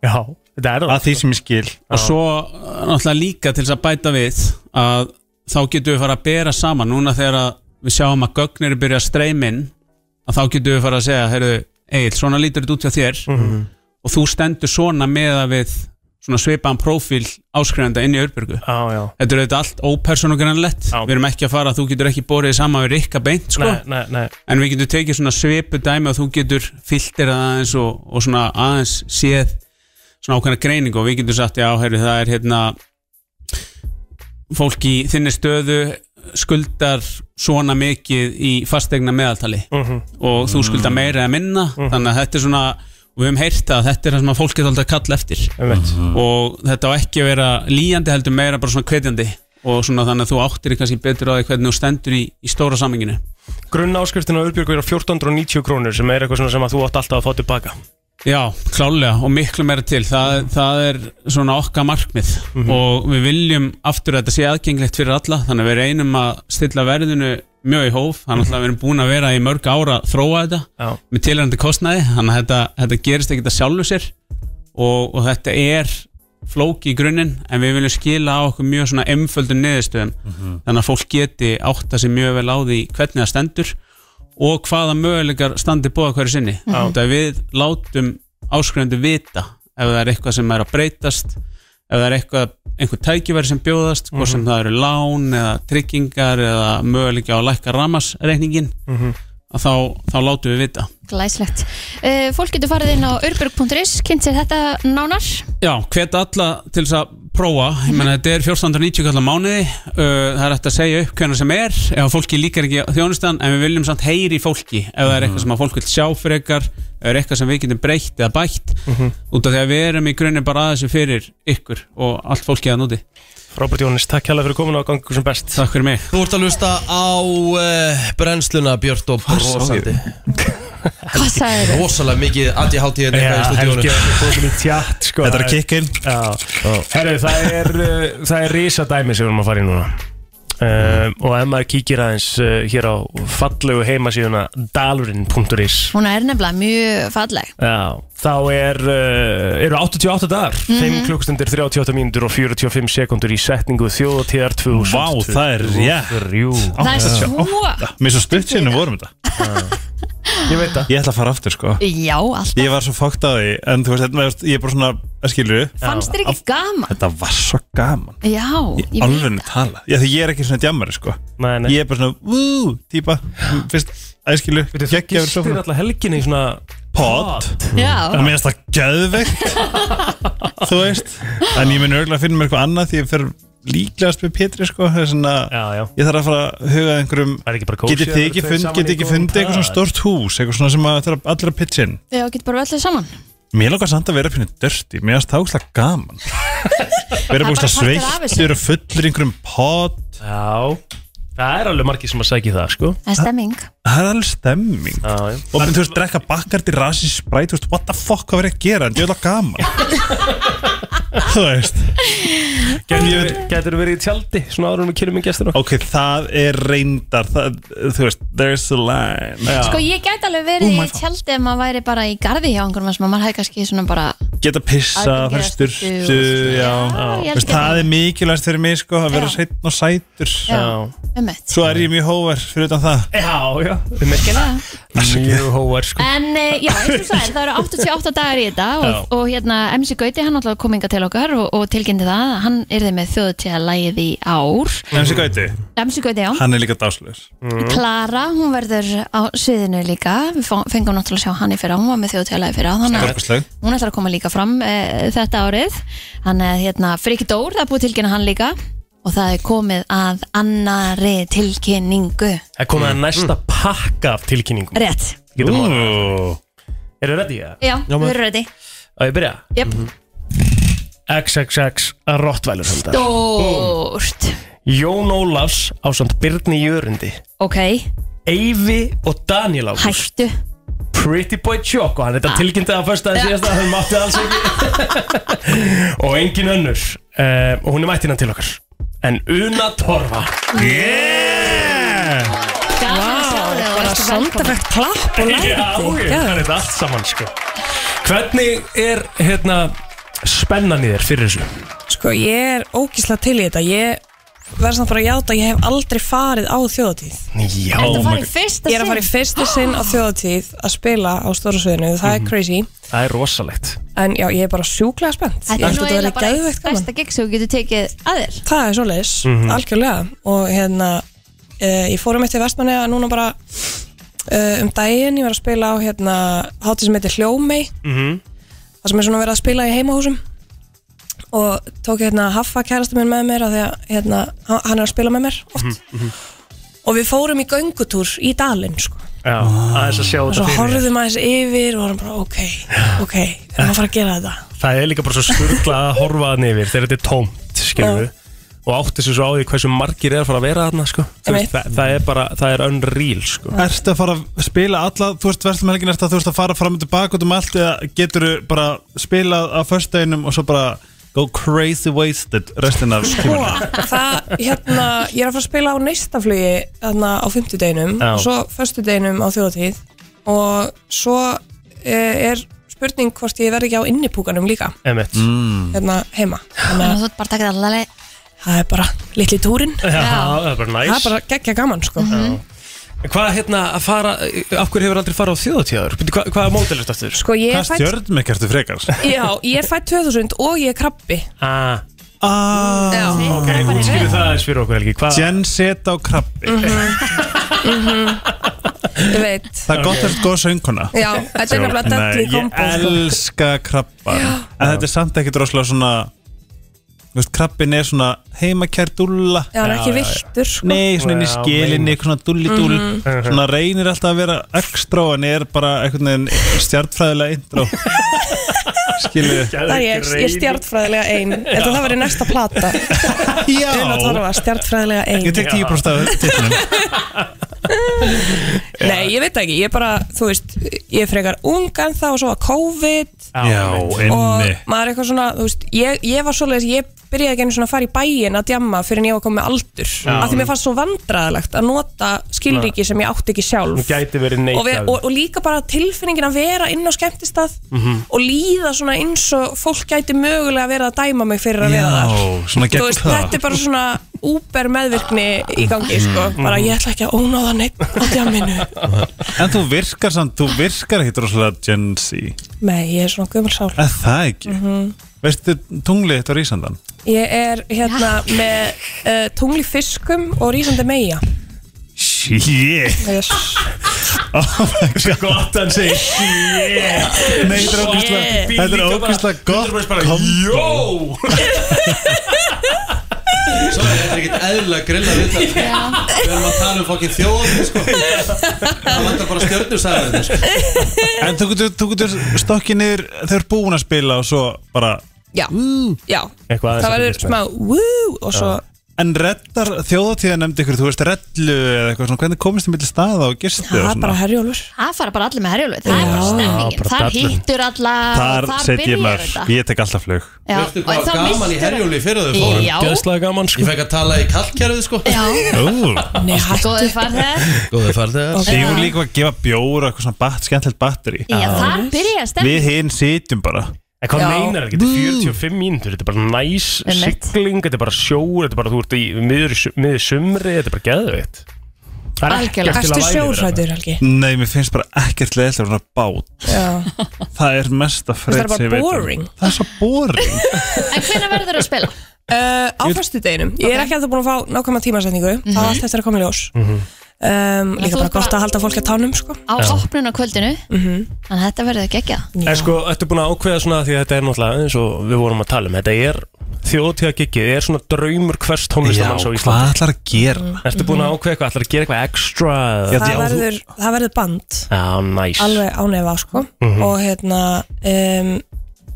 Speaker 3: Já, þetta er það
Speaker 5: því sem ég skil.
Speaker 9: og svo uh, náttúrulega líka til þess að bæta við að þá getum við fara að bera saman núna þegar að við sjáum að gögnir byrja að streyma inn að þá getum við fara að segja heyrðu, Egil, svona lítur þetta út hjá þér
Speaker 3: Mhm.
Speaker 9: og þú stendur svona meða við svona svipaðan prófíl áskrifenda inn í Örbjörgu
Speaker 3: Já, já
Speaker 9: þetta er auðvitað allt ópersonogrannlegt
Speaker 3: Já.
Speaker 9: við erum ekki að fara að þú getur ekki borðið saman við Rikka beint sko
Speaker 3: Nei, nei, nei
Speaker 9: en við getum tekið svona svipu dæmi og þú getur filterað aðeins og, og svona aðeins séð svona ákveðna greining og við getum sagt já, herri, það er hérna fólk í þinni stöðu skuldar svona mikið í fastegna meðaltali og þú skuldar meira eða minna þannig að þetta er svona og við höfum heyrt að þetta er það sem að fólk getur alltaf að kalla eftir
Speaker 3: Einmitt
Speaker 6: Mhm.
Speaker 9: og þetta á ekki að vera líjandi heldur meira bara svona hvetjandi og svona þannig að þú áttir þig kannski betur á því hvernig þú stendur í, í stóra saminginu
Speaker 3: Grunna áskriftin á Urbjörgu er á 1490 krónur sem er eitthvað svona sem að þú átt alltaf að fá tilbaka
Speaker 9: Já, klálega og miklu meira til það, það er svona okkar markmið og við viljum aftur að þetta sé aðgengilegt fyrir alla þannig að við reynum að stilla verðinu mjög í hóf þannig að við erum búin að vera í mörg ára að þróa þetta
Speaker 3: Já.
Speaker 9: með tilhændi kostnaði þannig að þetta, þetta gerist ekkert að sjálfu sér og, og þetta er flóki í grunninn en við viljum skila á okkur mjög svona emföldum niðurstöðum þannig að fólk geti átta sig mjög vel á því hvernig það stendur og hvaða möguleikar standi bóða hverju sinni mm -hmm. við látum áskrifendur vita ef það er eitthvað sem er að breytast ef það er eitthvað, einhver tækifæri sem bjóðast hvort sem það eru lán eða tryggingar eða möguleika á að lækka ramasreikningin að þá, þá látum við vita
Speaker 2: Glæslegt uh, Fólk getur farið inn á urburg.is kynnt sér þetta nánar
Speaker 9: Já, hvet alla til þess að prófa ég meina þetta er 1490 kallar mánuði uh, það er hægt að segja upp hvernig sem er ef fólki líkar ekki þjónustan en við viljum samt heyri í fólki ef það er eitthvað sem að fólk vil sjá frekar ef það er eitthvað sem við getum breytt eða bætt út af því að við erum í grunni bara aðeins fyrir ykkur og allt fólki að núti
Speaker 3: Robert Jónis, takk hérlega fyrir komin og gangu sem best
Speaker 9: Takk fyrir mig
Speaker 1: eh, Þú ert að hlusta á uh, brennsluna Björn og brosandi
Speaker 2: Hvað sagðir þau?
Speaker 1: rosalega mikið ADHD en
Speaker 3: Já,
Speaker 1: eitthvað hérna í
Speaker 3: Helgi
Speaker 1: stúdíónu
Speaker 3: var ekki komin í tjátt sko.
Speaker 6: Þetta er að kikkin
Speaker 3: Já, herru, það er, uh, það er risa dæmi sem við erum að fara í núna
Speaker 5: Mm.
Speaker 3: um, Og ef maður kíkir aðeins uh, hér á fallegu heimasíðuna dalurinn.is
Speaker 2: Hún er nefnilega mjög falleg
Speaker 3: Já, þá er, uh, eru 88 dagar,
Speaker 5: Mhm.
Speaker 3: 5 klukkstundir, 38 mínútur og 45 sekundur í setningu þjóðatíðar 2000
Speaker 5: Vá, það er rétt.
Speaker 2: Það er svo
Speaker 5: Mér er svo stutt sinni vorum þetta
Speaker 3: Ég veit það
Speaker 5: Ég ætla að fara aftur sko
Speaker 2: Já, alltaf
Speaker 5: Ég var svo fókt á því En þú veist, hérna, ég er bara svona að skilur
Speaker 2: Fannst þér ekki gaman?
Speaker 5: Þetta var svo gaman
Speaker 2: Já, ég veit
Speaker 5: Alveg tala Já, því ég er ekki svona djammari sko
Speaker 3: Nei, nei
Speaker 5: Ég er bara svona, vú, típa Fyrst, að skilur Gekki yfir
Speaker 3: Þú
Speaker 5: sofuna
Speaker 3: styrir alltaf helginni í svona
Speaker 5: Pod
Speaker 2: Já,
Speaker 5: Og mér finnst það geðveikt Þú veist En ég mun örgulega að finna mér eitthvað annað Því ég fer líklegast með Pétri sko Það er svona
Speaker 3: Já, já
Speaker 5: Ég þarf að fara að huga að einhverjum
Speaker 3: Það er ekki bara kósi
Speaker 5: Getið þið ekki fundið get ekki fundi eitthvað svona stórt hús Eitthvað svona sem að þetta er allra pitchin
Speaker 2: já, getur bara öllu saman
Speaker 5: Mér lókar samt að vera pínu dörti Mér finnst það ógslag gaman Vera
Speaker 2: bara
Speaker 5: búin
Speaker 2: partur
Speaker 5: að
Speaker 2: af þessu.
Speaker 5: sveittur og fullur í einhverjum pot
Speaker 3: Já Það er alveg margir sem að sækja það sko
Speaker 2: Það er stemming
Speaker 5: Það er alveg stemming
Speaker 3: Já, já
Speaker 5: Og minn, þú veist, drekka bakkardi, rasi, spræt Þú veist, what the fuck, hvað verið að gera, en djöðla gaman Þú veist
Speaker 3: Gætur, gætur verið í tjaldi svona áður en við kynum í gestina
Speaker 5: Ok, það er reyndar það, Þú veist, there's a line
Speaker 2: Sko ég gæti alveg verið
Speaker 5: Oh
Speaker 2: í tjaldi ef maður væri bara í garði hjá einhverjum sem að maður hefði kannski svona bara
Speaker 5: Geta pissa,
Speaker 2: Aðgengi
Speaker 5: fara
Speaker 2: að
Speaker 5: styrtu
Speaker 2: sturtu og- Já,
Speaker 5: Já,
Speaker 2: ég
Speaker 5: Þú veist,
Speaker 2: elska
Speaker 5: það er mikilvægt fyrir mig sko, að vera
Speaker 2: Já.
Speaker 5: hreinn og sætur
Speaker 2: Já, um eitt
Speaker 5: Svo er ég mjög hóver fyrir utan það
Speaker 3: Já, já Við merkjum það Mjög hóar sko
Speaker 2: En eh, já, eins og sagði, það eru 88 dagar í þetta og, og hérna MC Gauti, hann alltaf kom inga til okkar og, og tilkynnti það að hann yrði með þjóðutíðalægið í ár
Speaker 5: MC Gauti,
Speaker 2: MC Gauti, já,
Speaker 5: hann er líka dáslur
Speaker 2: Klara, hún verður á sviðinu líka við fá- fengum náttúrulega að sjá hann í fyrra, hún var með þjóðutíðalægið fyrra þannig að
Speaker 5: Stórkostleg.
Speaker 2: hún ætlar að koma líka fram e, þetta árið hann er hérna Friki Dór, það er búið að tilkynna hann líka og það er komið að annari tilkynningu
Speaker 3: Það er komið að næsta pakka af tilkynningum
Speaker 2: rétt,
Speaker 3: Getum að
Speaker 5: Ú.
Speaker 3: Eru ready? eða?
Speaker 2: já, við erum ready
Speaker 3: Á ég byrja
Speaker 2: Jep.
Speaker 3: XXX Rottweiler hundar
Speaker 2: stórt,
Speaker 3: Jón Ólafs á samt Birni Jörundi
Speaker 2: ok
Speaker 3: Eyvi og Daniel Ágúst
Speaker 2: hættu
Speaker 3: Pretty Boy Choco
Speaker 2: Ah.
Speaker 3: Hann þetta tilkynnti það fyrst að síðast að hann mátti alls ekki Og engin önnur uh, Og hún er mættina til okkar En Una Torfa
Speaker 5: Yeah!
Speaker 2: gaman að sjá þig og verður velkomin
Speaker 10: Sandafægt klapp og
Speaker 3: Já, já,
Speaker 10: læti
Speaker 3: það er þetta allt saman sko. Hvernig er hérna spennan í þér fyrir þessu?
Speaker 10: Sko ég er ógísla til í þetta Ég verð samt bara að játa að Ég hef aldrei farið á þjóðatíð
Speaker 3: Já,
Speaker 2: Ertu að fara í fyrsta
Speaker 10: Ég er að fara í fyrsta sinn á þjóðatíð Að spila á stóra sviðinu Það er crazy
Speaker 3: það er rosalegt
Speaker 10: En já, ég er bara sjúklega spennt Ég
Speaker 2: Þetta er
Speaker 10: held
Speaker 2: nú eiginlega
Speaker 10: að þetta verði
Speaker 2: bara eitt
Speaker 10: geðveikt gaman
Speaker 2: stærsta gig sem þú getur tekið að þér
Speaker 10: Það er svoleiðis, algjörlega og hérna, uh, ég fórum eitt til Vestmanni núna bara uh, um daginn, ég var að spila á hérna hátíð sem heitir Hljómei mm það sem er svona verið að spila í heimahúsum og tók hérna Haffa kærasta minn með mér af því að hérna, hann hann er að spila með mér oft og við fórum í göngutúr í dalinn sko
Speaker 3: Já, aðeins að sjá
Speaker 10: og
Speaker 3: þetta
Speaker 10: svo
Speaker 3: fyrir þér.
Speaker 10: horfðum aðeins yfir og vorum bara ok, ok, við erum að fara að gera þetta
Speaker 3: Það er líka bara svo skurla að horfa þannig yfir Þegar þetta er tómt, skiljum við Og átti þessu svo á því hversu margir er að fara að vera þarna sko. Þú
Speaker 10: Einmitt.
Speaker 3: veist, það, það er bara, það er unreal sko.
Speaker 5: Ertu að fara að spila alla, þú veist, verðum helgin Ertu að þú veist að fara fram og tilbaka út um allt Eða getur þú bara spilað á föstudeginum Og svo bara go crazy wasted Restin af
Speaker 10: Sko,
Speaker 5: tímanum
Speaker 10: það, hérna, ég er að fara að spila á neistaflugi þarna á fimmtudeginum
Speaker 3: Já.
Speaker 10: og svo föstudeginum á þjóðatíð og svo eh, er spurning hvort ég verði ekki á innipúkanum líka
Speaker 3: Emmett
Speaker 5: Mm.
Speaker 10: hérna heima
Speaker 2: Þannig að
Speaker 10: þannig að
Speaker 2: þú ert bara að taka þetta alveg
Speaker 10: það er bara litli túrin
Speaker 3: Já, það er bara
Speaker 10: það er
Speaker 3: næs
Speaker 10: bara geggja gaman sko
Speaker 3: Hvað hérna að fara, af hverju hefur aldrei farið á þjóðatíðar? Hva, hvað er mótilegt aftur?
Speaker 10: sko ég
Speaker 5: Hvað
Speaker 10: er fætt
Speaker 5: stjörnum ekki ertu frekar?
Speaker 10: já, ég er fætt 2000 og ég er krabbi
Speaker 3: Ah,
Speaker 5: Ah,
Speaker 3: ok, skilju það aðeins fyrir okkur Helgi Hvað,
Speaker 5: Jen seta á krabbi
Speaker 10: Mhm. ég veit
Speaker 5: Það er gott eftir góð sönguna
Speaker 10: já, þetta er nefnilega
Speaker 5: Nei,
Speaker 10: dættli
Speaker 5: ég
Speaker 10: kombo sko.
Speaker 5: elska krabba En þetta er samt ekkert rosalega svona Þú veist, krabbin er svona heimakær dúlla
Speaker 10: já, hann er ekki viltur sko
Speaker 5: Nei, svona inn í
Speaker 3: Já,
Speaker 5: skilinni, eitthvað svona dulli dúll
Speaker 10: Mhm.
Speaker 5: Svona reynir alltaf að vera ekstra En er bara einhvern veginn stjartfræðilega intro Skilju
Speaker 10: Það er ég, ég er stjartfræðilega ein Þetta það verið næsta plata
Speaker 5: Já,
Speaker 10: Una Torfa, stjartfræðilega um ein
Speaker 5: ég tek 10% af titlinum
Speaker 10: Nei, ég veit það ekki, ég er bara, þú veist, ég er frekar ungan þá og svo var COVID
Speaker 5: Já,
Speaker 10: og
Speaker 5: inni
Speaker 10: maður er eitthvað svona, þú veist, ég, ég var svoleiðis, ég byrjaði ekki einu svona að fara í bæin að djamma fyrir en ég var komið aldur
Speaker 3: Já.
Speaker 10: af því mér fannst svo vandræðilegt að nota skilríki sem ég átti ekki
Speaker 3: Hún
Speaker 10: sjálf
Speaker 3: gæti verið
Speaker 10: og, við,
Speaker 3: neitað
Speaker 10: og, og líka bara tilfinningin að vera inn á skemmtistað
Speaker 3: Mhm.
Speaker 10: og líða svona eins og fólk gæti mögulega verið að dæma mig fyrir að
Speaker 5: Já,
Speaker 10: vera þar
Speaker 5: svona gegn
Speaker 10: Þú veist,
Speaker 5: það.
Speaker 10: þetta er bara svona úber meðvirkni í gangi sko.
Speaker 3: Mhm.
Speaker 5: Mm.
Speaker 10: bara ég ætla ekki að ónáða neitt á djamminu
Speaker 5: En þú virkar samt, þú virkar ekkit rosalega Gen Z
Speaker 10: nei, ég er svona gömul sál
Speaker 5: Er það ekki?
Speaker 10: Mhm.
Speaker 5: Veistu tunglið þetta á Rísandan?
Speaker 10: ég er hérna með uh, tungli fiskum og rísandi meia
Speaker 5: Shit
Speaker 10: yes.
Speaker 5: Gott hann segir Shit Nei, þetta er ógæslega
Speaker 10: Shit.
Speaker 5: Þetta er
Speaker 10: Líka bara-
Speaker 5: ógæslega gott kombo.
Speaker 1: Svo þetta er ekkert eðlilega grilla við þetta sko. Við erum að tala um fokkin þjóðan sko. Það vantar bara stjörnusæðan sko.
Speaker 5: En þú getur, þú getur stokkið niður Þau eru búin að spila og svo bara
Speaker 10: já, já
Speaker 5: Eitthvað aðeins
Speaker 10: það
Speaker 5: að
Speaker 10: verður
Speaker 5: fylgjast með.
Speaker 10: smá woo og svo
Speaker 5: En reddar þjóðatíða nefndi ykkur, þú veist rellu eða eitthvað svona, hvernig komist þið millir staða og gistu
Speaker 10: það er bara herjólfur
Speaker 2: Það fara bara allir með herjulvið Það er bara
Speaker 5: Já,
Speaker 2: stemmingin,
Speaker 5: bara
Speaker 2: þar
Speaker 5: dallur.
Speaker 2: hittur alla
Speaker 5: Þar
Speaker 2: og þar
Speaker 5: set ég
Speaker 2: byrjar
Speaker 5: mörg,
Speaker 2: þetta
Speaker 5: ég tek alltaf flug
Speaker 2: Já,
Speaker 1: Veistu hvað
Speaker 2: og þá
Speaker 1: var gaman
Speaker 2: misstir
Speaker 1: í herjóli fyrir þau fórum
Speaker 2: Já.
Speaker 1: Gjöðslega gaman sko Ég fekk að tala í kallkerfið sko
Speaker 2: Já. Nei, hættu Góðu farðar
Speaker 1: Góðu farþegar.
Speaker 5: Sigur líka að gefa bjóra eitthvað svona bat, skemmtilegt batteri
Speaker 2: Já, þar byrja
Speaker 5: Við
Speaker 2: stemmingin
Speaker 5: hinn sitjum bara
Speaker 3: En hvað meinar ekki, þetta er 45 mínútur, þetta er bara næs
Speaker 2: Einmitt.
Speaker 3: sigling, þetta er bara sjór, þetta er bara þú ert í miður, í su- miður sumri, þetta er bara geðveitt. Það er ekkert til að væla
Speaker 10: erstu
Speaker 3: yfir þetta.
Speaker 10: sjórsætur Helgi
Speaker 5: Nei, mér finnst bara ekkert leiðilega svona bát
Speaker 10: Já.
Speaker 5: Það er mesta
Speaker 10: Það er
Speaker 5: freyð
Speaker 10: bara
Speaker 5: sem ég veit um.
Speaker 10: boring.
Speaker 5: Það er svo boring
Speaker 2: En hvenær verður að spila?
Speaker 10: Uh, á fyrstu deginum, ég er ekki alltaf búin að fá nákvæmna tímasetningu, mm -hmm. það var allt eftir að koma í ljós um,
Speaker 2: þú
Speaker 10: líka bara
Speaker 2: ert bara-
Speaker 10: gott að halda fólk að tánum sko.
Speaker 2: Á
Speaker 3: Já.
Speaker 2: opnun á kvöldinu
Speaker 10: Mhm.
Speaker 2: Þannig að þetta verður ekki ekki
Speaker 3: En sko, ertu búin að ákveða svona því að þetta er náttúrulega eins og við vorum að tala um, þetta er þjóðtíða giggið, er svona draumur hvers tónlistamanns á
Speaker 5: Já,
Speaker 3: Íslandi.
Speaker 5: hvað ætlar að gera?
Speaker 10: Mm.
Speaker 3: Ertu búin að ákveða eitthvað, ætlar að gera eitthvað extra?
Speaker 10: það, verður, það verður band
Speaker 3: Já, næs.
Speaker 10: alveg ánefa sko.
Speaker 3: Mhm.
Speaker 10: og hérna um,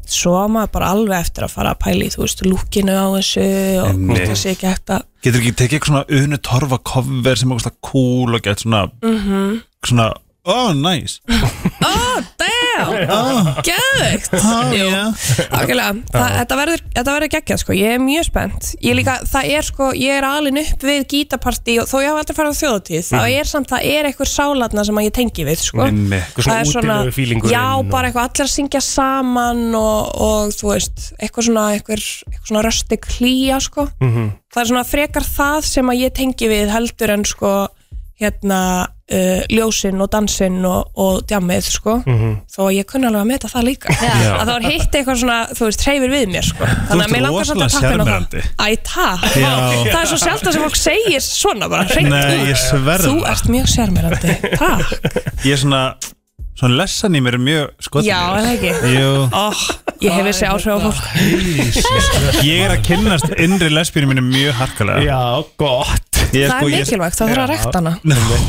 Speaker 10: svo á maður bara alveg eftir að fara að pæli þú veist, lúkinu á þessu og
Speaker 5: Einmitt.
Speaker 10: hvort það sé ekki hægt að
Speaker 5: Getur ekki tekið eitthvað svona unu torfa cover sem er eitthvað cool og gett svona
Speaker 10: mm -hmm.
Speaker 5: svona, oh nice
Speaker 10: oh damn, geðveikt
Speaker 5: Ah,
Speaker 10: Jú.
Speaker 5: yeah.
Speaker 10: Algjörlega, Þa, þetta verður, þetta verður geggjað sko, ég er mjög spennt Ég líka, það er sko, ég er alin upp við gítapartí og þó ég hafa aldrei farið á þjóðatíð þá er samt, það er einhver sálatna sem að ég tengi við sko
Speaker 5: Mhm. Einmitt. Eitthvað svona
Speaker 10: Það er
Speaker 5: útilegu feelingurinn
Speaker 10: Já,
Speaker 5: og-
Speaker 10: bara eitthvað allir að syngja saman og, og þú veist, eitthvað svona eitthvað, eitthvað svona röstig hlýja sko
Speaker 5: Mhm.
Speaker 10: Það er svona frekar það sem að ég tengi við heldur en sko hérna uh, ljósin og dansinn og, og djammið sko
Speaker 5: Mhm.
Speaker 10: þó að ég kunni alveg að meta það líka
Speaker 5: Já.
Speaker 10: að það var hitt eitthvað svona, þú veist, hreyfir við mér sko. þannig
Speaker 5: ert
Speaker 10: að mér langar samt
Speaker 5: rosalega
Speaker 10: að tappa inn á það
Speaker 5: sjarmerandi.
Speaker 10: Æ, takk,
Speaker 5: Já.
Speaker 10: það er svo sjálft að sem fólk segir svona bara, hreint
Speaker 5: Nei,
Speaker 10: út.
Speaker 5: ég sverða
Speaker 10: Þú ert mjög sérmyrandi, takk
Speaker 5: Ég er svona, svona lessan í mér er mjög skotin
Speaker 10: Já, er það ekki?
Speaker 5: Jú
Speaker 10: Ó, Ah, Ég hef þessi áhrif á fólk
Speaker 5: Ég er að kynnast innri lesbínu minni mjög harkalega
Speaker 3: Já, gott
Speaker 5: sko, ég,
Speaker 10: Það er mikilvægt, það þarf að rækta hana.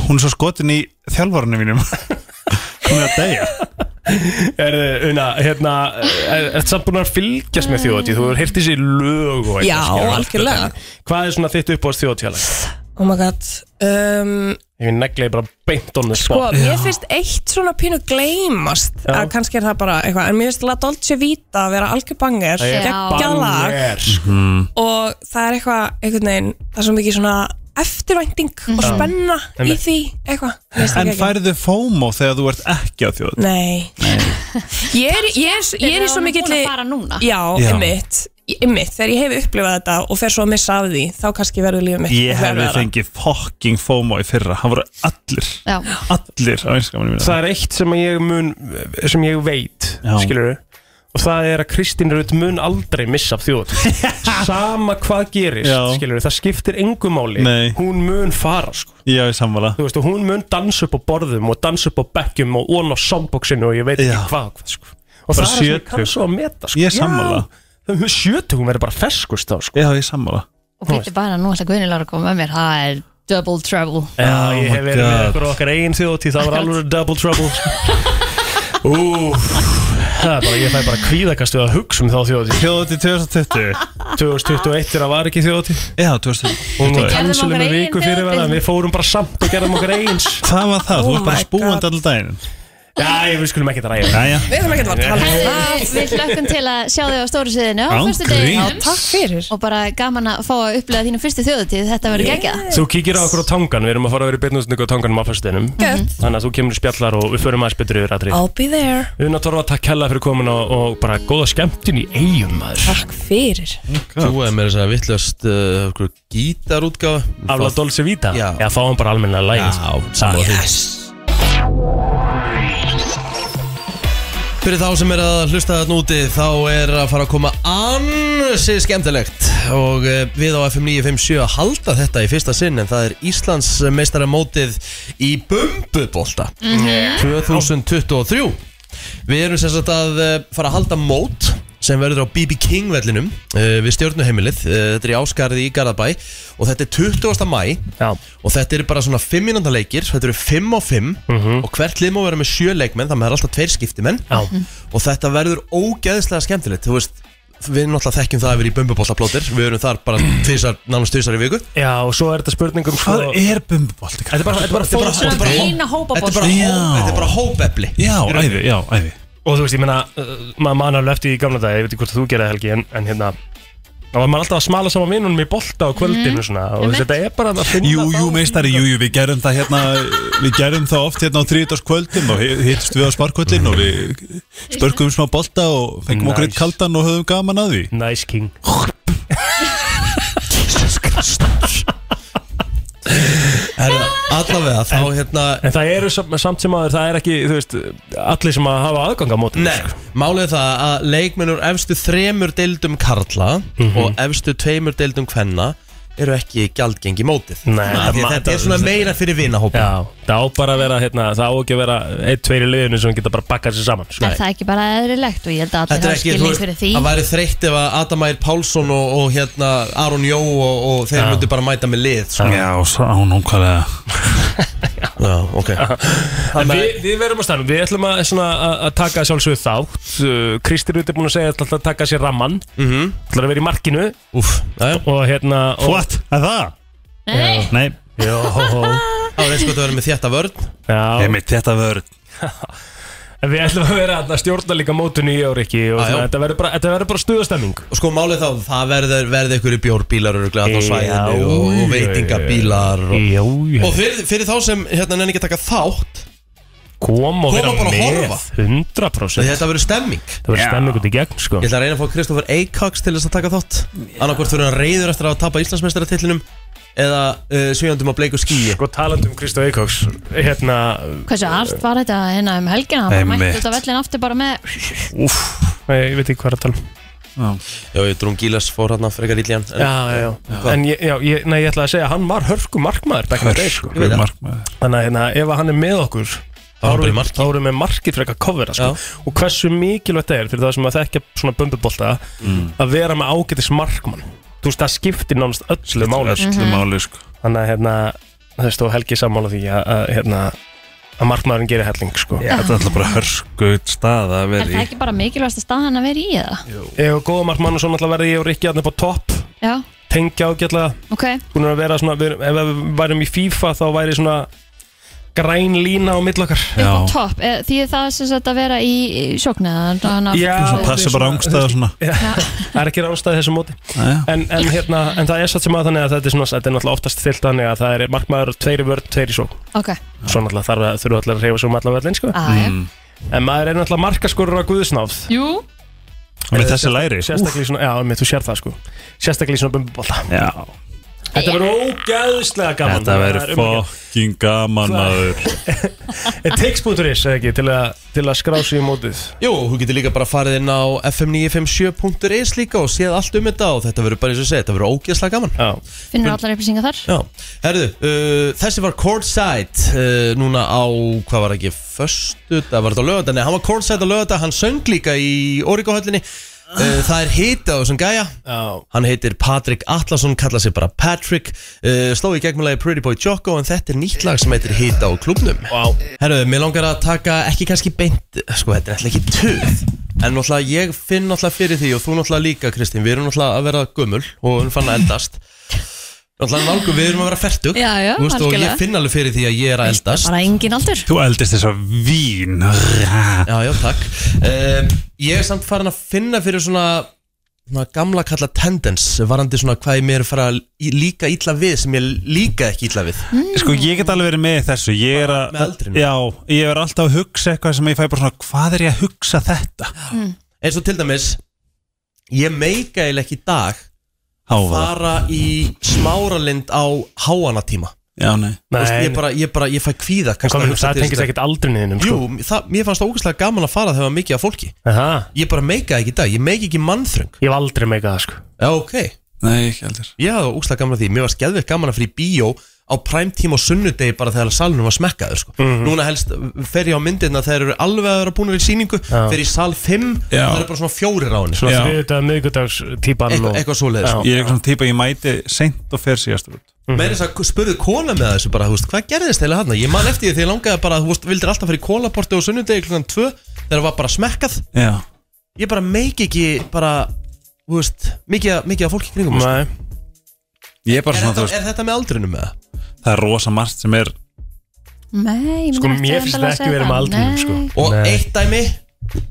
Speaker 5: Hún er svo skotin í þjálfvarunum mínum Hún er að deyja
Speaker 3: Er, una, hérna, er, er samt búin að fylgjast með þjóðatíð? Þú hefur heyrt þessi lög og eitthvað
Speaker 10: Já,
Speaker 3: skilur við,
Speaker 10: algjörlega.
Speaker 3: en Hvað er svona þitt uppáðs þjóðatíðalag?
Speaker 10: Oh my god um,
Speaker 3: Ég negla ég bara beint on the
Speaker 10: Sko,
Speaker 3: spot
Speaker 10: mér finnst eitt svona pínu gleymast
Speaker 3: Já.
Speaker 10: að kannski er það bara eitthvað en mér finnst La Dolce Vita að vera algjör banger
Speaker 3: Það er
Speaker 10: geggjað lag
Speaker 3: banger, sko.
Speaker 10: og það er eitthvað, einhvern veginn það er svo mikið svona eftirvænting og
Speaker 5: Já.
Speaker 10: spenna í
Speaker 5: Mhm. Einmitt.
Speaker 10: því eitthvað, Mér finnst það
Speaker 5: En
Speaker 10: geggjað.
Speaker 5: færðu FOMO þegar þú ert ekki á þjóð
Speaker 10: Nei Ég er, ég er, ég er í
Speaker 2: Þeir
Speaker 10: svo
Speaker 2: eru
Speaker 10: mikill
Speaker 2: búin að fara núna.
Speaker 10: Já,
Speaker 5: Já.
Speaker 10: ymmit Ymmit, þegar ég hef upplifað þetta og fer svo að missa af því þá kannski verður lífið mitt
Speaker 5: Ég hefði
Speaker 10: erfiðara.
Speaker 5: fengið fucking FOMO í fyrra Það voru allir,
Speaker 2: Já.
Speaker 5: allir á einskamunum mínum
Speaker 3: Það er eitt sem ég mun sem ég veit,
Speaker 5: Já.
Speaker 3: skilur og það er að Kristín Rut mun aldrei missa af þjóðatíð Sama hvað gerist,
Speaker 5: Já.
Speaker 3: skilur það skiptir engum máli
Speaker 5: Nei.
Speaker 3: Hún mun fara, sko
Speaker 5: Já, ég samvala
Speaker 3: Þú veist, og hún mun dansa upp á borðum og dansa upp á bekkjum og ón á soundboxinu og ég veit ekki
Speaker 5: Já.
Speaker 3: hvað, og hvað sko. og það
Speaker 5: Bara
Speaker 3: er það sem ég
Speaker 5: sjötug.
Speaker 3: kann svo að meta sko.
Speaker 5: Ég er sammála.
Speaker 3: það er sjötug, hún verður bara ferskust þá sko.
Speaker 5: Já, ég samvala
Speaker 2: Og býttu bara nú ætla Guðni Lára að koma með mér Það er double trouble
Speaker 3: Já,
Speaker 5: Oh
Speaker 3: ég
Speaker 5: my
Speaker 3: hef verið með
Speaker 5: God.
Speaker 3: okkur okkar eigin þjóðtíð, það var alveg double trouble sko. Úff, Það er bara, ég fæ bara kvíðakastu að hugsa um þá þjóðatíð
Speaker 5: Þjóðatíð 2020
Speaker 3: 2021 þegar var ekki þjóðatíð
Speaker 5: Já, 2020
Speaker 3: Hún
Speaker 2: Við
Speaker 3: var
Speaker 2: gerðum
Speaker 3: cancelum
Speaker 2: okkar
Speaker 3: í
Speaker 2: eigin
Speaker 3: viku fyrir
Speaker 2: þjóðhátíð.
Speaker 3: það en Við fórum bara samt og gerðum okkar eigins
Speaker 5: Það var það,
Speaker 10: Oh
Speaker 5: þú ert bara
Speaker 10: my
Speaker 5: spúandi allan daginn
Speaker 3: Já, ég við skulum ekki ræða
Speaker 5: Jæja
Speaker 10: Við þurfum ekki að fara að tala um
Speaker 2: Herðu, Við hlökkum til að sjá þau á stóru sviðinu á
Speaker 5: Án
Speaker 2: fyrstu
Speaker 10: það Takk fyrir
Speaker 2: og bara gaman að fá að upplega þínu fyrstu þjóðutíð þetta verður geggjað
Speaker 3: Þú kíkir á okkur á tangan, við erum að fara að vera í byrnusningu á tanganum á fyrstuðinum
Speaker 10: Gött.
Speaker 3: Þannig að þú kemur í spjallar og við förum aðeins betur yfir aðrið
Speaker 10: Mhm. I'll be there
Speaker 3: Una Torfa, takk hella fyrir komin og, og bara góða skemmtun í eigum maður
Speaker 10: Takk fyrir
Speaker 1: Þú er með þess að vittlust uh, gítarútgáfa
Speaker 3: Afla Dolce Vita
Speaker 1: Já.
Speaker 3: Já, fá hann bara almenna lægin
Speaker 1: Já, sammála því. Fyrir þá sem er að hlusta þarna úti þá er að fara að koma ansið skemmtilegt og eh, við á FM 957 að halda þetta í fyrsta sinn en það er Íslands meistaramótið í Bumbubólta 2023 Við erum sem sagt að eh, fara að halda mót sem verður á BB King vellinum eh, við stjórnuheimilið, Eh, þetta er í Áskarði í Garðabæ og þetta er 20. mæ
Speaker 3: Já,
Speaker 1: og þetta eru bara svona 5 minúnda leikir þetta eru 5 og 5 og hvert lið má vera með 7 leikmenn þannig að það er alltaf tveir skiptimenn
Speaker 3: já,
Speaker 1: og þetta verður ógeðslega skemmtilegt þú veist við náttúrulega þekkjum það að vera í bumbubollaplótir við erum þar bara tvisar, nánast tvisar í viku
Speaker 3: já, og svo er þetta spurningum
Speaker 5: Hvað er bumbubolt?
Speaker 3: Sko- Þetta er bara, þetta er bara fólk
Speaker 2: Svona pína hópa
Speaker 1: þetta er bara,
Speaker 5: Já.
Speaker 1: hó, þetta er bara hópefli
Speaker 5: Já, æði, já, æði
Speaker 3: og þú veist, ég meina, uh, maður man alveg eftir í gamla dag, ég veit ekki hvort þú gerði Helgi, en, en hérna þá var maður alltaf að smala saman vinunum í bolta á kvöldinu svona, og
Speaker 2: Einmitt.
Speaker 3: þetta er bara að finna
Speaker 5: Mhm. Jú,
Speaker 3: þá-
Speaker 5: jú, meistari, jú, jú, við gerum það hérna Við gerum það oft hérna á þriðdagskvöldin og hi- hittust við á sparkvöldin og við spörkum smá bolta og fengum okkur eitt
Speaker 3: Nice.
Speaker 5: kaldan og höfum gaman að því
Speaker 3: Nice King
Speaker 1: en allavega þá hérna
Speaker 3: En það eru sam- samt sem aður, það er ekki, þú veist allir sem að sko. hafa aðgang á mótum
Speaker 1: Nei, málið er það að leikmennur efstu þremur deildum karla
Speaker 3: Mhm.
Speaker 1: og efstu tveimur deildum kvenna eru ekki gjaldgengi mótið
Speaker 3: Nei,
Speaker 1: Af því að
Speaker 3: það-
Speaker 1: þetta er svona meira fyrir vinahópa
Speaker 3: Já, það á bara að vera, hérna, það á ekki að vera eitt, tveir í liðinu sem geta bara bakkað sér saman sko.
Speaker 2: Er það ekki bara eðrilegt og ég held að allir
Speaker 1: Þetta er
Speaker 2: hafa
Speaker 1: ekki, þú
Speaker 2: skilning fyrir
Speaker 1: veist,
Speaker 2: því
Speaker 1: það væri þreytt ef að Adam Ær Pálsson og, og hérna Aron Jó og, og þeir
Speaker 3: Já.
Speaker 1: myndu bara mæta með lið sko.
Speaker 5: Já, sá nákvæmlega
Speaker 1: Já, ok
Speaker 3: En við, við verum á stanum, við ætlum að, svona, að- að taka sjálfsögðu þátt uh, Kristir Rut er búin að segja að ætla að taka sér ramman mm
Speaker 1: Mhm.
Speaker 3: ætlar að vera í markinu
Speaker 1: Úf, já,
Speaker 3: og hérna og,
Speaker 5: What? Er það?
Speaker 2: Nei,
Speaker 5: Nei,
Speaker 3: Jó,
Speaker 1: það var eins gott að vera með þetta vörn
Speaker 3: já,
Speaker 5: emitt, þetta vörð
Speaker 3: En Við ætlum að vera að stjórna líka mótun í ár ekki og
Speaker 1: Já,
Speaker 3: svona,
Speaker 1: já.
Speaker 3: þetta verður bara, þetta verður bara stuðastemming
Speaker 1: Og sko málið þá, það verður verði ykkur í bjórbílar öruglega á
Speaker 3: Já,
Speaker 1: svæðinu og, og
Speaker 3: já,
Speaker 1: veitingabílar og,
Speaker 3: Jó,
Speaker 1: og fyrir, fyrir þá sem hérna nenni ekki að taka þátt
Speaker 3: kom
Speaker 1: Koma
Speaker 3: og vera
Speaker 1: bara að
Speaker 3: með
Speaker 1: horfa.
Speaker 3: 100%
Speaker 1: Þetta verður stemming
Speaker 3: Það verður stemming út í gegn sko
Speaker 1: Ég ætla að reyna að fá Kristoffer Eikaks til þess að taka þátt Annarkvort verður hann reyður eftir að tapa Íslandsmeistaratitlinum Eða uh, svíjandum á bleiku skýi
Speaker 3: Sko talandum Kristó Eikóks Hérna,
Speaker 2: hversu aft var þetta hérna um helgina hann bara mætti
Speaker 5: Einmitt.
Speaker 2: út af vellin aftur bara með
Speaker 3: uff, ég veit ekki hvað er að tala um
Speaker 1: Já, ég drúm Gílas fór hann að frekar illian
Speaker 3: já, já, já. En ég, já, ég, nei, ég ætla að segja að hann var hörku markmaður back in the day, sko.
Speaker 1: Ég veit það.
Speaker 5: Markmaður
Speaker 3: Þannig að hérna, ef að hann er með okkur þá
Speaker 1: hann
Speaker 3: erum
Speaker 1: bara í
Speaker 3: við-
Speaker 1: marki.
Speaker 3: þá erum við með markið frekar kofvera sko. og hversu mikilvægt það er fyrir það sem að þekkja svona bumbubolta að vera með ágætis markmann þú veist, það skiptir nánast öllu máli sko.
Speaker 2: Mhm.
Speaker 5: Öllu máli, sko
Speaker 3: þannig að hérna, það stóð Helgi sammála því að, að hérna, að markmaðurinn gerir helling sko.
Speaker 5: Já, Þetta er alltaf bara hörskuð stað
Speaker 2: er
Speaker 5: að
Speaker 2: það
Speaker 5: vera í
Speaker 2: ekki bara mikilvægast að staðan að vera í eða?
Speaker 3: ég og góða markmann og svo náttúrulega verði ég og Rikki hann upp á topp
Speaker 2: Já,
Speaker 3: tengja ágætlega
Speaker 2: ok
Speaker 3: búin að vera svona, við, ef við værum í FIFA þá væri svona græn lína á millokkar
Speaker 2: upp á topp, Eh, því er það sem sagt að vera í í sjókn eða þannig að-
Speaker 3: Já,
Speaker 5: Svo passa bara ángstað og svona
Speaker 3: það er ekki ránstæði þessu móti
Speaker 5: Jæja.
Speaker 3: en, en, hérna, en það er satt sem að þannig að þetta er, svona, þetta er náttúrulega oftast stilt þannig að það er markmaður tveiri vörn, tveiri sók
Speaker 2: ok, Ah,
Speaker 3: svo náttúrulega þarf að þurfa allir að reyfa svo um allar völlin sko.
Speaker 2: aðja,
Speaker 3: en maður er náttúrulega markaskorur á guðsnáð
Speaker 2: jú
Speaker 5: Með þessi læri
Speaker 3: sérstaklega í svona, já, með þú sér það sko sérstaklega í svona bumbubólla
Speaker 5: Já,
Speaker 3: þetta verður ógæðslega gaman
Speaker 5: þetta
Speaker 3: Það
Speaker 5: verður
Speaker 3: er um ekki-
Speaker 5: fokking gaman maður
Speaker 3: En Tix.is, eða ekki, til að, til að skrá sig í mótið
Speaker 1: Jú, þú getur líka bara farið inn á fm957.is líka og séð allt um þetta og þetta verður bara eins og segja, þetta verður ógeðslega gaman
Speaker 3: Já,
Speaker 2: finnur allar upplýsingar þar
Speaker 1: Já, herðu, uh, þessi var courtside uh, núna á, hvað var ekki, förstu, það var þetta á lögata, nei, hann var courtside á lögata, hann söng líka í Origo-höllinni, uh, það er hita á þessum gæja,
Speaker 3: já
Speaker 1: hann heitir Patrick Atlason, kalla sig bara Patrick, uh, sló í gegnmjölaði Pretty Boy Jocko, en þetta er nýtt lag sem heitir hita á klubnum.
Speaker 3: Wow.
Speaker 1: Herru, mér langar að taka ekki kannski beint Sko, þetta er alltaf ekki töð En náttúrulega ég finn náttúrulega fyrir því og þú náttúrulega líka Kristín, við erum náttúrulega að vera gömul og við erum fann að eldast Náttúrulega nálgum við erum að vera fertug
Speaker 2: Já, já,
Speaker 1: veist, Og ég
Speaker 2: algjörlega.
Speaker 1: finn alveg fyrir því að ég er að eldast
Speaker 2: bara engin aldur
Speaker 5: Þú eldist þess að vín Já,
Speaker 1: já, takk um, Ég er samt farin að finna fyrir svona, svona gamla kalla tendens varandi svona hvað ég mér fara að í- líka illa við sem ég líka ekki illa við
Speaker 5: Sko ég get alveg verið með í þessu Ég er að,
Speaker 1: Með aldrinum.
Speaker 5: já, ég er alltaf að hugsa eitthvað sem ég fæ bara svona Hvað er ég að hugsa þetta?
Speaker 1: eins og til dæmis ég meika eiginlega ekki í dag að
Speaker 5: Hávaða.
Speaker 1: fara í smáralind á háanatíma
Speaker 5: Já, nei
Speaker 1: Þú veist, ég, bara, ég bara, ég fæ kvíða kannski að
Speaker 3: Kominu,
Speaker 1: hugsa
Speaker 3: það
Speaker 1: til
Speaker 3: tengist
Speaker 1: þess að-
Speaker 3: ekkert aldrinniðinum
Speaker 1: Jú,
Speaker 3: sko.
Speaker 1: það, mér fannst það ógæslega gaman að fara þegar það var mikið af fólki
Speaker 3: Aha.
Speaker 1: Ég bara meika ekki í dag, ég meika ekki mannþröng
Speaker 3: Ég hef aldrei meikað það sko
Speaker 1: Já, ok
Speaker 5: Nei, ekki heldur
Speaker 1: Ég hafði ógæslega gaman að því, mér var skeðveikt gaman að fyrir bíó á præmtíma og sunnudegi bara þegar salunum var smekkaður sko.
Speaker 5: Mhm.
Speaker 1: Núna helst fer ég á myndirna þegar eru alveg að vera búinir í síningu
Speaker 3: Já.
Speaker 1: Fer í sal 5,
Speaker 5: Já.
Speaker 1: það eru bara svona fjórir á henni
Speaker 3: Svona
Speaker 5: Já.
Speaker 3: þriðudag, miðgudags típan
Speaker 1: Eitthvað- eitthvað svoleiðis, sko.
Speaker 5: Ég er eitthvað svona típa, ég mæti seint og fer síðastur út
Speaker 1: Meira þess að spurðu kona með þessu bara, þú veist, hvað gerðist þeirlega hann? Ég man eftir því að ég langaði bara, þú veist, vildir alltaf fyrir kólaporti og sunnudegi klukkan 2 þegar það var bara smekkað
Speaker 5: Já
Speaker 1: Ég bara meik ekki bara, þú veist, mikið, af- mikið af fólki í kringum mig, sko.
Speaker 3: Nei,
Speaker 5: Ég er bara
Speaker 1: er,
Speaker 5: svona, þú
Speaker 1: þetta,
Speaker 5: veist,
Speaker 1: er þetta með aldrinum eða?
Speaker 5: það er rosa margt sem er
Speaker 2: Nei,
Speaker 3: Sko, mér finnst það ekki vera með aldrinum sko.
Speaker 1: Og
Speaker 3: Nei.
Speaker 1: eitt dæmi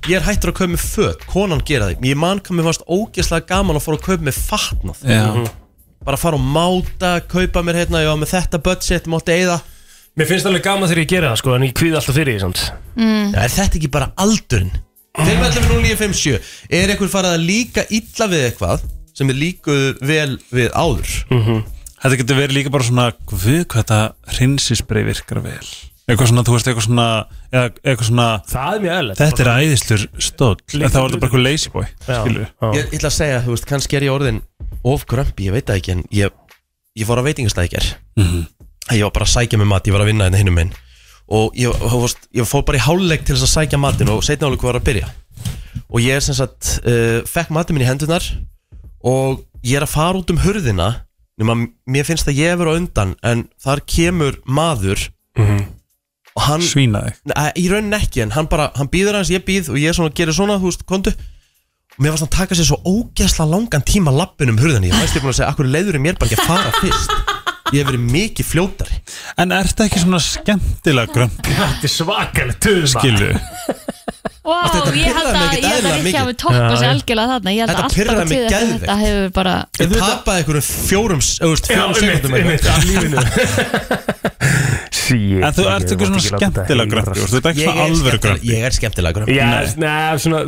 Speaker 1: Ég er hættur að kaupa með föt, konan gera því Ég man hvað mér fannst ógeðslega gaman að fara að kaupa með fatnað
Speaker 5: Já,
Speaker 1: Bara fara og máta, kaupa mér hérna Já, með þetta budget, mátti eigða
Speaker 3: Mér finnst alveg gaman þegar ég gera það sko En ég kvíð alltaf fyrir því samt
Speaker 1: Já, Er þetta ekki bara aldurinn? 512957 Er einhver farið að líka illa við eitthvað sem er líkuð vel við áður
Speaker 5: þetta getur verið líka bara svona Guð, hvað þetta hrinsisbrei virkar vel Eitthvað svona, þú veist, eitthvað svona eða Eitthvað svona,
Speaker 3: Það er mjög eðlert
Speaker 5: þetta er æðislur stóll En þá er þetta bara eitthvað lazy boy, skilur
Speaker 1: Ég ég ætla að segja, þú veist, kannski er ég orðin of grömpi, ég veit það ekki en ég, ég fór að veitingastækjar mm -hmm. Ég var bara að sækja með mat, ég var að vinna hérna hinum minn og ég, þú veist, ég fór bara í hálfleik til þess að sækja matin og setna alveg hvað var að byrja og ég er sem sagt uh, fekk matin minn í hendunar og ég er að fara út um hurðina nema mér finnst að ég er á undan en þar kemur maður og hann
Speaker 5: Svína þig
Speaker 1: Nei, í rauninni ekki, en hann bara, hann býður hans, ég býð og ég svona, gerir svona, þú veist, kontu og mér fannst hann taka sér svo ógeðsla langan tíma lappin um hurðinni, ég veist ég búin að segja akkur leiður ég mér bara ekki að fara fyrst ég hef verið mikið fljótari
Speaker 5: En er þetta ekki svona skemmtilega grömpi,
Speaker 3: Þetta er svakalega töðum
Speaker 5: skilu?
Speaker 2: Vá,
Speaker 1: þetta
Speaker 2: ég
Speaker 1: pirraði
Speaker 2: held
Speaker 1: mig
Speaker 2: að
Speaker 1: ekkert
Speaker 2: ég held
Speaker 1: eðlilega
Speaker 2: að Rikki
Speaker 1: mikið.
Speaker 2: hafi toppað
Speaker 3: Já,
Speaker 2: sér
Speaker 3: já.
Speaker 2: algjörlega þarna Ég held
Speaker 1: Þetta
Speaker 2: að
Speaker 1: pirraði
Speaker 2: alltaf
Speaker 1: mig
Speaker 2: tíð eftir þetta hefur bara
Speaker 1: ég tapaði einhverjum fjórum, auðvist, fjórum sekundum
Speaker 3: Sýr
Speaker 5: En þú ert ekki svona skemmtilega grömpi, þú veist, þetta er ekki
Speaker 1: ég
Speaker 5: svona
Speaker 1: er,
Speaker 5: alvöru
Speaker 1: skemmtilega,
Speaker 5: grömpi
Speaker 1: ég er skemmtilega grömpi
Speaker 3: Já, neða, svona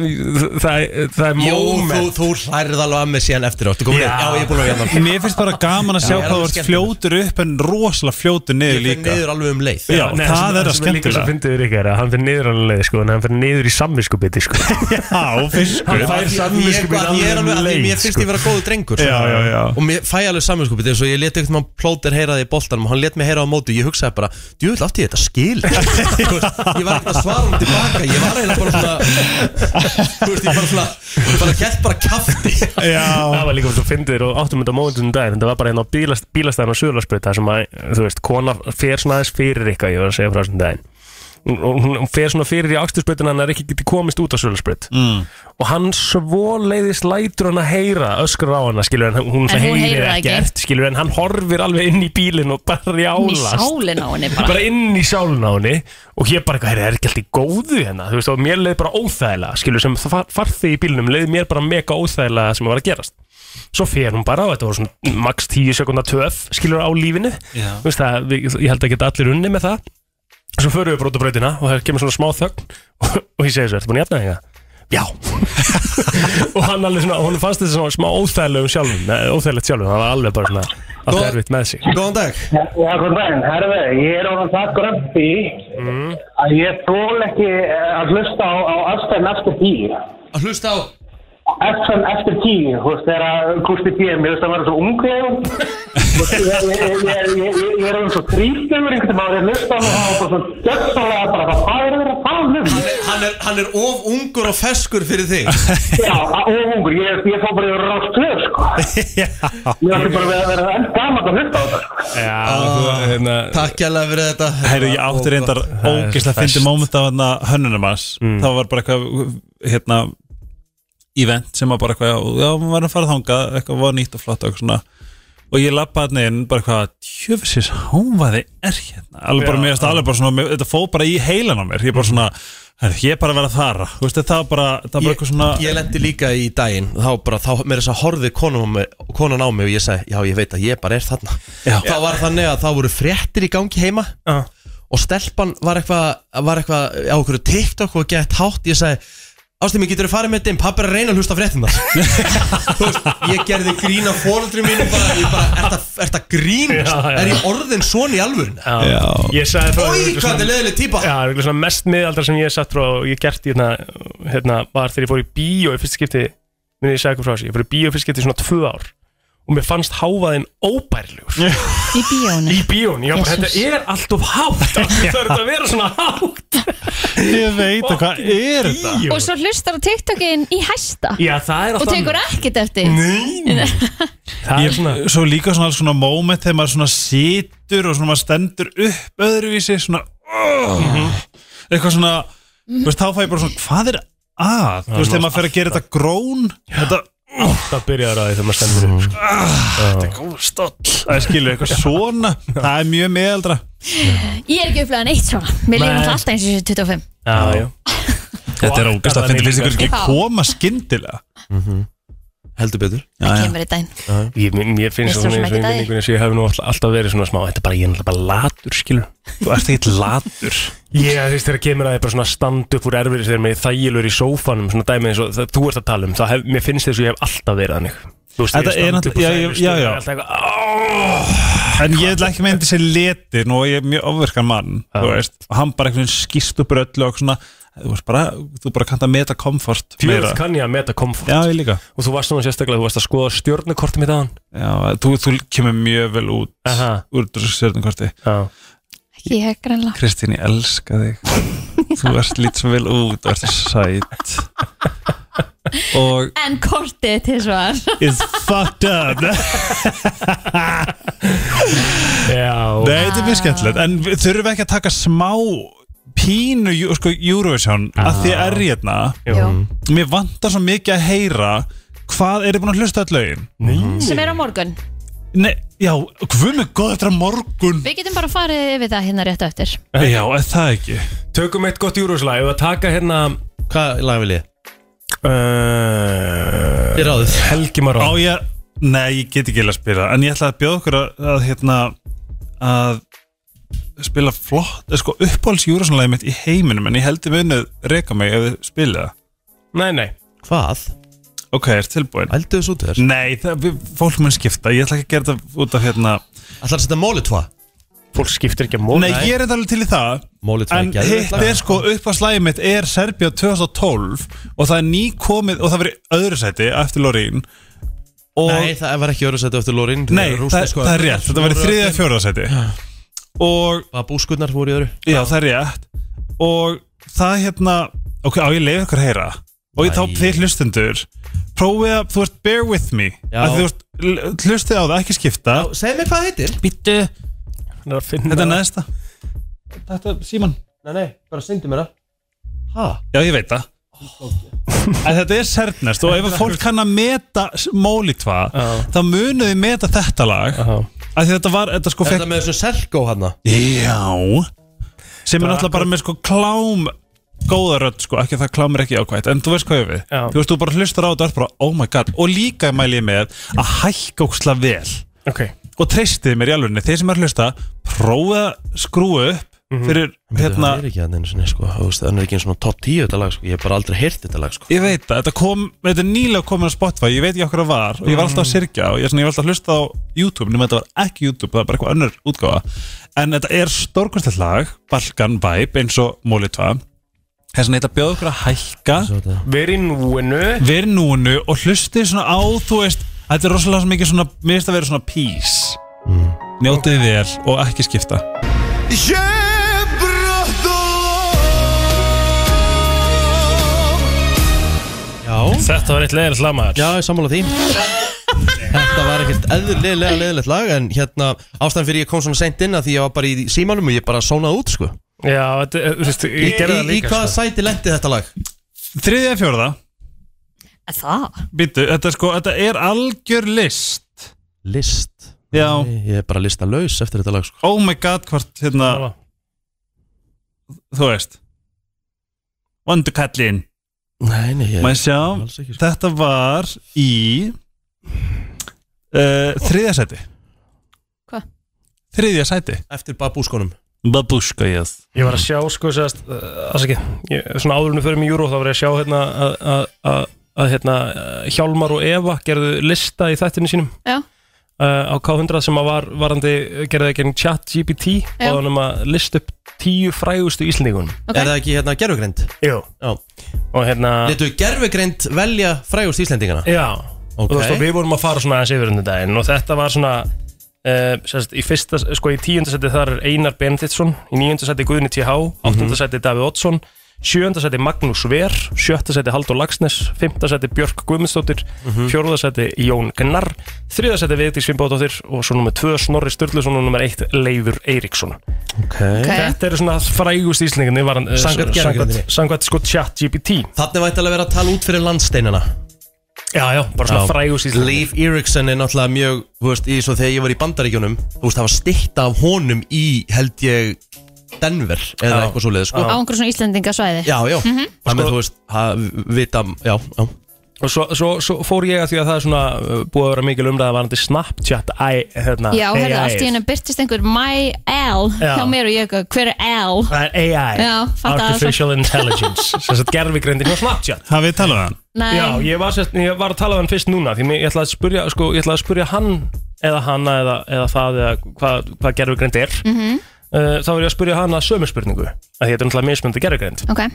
Speaker 3: Það, það er
Speaker 1: Jó, þú,
Speaker 3: moment
Speaker 1: þú hlærið alveg að mig síðan eftir á Ertu komin
Speaker 3: Já.
Speaker 1: niður? Já, ég er búin að vera hérna
Speaker 5: Mér finnst bara gaman að sjá
Speaker 1: Já,
Speaker 5: hvað þú
Speaker 1: alveg
Speaker 5: ert
Speaker 1: skemmtilegt.
Speaker 5: fljótur upp en rosalega fljótur niður
Speaker 1: Ég fer
Speaker 5: líka
Speaker 1: niður alveg um leið
Speaker 5: Já,
Speaker 3: Nei,
Speaker 5: það er að
Speaker 3: sem líka svo
Speaker 5: skemmtilega
Speaker 3: fyndið við Rikki er að hann fyrir niður alveg leið sko, en hann fyrir niður í samviskubiti sko.
Speaker 5: Já, fiskur
Speaker 3: Hann fær
Speaker 1: Ég, ég,
Speaker 3: samviskubiti
Speaker 1: ég er
Speaker 3: alveg um
Speaker 1: alveg að því
Speaker 3: leið
Speaker 1: mér finnst ég vera góðu drengur
Speaker 5: Já, já, já.
Speaker 1: Og mér fæ alveg saminskupið eins og ég let ekkert mann plóter heyra því í boltanum og hann let mig heyra á móti og ég hugsaði bara djúvill átti ég þetta skil Þú veist, Ég var ekkert að svara hún tilbaka Ég var eiginlega bara svona Þú veist, ég bara svona ég bara gett bara kafti
Speaker 5: Já,
Speaker 3: Það var líka svo fyndir og áttum þetta mómentum dag þetta var bara hérna á bílast, bílastæðan á Suðurlandsbreyta sem að, þú veist, kona fer svona aðeins fyrir ykkar, ég var að segja frá þessum daginn Hún- og hún hún fer svona fyrir í ákstisbreytina hann er ekki getið komist út á Suðurlandsbreyt mm. og hann svo leiðis lætur hann að heyra öskur á hana, skilur en
Speaker 2: En
Speaker 3: hún, hún
Speaker 2: hún heyrir
Speaker 3: heyrir
Speaker 2: það ekki.
Speaker 3: ekkert, skilur en hann horfir alveg inn í bílinn og bara
Speaker 2: inn í
Speaker 3: jálast
Speaker 2: sálin á henni bara
Speaker 3: bara inn í sálun á henni og ég bara, "Heyrðu, er ekki allt í góðu hérna þú veist, og mér leiði bara óþægilega, skilur sem far, farþið í bílnum, leiði mér bara mega óþægilega sem var að gerast svo fer hún bara á, þetta voru svona max 10 sekundar töf, skilur á lífinu
Speaker 5: Já.
Speaker 3: Þú veist, það, við, ég held að geta allir unni með það svo förum við brota brautina og það kemur svona smá þögn og, og ég segi svo, ertu búin að jafna þig það? Já og hann alveg svona, hún fannst þetta svona smá óþægilegum sjálfum, nei, óþægilegt sjálfum, það var alveg bara svona allt
Speaker 1: Góð-
Speaker 3: erfitt með sig
Speaker 1: Góðan dag
Speaker 8: Já, hvað bæn, herðu, ég er orðan það grömpi að ég þól ekki eh, að hlusta á, á FM eftir tíu.
Speaker 1: Að hlusta á
Speaker 8: FM eftir tíu, þú veist, þegar að Gústi B. Mér veist að vera svo unglegum. Ég ég- ég- ég- ég- ég er orðin svo þrýstöfur einhvern veginn, maður er hlusta á og það var bara svo döksalega bara, hvað hvað er það að tala um?
Speaker 1: Hann er, hann er of ungur og feskur fyrir þig
Speaker 8: Já, og ungur, ég, ég fór bara yfir rátt tvö, sko. Ég ætti bara að vera enn gaman að hlusta á þetta, sko.
Speaker 3: Já, þú, hérna,
Speaker 1: Takk hérlega fyrir þetta
Speaker 5: Herru, ég átti reyndar
Speaker 3: Það er
Speaker 5: ógeðslega að
Speaker 3: fest.
Speaker 5: fyndi móment af hérna hönnunum hans Það var bara eitthvað, hérna event sem var bara eitthvað, já, já, við varum að fara þangað eitthvað var nýtt og flott og eitthvað svona og ég lappa hann inn, bara eitthvað tjöfisins, hómaði er hérna alveg bara,
Speaker 3: Já,
Speaker 5: mér finnst
Speaker 3: já.
Speaker 5: alveg bara svona, mér, þetta fó bara í heilan á mér, ég bara svona herri, ég er bara að vera þara, þú veist, það var bara það var bara eitthvað svona,
Speaker 1: Ég lendi líka í daginn Þá bara, þá með þess að horfið konan á mig, konan á mig Og ég sagði, já ég veit að ég bara er þarna já. Það var þannig að þá voru fréttir í gangi heima já. Og stelpan var eitthvað Var eitthvað á okkur TikTok Og gett hátt, ég sagði Ástími, getur þú farið með þeim, pappi er að reyna að hlusta á fréttina Þú veist, ég gerði grín af fóröldri mínu bara, ég bara, er það, er það grínast?
Speaker 3: Já, já.
Speaker 1: Er ég orðin svona í alvörun?
Speaker 3: Já. Ég sagði frá
Speaker 1: Oj, hvað þetta er leiðileg típa
Speaker 3: Já, það er svona mest miðaldra sem ég hef sagt frá og ég gert í hérna, hérna var þegar ég fór í bíó í fyrst skipti minn ég sagði ykkur frá þessu, ég fór í bíó í fyrst skipti í svona tvö ár og mér fannst háfaðinn óbærilegur
Speaker 2: Í bíónu
Speaker 3: Í bíónu, já, bara, þetta er allt of hátt það er þetta að vera svona hátt
Speaker 5: ég veit að hvað er þetta
Speaker 2: Og svo hlustar á TikTokin í hæsta
Speaker 5: Já, það er allt
Speaker 2: Og tekur
Speaker 5: annað.
Speaker 2: ekkert eftir Nei
Speaker 5: ég, svo líka svona, alls svona moment þegar maður svona situr og svona maður stendur upp öðruvísi svona oh, eitthvað svona þú veist, þá fæ ég bara svona hvað er að þú veist þegar maður fer að gera þetta grón þetta
Speaker 3: Það byrjar að því þegar maður stendur upp sko.
Speaker 5: þetta er góð stóll það er skilu eitthvað svona það er mjög meðaldra
Speaker 2: Ég er ekki upplegað neitt svona Mér
Speaker 5: Nei.
Speaker 2: lífum alltaf eins og ég sé 25
Speaker 3: já, já.
Speaker 5: þetta er ógæst að finna fyrst ykkur ekki
Speaker 2: Já.
Speaker 5: koma skyndilega
Speaker 1: heldur betur
Speaker 2: Það kemur í daginn
Speaker 3: Ég, mér- mér finnst
Speaker 2: Veist
Speaker 3: það
Speaker 2: þú svona
Speaker 3: svona eins og
Speaker 2: ekkert að því?
Speaker 3: einvinningunni sem ég hef nú all- alltaf verið svona smá Þetta er bara, ég er náttúrulega bara latur, skilur
Speaker 5: þú ert ekkert latur
Speaker 3: Ég, þú veist, þegar kemur að ég bara svona stand upp úr erfiðis þegar mig þægilur í sófanum, svona dæmi eins og það, þú ert að tala um, það hef, mér finnst þess að ég hef alltaf verið þannig. Þú veist,
Speaker 5: Þetta
Speaker 3: ég
Speaker 5: er
Speaker 3: stand upp úr
Speaker 5: náttúrulega- já,
Speaker 3: þægilegri
Speaker 5: já,
Speaker 3: stöðu,
Speaker 5: já.
Speaker 3: alltaf eitthvað,
Speaker 5: En ég vil ekki meina þessi letin og ég er mjög ofverkan mann þú veist, og hann bara einhvern veginn skýst upp úr öllu og svona, þú veist bara, þú bara kannt að meta komfort
Speaker 3: Fjöld kann ég að meta komfort.
Speaker 5: Já, ég líka
Speaker 3: Og þú varst svona sérstaklega, þú varst að skoða stjórnukortum í dagann.
Speaker 5: Já, þú, þú kemur mjög vel út Aha. úr þessu stjörnukorti
Speaker 2: Ekki ég greinlega
Speaker 5: Kristín, ég elska þig þú ert lít svo vel út þú ert sæt og
Speaker 2: En kortið til svar
Speaker 5: is fucked up
Speaker 3: Já
Speaker 5: Nei, þetta er mjög skemmtilegt En við þurfum ekki að taka smá pínu jú- sko, Eurovision að því er ég hérna Mér vantar svo mikið að heyra Hvað er þið búin að hlusta all lögin?
Speaker 2: Sem er á morgun
Speaker 5: Nei, já, hvað með góð þetta er á morgun
Speaker 2: Við getum bara farið yfir það hérna rétt á eftir
Speaker 5: Já, er það ekki?
Speaker 3: Tökum eitt gott júruslag, ef að taka hérna...
Speaker 1: Hvað lag vil ég?
Speaker 3: Uh,
Speaker 1: Þið ráðið.
Speaker 3: Helgi maður
Speaker 5: Á ég, nei, ég get ekki eiginlega að spila En ég ætla að bjóða okkur að, að hérna að spila flott, eh, sko uppáhalds Eurovision-lagið mitt í heiminum en ég heldur munið reka mig ef þið spila það
Speaker 3: Nei, nei.
Speaker 1: Hvað?
Speaker 5: Ok, er tilbúin
Speaker 1: Ældu þessu út þér?
Speaker 5: Nei, það, við, fólk mun skipta Ég ætla ekki að gera þetta út af hérna
Speaker 1: Ætlar að setja móli tva?
Speaker 3: Fólk skiptir ekki að móli
Speaker 5: Nei, ég er þetta alveg til í það
Speaker 1: Móli tva
Speaker 5: En hitt er sko upp að slæði mitt er Serbia 2012 og það er ný komið og það verið öðru sæti eftir Lorín og
Speaker 1: Nei, það var ekki öru sæti eftir Lorin
Speaker 5: Nei, það, það er rétt, þetta verið þriðja fjóra sæti og
Speaker 1: Búskurnar voru í öru
Speaker 5: já, það er rétt og það hérna ok, á ég leiði ykkur að heyra og ég þá
Speaker 1: Æ.
Speaker 5: þið hlustendur prófið að, þú veist, bear with me
Speaker 1: Já.
Speaker 5: að þú veist, l- hlustið á það, ekki skipta
Speaker 1: Segð mér hvað það heitir
Speaker 5: Býttu, þetta er neðsta Þetta, Síman
Speaker 1: Nei, nei, bara syndi mér það Ha?
Speaker 5: Já, ég veit það En þetta er sernest og ef að fólk kann að meta mólitva þá munuði meta þetta lag uh að þetta var, þetta sko fekk
Speaker 1: Þetta með þessu Selko hana
Speaker 5: Já sem er náttúrulega bara með sko klám góða rödd sko, ekki það klámir ekki ákvæmt en þú veist hvað ég við,
Speaker 3: Já.
Speaker 5: þú veist þú bara hlustar á þetta og ert bara, oh my god, og líka mæli ég með að hækka óksla vel
Speaker 3: Ok,
Speaker 5: og treystið mér í alvegni, þeir sem er að hlusta prófa að skrúa upp fyrir hérna,
Speaker 1: Það er ekki hann einu sinni sko Þú veist, hann er ekki einu svona top 10 þetta lag sko Ég hef bara aldrei heyrt þetta lag sko
Speaker 5: Ég veit það, þetta kom, þetta er nýlega komin á Spotify, ég veit ekki okkur að var og ég var alltaf að sirkja og ég, svona, ég var alltaf að hlusta á YouTube nema þetta var ekki YouTube, það var bara eitthvað önnur útgáfa en þetta er stórkvæmstætt lag Balkan Vibe eins og Hérna Mólitva þess að þetta bjóð okkur að hækka
Speaker 3: verið núinu
Speaker 5: verið núinu og hlustið svona á þú veist, þetta er rosalega mikið svona mér finnst að vera svona peace njótið vel og ekki skipta
Speaker 1: Já
Speaker 3: Þetta var eitt leiðilegt lagmaður
Speaker 1: Já, ég sammála því Þetta var ekkert eðlilega leðilegt lag En hérna, ástæðan fyrir ég kom svona seint inn að Því ég var bara í símanum og ég bara sónaði út sko
Speaker 3: Já, þetta, eh, þú veist,
Speaker 1: Í,
Speaker 3: ég gerði það sko.
Speaker 1: í, í
Speaker 3: líka
Speaker 1: hvaða sæti lendi þetta lag?
Speaker 5: þriðja fjórða
Speaker 2: Það?
Speaker 5: Býtu, þetta, sko, þetta er algjör list
Speaker 1: List?
Speaker 5: Já
Speaker 1: Ég er bara lista laus eftir þetta lag sko.
Speaker 5: Oh my god, hvort hérna Þú veist Vondu kallinn
Speaker 1: Nei, nei, ég
Speaker 5: Maður
Speaker 1: sko.
Speaker 5: sjá, þetta var í uh, Þriðja sæti
Speaker 2: Hva?
Speaker 5: Þriðja sæti
Speaker 1: Eftir babúskonum
Speaker 5: Babúska, yes
Speaker 3: Ég var að sjá, sko, sérst, aðsaki, svona áðurinu fyrir mig í júró, þá var ég að sjá hérna að- að- að að, hérna eh, Hjálmar og Eva gerðu lista í þættinu sínum
Speaker 2: Já.
Speaker 3: uh, á K100 sem að var varandi gerði ekki enn chat GPT
Speaker 2: Já.
Speaker 3: og þannig að lista upp tíu frægustu íslendingun
Speaker 1: Er það ekki hérna gerfugrind?
Speaker 3: Jú
Speaker 1: Já
Speaker 3: Og hérna
Speaker 1: Letu gerfugrind velja frægust Íslendingana?
Speaker 3: Já
Speaker 1: Ok.
Speaker 3: og þú veist og við vorum að fara svona aðeins yfir undir daginn og þetta var svona uh, sérst, í fyrsta, sko í tíunda seti þar er Einar Benediktsson, í níunda seti Guðni TH áttunda
Speaker 6: Mhm.
Speaker 3: seti Davíð Oddsson sjöunda seti Magnús Ver, sjötta seti Haldur Lagsnes, fymta seti Björk Guðmundsdóttir mm
Speaker 6: Mhm.
Speaker 3: fjórða seti Jón Gnarr þriða seti Vigdís Sveinbóðdóttir og svo nummer tvö Snorri Sturluson og nummer eitt Leifur Eiríksson
Speaker 1: Ok
Speaker 3: Þetta eru svona frægust íslendingarnir var hann, eh,
Speaker 1: Samkvæmt gervigrindinni.
Speaker 3: samkvæmt- samkvæmt sko chat GPT
Speaker 1: Þannig vært alveg að vera að tala út fyrir landsteinana
Speaker 3: Já, já, bara svona frægust íslendingar
Speaker 1: Leif Eriksson er náttúrulega mjög, þú veist, í svo þegar ég var í bandaríkjunum Þú veist, það var styrta af honum í, held ég, Denver Eða
Speaker 3: Já. Sko-
Speaker 1: eitthvað svo leiði,
Speaker 2: Á
Speaker 1: sko
Speaker 2: einhverjum svona Íslendingasvæði
Speaker 1: Já, já, mm
Speaker 2: Mhm.
Speaker 1: það með, þú veist, að vita, já, já
Speaker 3: Og svo, svo, svo fór ég að því að það er svona uh, búið að vera mikil umræða varandi Snapchat æ, hérna,
Speaker 2: Já, herðu,
Speaker 3: AI.
Speaker 2: allt í hennu byrtist einhver My L
Speaker 3: Já.
Speaker 2: hjá mér og ég eitthvað, hver er L?
Speaker 3: Það er AI
Speaker 2: Já, fattaði það
Speaker 3: Artificial Intelligence Sem sagt gerfigreindin hjá Snapchat
Speaker 5: Hafið þið talað um hann?
Speaker 2: Nei.
Speaker 3: Já, ég var, sérst, ég var að tala um hann fyrst núna Því mig- ég ætlaði að spurja, sko, ég ætlaði að spurja hann Eða hana, eða, eða það, eða hvað, hvað gerfigreind er mm
Speaker 2: Mhm.
Speaker 3: Þá var ég að spurja hana sömu spurningu Því þetta er náttúrulega mismöndi gerfigreind
Speaker 2: Ok,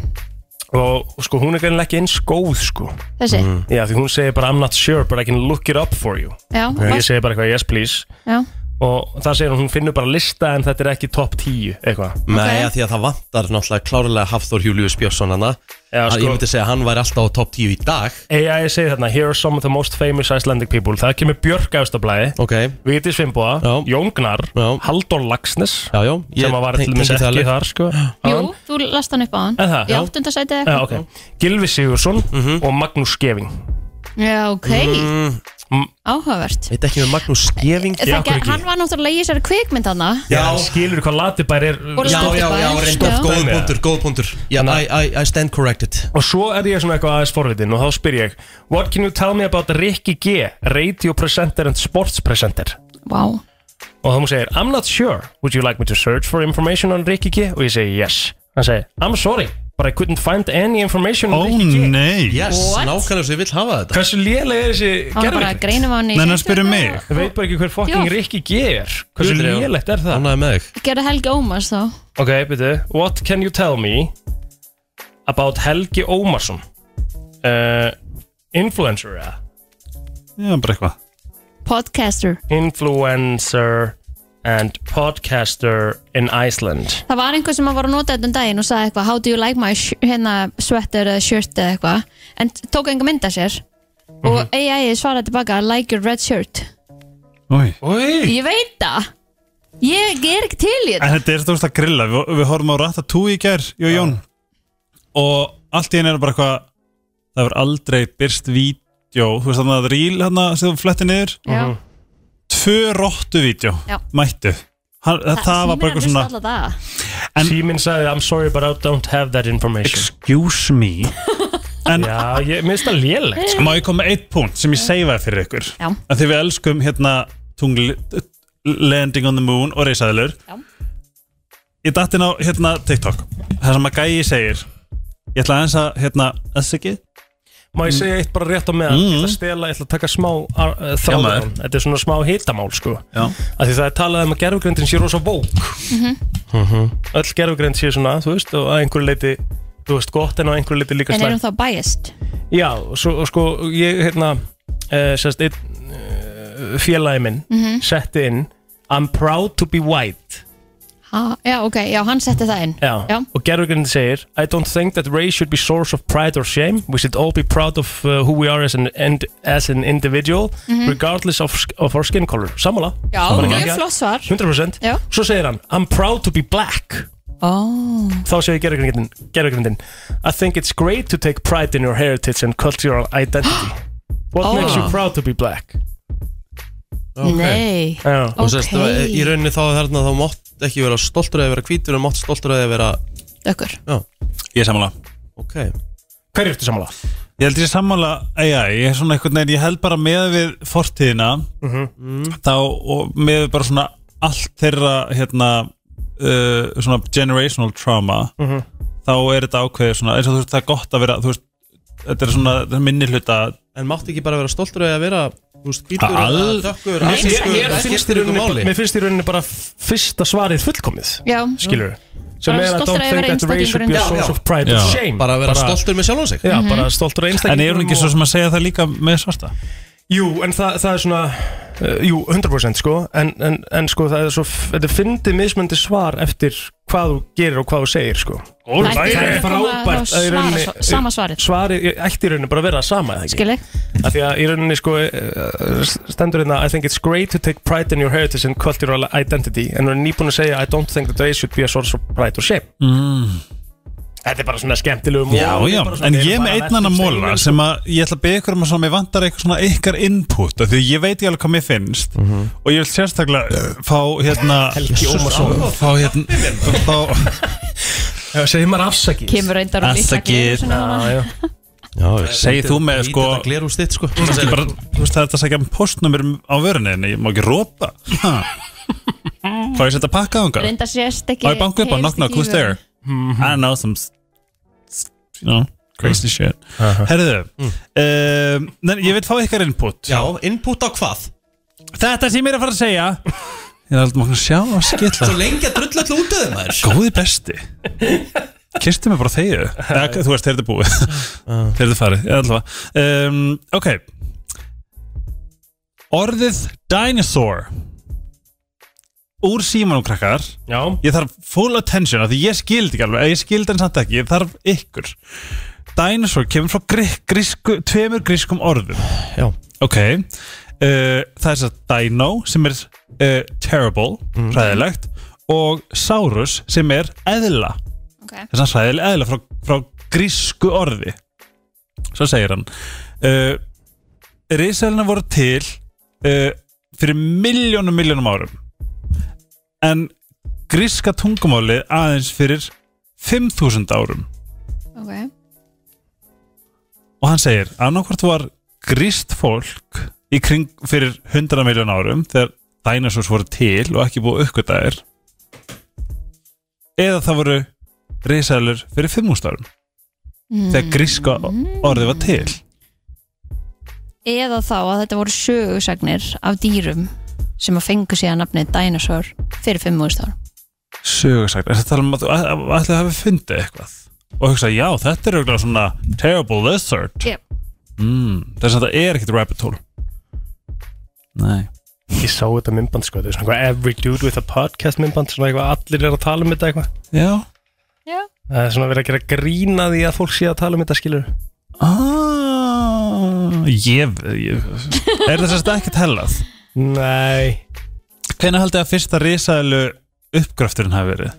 Speaker 3: Og og sko, hún er greinilega ekki eins góð, sko
Speaker 2: þessi
Speaker 3: Já, því hún segir bara I'm not sure, but I can look it up for you
Speaker 2: Já,
Speaker 3: Og
Speaker 2: var-
Speaker 3: Ég segi bara eitthvað, yes please
Speaker 2: Já,
Speaker 3: og það segir hún, hún finnur bara lista en þetta er ekki top 10 eitthvað
Speaker 1: Nei, okay. því að það vantar náttúrulega klárlega Hafþór Július Björnsson hana
Speaker 3: Já,
Speaker 1: Að
Speaker 3: sko.
Speaker 1: ég myndi segja að hann væri alltaf á topp 10 í dag
Speaker 3: AI segir þarna, here are some of the most famous Icelandic people það kemur Björk Æstablaði
Speaker 1: okay.
Speaker 3: Viti Svimboa, Jón Gnar já. Halldór Laxnes
Speaker 1: já, já.
Speaker 3: sem að var til dæmis ekki þar sko,
Speaker 2: jú, þú last hann upp á hann
Speaker 3: Er það?
Speaker 2: Í
Speaker 3: Já.
Speaker 2: áttundasæti
Speaker 3: já, okay. Gilvi Sigursson og Magnús Skeving
Speaker 2: Já, ok,
Speaker 3: Mm.
Speaker 2: áhugavert
Speaker 1: Veit ekki með Magnús Skeving
Speaker 2: Það ger- Hann var náttúrulega í þessari kvikmynd hann
Speaker 3: Já, sko. hann skilur hvað latibær er
Speaker 2: Og Já, já, já, Latabær, reyndar, já.
Speaker 1: Góð punktur, góð punktur yeah, I, I, I stand corrected
Speaker 3: Og svo er ég svona eitthvað aðeins forvitin og þá spyr ég What can you tell me about Ricky G, radio presenter and sports presenter?
Speaker 2: Vá
Speaker 3: Og þá hún segir, I'm not sure, would you like me to search for information on Ricky G? Og ég segi, yes Hann segir, I'm sorry, but I couldn't find any information on
Speaker 5: Ó,
Speaker 3: Ricky G
Speaker 5: nei.
Speaker 1: Yes,
Speaker 2: What?
Speaker 1: nákvæmlega sem ég vil hafa þetta
Speaker 3: Hversu lélega er þessi
Speaker 2: Hann var bara að
Speaker 3: gerðvill?
Speaker 2: greina á um hann í
Speaker 3: Ég veit bara ekki hver fucking
Speaker 2: Já.
Speaker 3: Ricky G er Hversu
Speaker 1: Guðrún,
Speaker 3: lélegt er það?
Speaker 1: Annaði með þig
Speaker 2: Gerði Helgi Ómars þá
Speaker 3: Ok, byrju, what can you tell me about Helgi Ómarsson? Uh, influencer, eða?
Speaker 5: Já, bara eitthvað
Speaker 2: Podcaster
Speaker 3: Influencer and podcaster in Iceland
Speaker 2: Það var einhver sem að var að nota þetta um daginn og sagði eitthvað How do you like my sh- hérna, sweater eða shirt eða eitthvað En t- tók einhver mynda sér
Speaker 3: Mhm.
Speaker 2: Og AI svaraði tilbaka Like your red shirt
Speaker 5: Oi.
Speaker 2: Ég veit það Ég er ekki til í
Speaker 5: En
Speaker 2: þetta
Speaker 5: þetta er stóðst að grilla Við, við horfum á Ratatouille í gær, ég og Jón Og allt í henni er bara eitthvað Það var aldrei byrst vídjó Þú veist þannig að ríl hann sem þú fletti niður
Speaker 2: Já.
Speaker 5: Tvö róttu vídjó
Speaker 2: Já.
Speaker 5: Mættu hann, það, var bara eitthvað svona
Speaker 2: svona
Speaker 3: Síminn sagði, I'm sorry but I don't have that information
Speaker 5: Excuse me en,
Speaker 3: Já, ég minnst það lélegt
Speaker 5: Má ég koma með eitt punkt sem ég seifaði fyrir ykkur
Speaker 2: Já.
Speaker 5: að því við elskum hérna tungl, Landing on the Moon og Reisaðilur
Speaker 2: Já.
Speaker 5: Ég datt inn á hérna TikTok Það sem að gæi segir Ég ætla aðeins að hérna þess ekki
Speaker 3: Má ég segja eitt bara rétt á meðan Ég ætla að
Speaker 5: Mm.
Speaker 3: stela, ég ætla að taka smá uh,
Speaker 5: maður.
Speaker 3: þráðan Þetta er svona smá hitamál sko
Speaker 5: Já.
Speaker 3: Af Því það er talað um að gerfugrindin sé rosa vók
Speaker 2: Mhm.
Speaker 5: Mhm.
Speaker 3: Öll gerfugrind sé svona, þú veist Og að einhverju leiti, þú veist, gott En á einhverju leiti líka
Speaker 2: En erum
Speaker 3: slæmt
Speaker 2: þá biased
Speaker 3: Já, og svo, og sko, ég hérna uh, Sérst, einn uh, félagi minn
Speaker 2: Mhm.
Speaker 3: Setti inn I'm proud to be white
Speaker 2: ha, Já, ok, já, hann setti það inn
Speaker 3: Já.
Speaker 2: Já.
Speaker 3: Og gerfugrindin segir I don't think that race should be source of pride or shame We should all be proud of uh, who we are as an, and, as an individual
Speaker 2: Mhm.
Speaker 3: Regardless of, sk- of our skin color Sammála
Speaker 2: Já,
Speaker 3: Sammála
Speaker 2: mjög
Speaker 3: geggjað.
Speaker 2: flott svar
Speaker 3: 100%
Speaker 2: Já.
Speaker 3: Svo segir hann I'm proud to be black
Speaker 2: oh.
Speaker 3: Þá segir gerðugrindin, gerðugrindin I think it's great to take pride in your heritage and cultural identity What
Speaker 1: Oh.
Speaker 3: makes you proud to be black?
Speaker 2: Nei.
Speaker 3: Já.
Speaker 1: Og sérst,
Speaker 2: Ókei.
Speaker 1: í rauninni þá þarna þá mátt ekki vera stoltur að vera hvítur en mátt stoltur að vera
Speaker 2: Dökkur
Speaker 1: Já,
Speaker 5: Ég er sammála
Speaker 1: ok
Speaker 3: Hver ertu sammála?
Speaker 5: Ég held ég sé sammála, ei, ei, ég er svona einhvern veginn, ég held bara með við fortíðina þá og með við bara svona allt þeirra hérna uh, svona generational trauma
Speaker 3: Mhm.
Speaker 5: þá er þetta ákveðið svona eins og þú veist það er gott að vera, þú veist þetta er svona þetta er minni hluta
Speaker 1: En mátt ekki bara vera stoltur að vera, þú veist, hvítur
Speaker 5: Al-
Speaker 1: eða dökkur,
Speaker 3: Mér-
Speaker 1: asískur,
Speaker 3: mér- mér
Speaker 1: það
Speaker 3: finnst í
Speaker 1: skiptir ykkur
Speaker 3: rauninni-
Speaker 1: máli
Speaker 3: Mér finnst í rauninni bara fyrsta svarið fullkomið
Speaker 2: Já.
Speaker 3: Skilur Sem
Speaker 2: Bara
Speaker 3: er að
Speaker 2: stoltur
Speaker 3: don't
Speaker 2: að
Speaker 3: think
Speaker 2: vera
Speaker 3: that race should be
Speaker 2: hérna.
Speaker 1: einstaklingurinn.
Speaker 3: a
Speaker 1: Já,
Speaker 3: source
Speaker 1: já.
Speaker 3: of pride and
Speaker 5: Já.
Speaker 3: shame
Speaker 1: Bara að vera stoltur með sjálfan sig.
Speaker 3: Já,
Speaker 1: Mhm.
Speaker 3: bara stoltur að
Speaker 5: en
Speaker 3: einstaklingur
Speaker 5: er hún ekki svo sem að segja það líka með svarta
Speaker 3: Jú, en það, það er svona uh, Jú, 100% sko En, en, en sko, það er svo Þetta er fyndið mismöndi svar eftir hvað þú gerir og hvað þú segir sko
Speaker 2: Það ætti
Speaker 3: Það er
Speaker 2: bara að koma þá
Speaker 3: frábært að í
Speaker 2: svara-
Speaker 3: rauninni-
Speaker 2: sva- sama svarið.
Speaker 3: Svarið ætti í rauninni bara að vera það sama eða ekki?
Speaker 2: Skil ég?
Speaker 3: Af því að í rauninni sko eh, stendur hérna I think it's great to take pride in your heritage and cultural identity en hún er nýbúin að segja I don't think that race should be a source of pride or shame
Speaker 5: mm.
Speaker 3: Þetta er bara svona skemmtilegum
Speaker 5: Já, já, en ég er með einn annan sko. móla sem að ég ætla að byggja ykkur um að svona, mér vantar eitthvað svona ykkar input af því að ég veit ég alveg hvað mér finnst og ég vil sérstaklega uh, fá hérna
Speaker 3: Helgi Ómarsson.
Speaker 5: fá hérna fá,
Speaker 3: Já, segir maður afsakið
Speaker 2: Kemur reyndar úr litla glerinu sinni þarna.
Speaker 3: Já, já
Speaker 5: segir þú með sko,
Speaker 1: Lítið að gleru úr stitt, sko
Speaker 5: kannski bara, þú veist það er þetta að segja um postnumir á vörunni en ég má ekki rópa Ha. fá ég að setja pakka á hunga
Speaker 2: Reyndar sést ekki
Speaker 5: Á ég banku upp á
Speaker 2: heyrist
Speaker 5: knock knock,
Speaker 2: ekki í
Speaker 5: who's there? I know some s- s- you know, crazy shit Herðu um, nei, Ég vil fá ykkar input
Speaker 1: Já, input á hvað?
Speaker 5: Þetta sem ég er að fara að segja Ég er aldrei maður að sjá að skilla
Speaker 1: Svo lengi að drull allir út af þeim, maður
Speaker 5: Góði besti Kirstu mig bara þegju Eða, Þú veist, þeir eru búið Þeir eru farið, ég allavega um, Ok Orðið dinosaur Úr símanum krakkar
Speaker 3: Já,
Speaker 5: Ég þarf full attention af því ég skildi ekki alveg, ég skildi hann samt ekki, ég þarf ykkur. Dinosaur kemur frá grík, grísku, tveimur grískum orðum.
Speaker 1: Já.
Speaker 5: Ok, uh, það er þess að dino sem er uh, terrible, hræðilegt, og saurus sem er eðla,
Speaker 2: Ok.
Speaker 5: þess að hræðileg eðla frá, frá grísku orði. Svo segir hann. Uh, Risaðlina voru til uh, fyrir miljónum miljónum árum en gríska tungumálið aðeins fyrir 5000 árum
Speaker 2: Ok.
Speaker 5: og hann segir annarkvort var gríst fólk í kring fyrir 100 miljón árum þegar dinosaurs voru til og ekki búið uppgötaðir eða það voru risaðlur fyrir 5000 árum þegar gríska orðið var til
Speaker 2: Eða þá að þetta voru sögursagnir af dýrum sem að fengu síðan nafnið dinosaur fyrir 5.000 ára
Speaker 5: sögursagt er þetta talað um að þú ætlaði að hafa fundið eitthvað og hugsa já þetta er auðvitað svona terrible lizard
Speaker 2: Yep.
Speaker 5: mm, þess að þetta er ekkit rabbit hole nei
Speaker 3: ég sá þetta myndband sko Þetta er svona eitthvað every dude with a podcast myndband Svona eitthvað allir er að tala um þetta eitthvað
Speaker 5: já
Speaker 2: Já.
Speaker 3: Það er svona verið að gera grína því að fólk sé að tala um þetta skilur
Speaker 5: ah, ég, ég er þess að ekkit hellað
Speaker 3: Nei
Speaker 5: hvernig haldið að fyrsta risaðilu uppgrafturinn hafi verið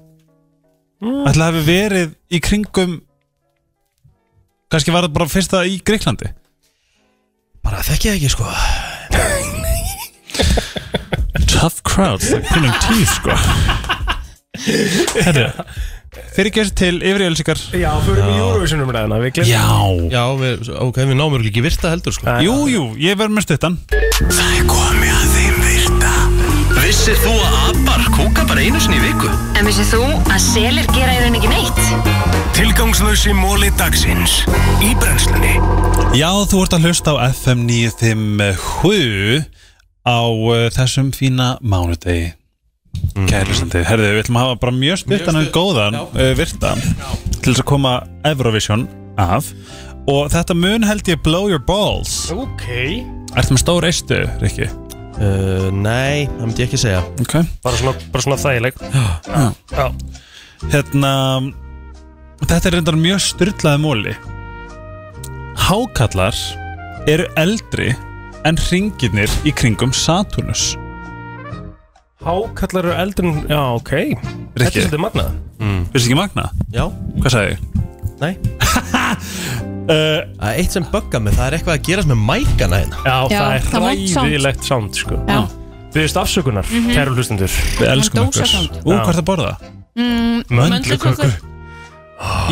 Speaker 5: mm. ætlaði hafi verið í kringum kannski var það bara fyrsta í Greiklandi
Speaker 1: Bara þekki það ekki, sko
Speaker 5: tough crowds like pulling teeth sko Herru Fyrirgjörst til yfirjölusikar
Speaker 3: Já, fyrir við Eurovision umræðina Við glemum
Speaker 5: Já
Speaker 1: Já, við, ok, við náum örugglega ekki virta heldur,
Speaker 3: Ah.
Speaker 1: sko
Speaker 5: Jú, jú, ég verð með stuttan
Speaker 4: Það er komið að þeim virta Vissir þú að abar kúka bara einu sinni í viku?
Speaker 11: En vissið þú að selir gera í rauninni ekki neitt?
Speaker 4: Tilgangslösi móli dagsins Í brennslunni
Speaker 5: Já, þú ert að hlusta á FM 957 á uh, þessum fína mánudegi mm. Kærlustandi, herðu, við ætlum að hafa bara mjög stuttan en góðan uh, virta til þess að koma Eurovision af og þetta mun held ég blow your balls
Speaker 3: Ok
Speaker 5: Ertu með stór eistu, Rikki?
Speaker 1: uh, Nei, það myndi ég ekki segja
Speaker 5: Ok
Speaker 3: Bara svona, bara svona þægileg Já
Speaker 5: hérna þetta er reyndar mjög styrlaði móli hákallar eru eldri en ringirnir í kringum Saturnus
Speaker 3: Hákallar eru eldri en, já, ok Þetta er svolítið magnað
Speaker 5: mm. Fyrst ekki magnað?
Speaker 1: Já
Speaker 5: Hvað sagði ég?
Speaker 1: Nei
Speaker 5: Eh,
Speaker 1: Það er eitt sem bugga mig, það er eitthvað að gerast með mækana hérna
Speaker 3: Já,
Speaker 2: Já,
Speaker 3: það er
Speaker 2: það er vont sound.
Speaker 3: hræðilegt sound, sko
Speaker 2: Já.
Speaker 3: Við veist afsökunar,
Speaker 2: Mhm.
Speaker 3: kæru hlustendur Við
Speaker 2: elskum ykkur. dósasound.
Speaker 5: Ú, hvað ertu að borða?
Speaker 3: Mm-hmm.
Speaker 2: Mm,
Speaker 5: Möndluköku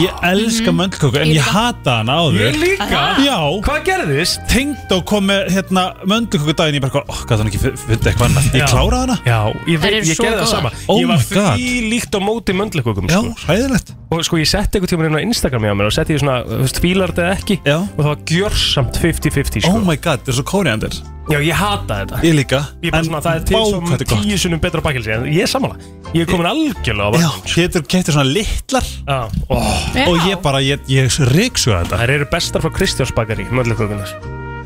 Speaker 5: Ég elska möndluköku en
Speaker 2: Ég
Speaker 5: ég
Speaker 2: líka.
Speaker 5: hata hana áður
Speaker 3: Ég líka?
Speaker 5: Já
Speaker 3: Hvað gerðist?
Speaker 5: Tengd og kom með hérna, möndluköku daginn Ég bara, hvað, oh, gæti hann ekki fu- fundið eitthvað annað
Speaker 3: Já.
Speaker 5: Ég kláraði hana
Speaker 3: Já, ég,
Speaker 5: Þær
Speaker 3: veit,
Speaker 5: eru
Speaker 3: ég
Speaker 5: svo
Speaker 3: gerði það
Speaker 5: góðar.
Speaker 3: sama
Speaker 5: Oh
Speaker 3: Ég var
Speaker 5: my God.
Speaker 3: því líkt á móti möndlukökum
Speaker 5: Já,
Speaker 3: sko.
Speaker 5: hræðilegt
Speaker 3: Og sko, ég setti eitthvað tíma inn á Instagram hjá mér og setti ég svona, þú veist, fílar þetta eða ekki
Speaker 5: Já.
Speaker 3: og það var gjörsamt 50-50 sko.
Speaker 5: Oh my god, þetta er svo kóriandir
Speaker 3: Já, ég hata þetta
Speaker 5: Ég líka
Speaker 3: Ég bara
Speaker 5: En
Speaker 3: svona, það er til
Speaker 5: vá, hvað þetta er
Speaker 3: svona
Speaker 5: gott.
Speaker 3: tíu sunnum betra bakkelsi En ég er sammála Ég er komin algjörlega á
Speaker 5: Já,
Speaker 3: bara
Speaker 5: getur keftir svona litlar
Speaker 3: Já, oh.
Speaker 2: Já.
Speaker 5: Og ég bara, ég, ég ríksu þetta
Speaker 3: Þær eru bestar frá Kristjáns bakari, möllugökunar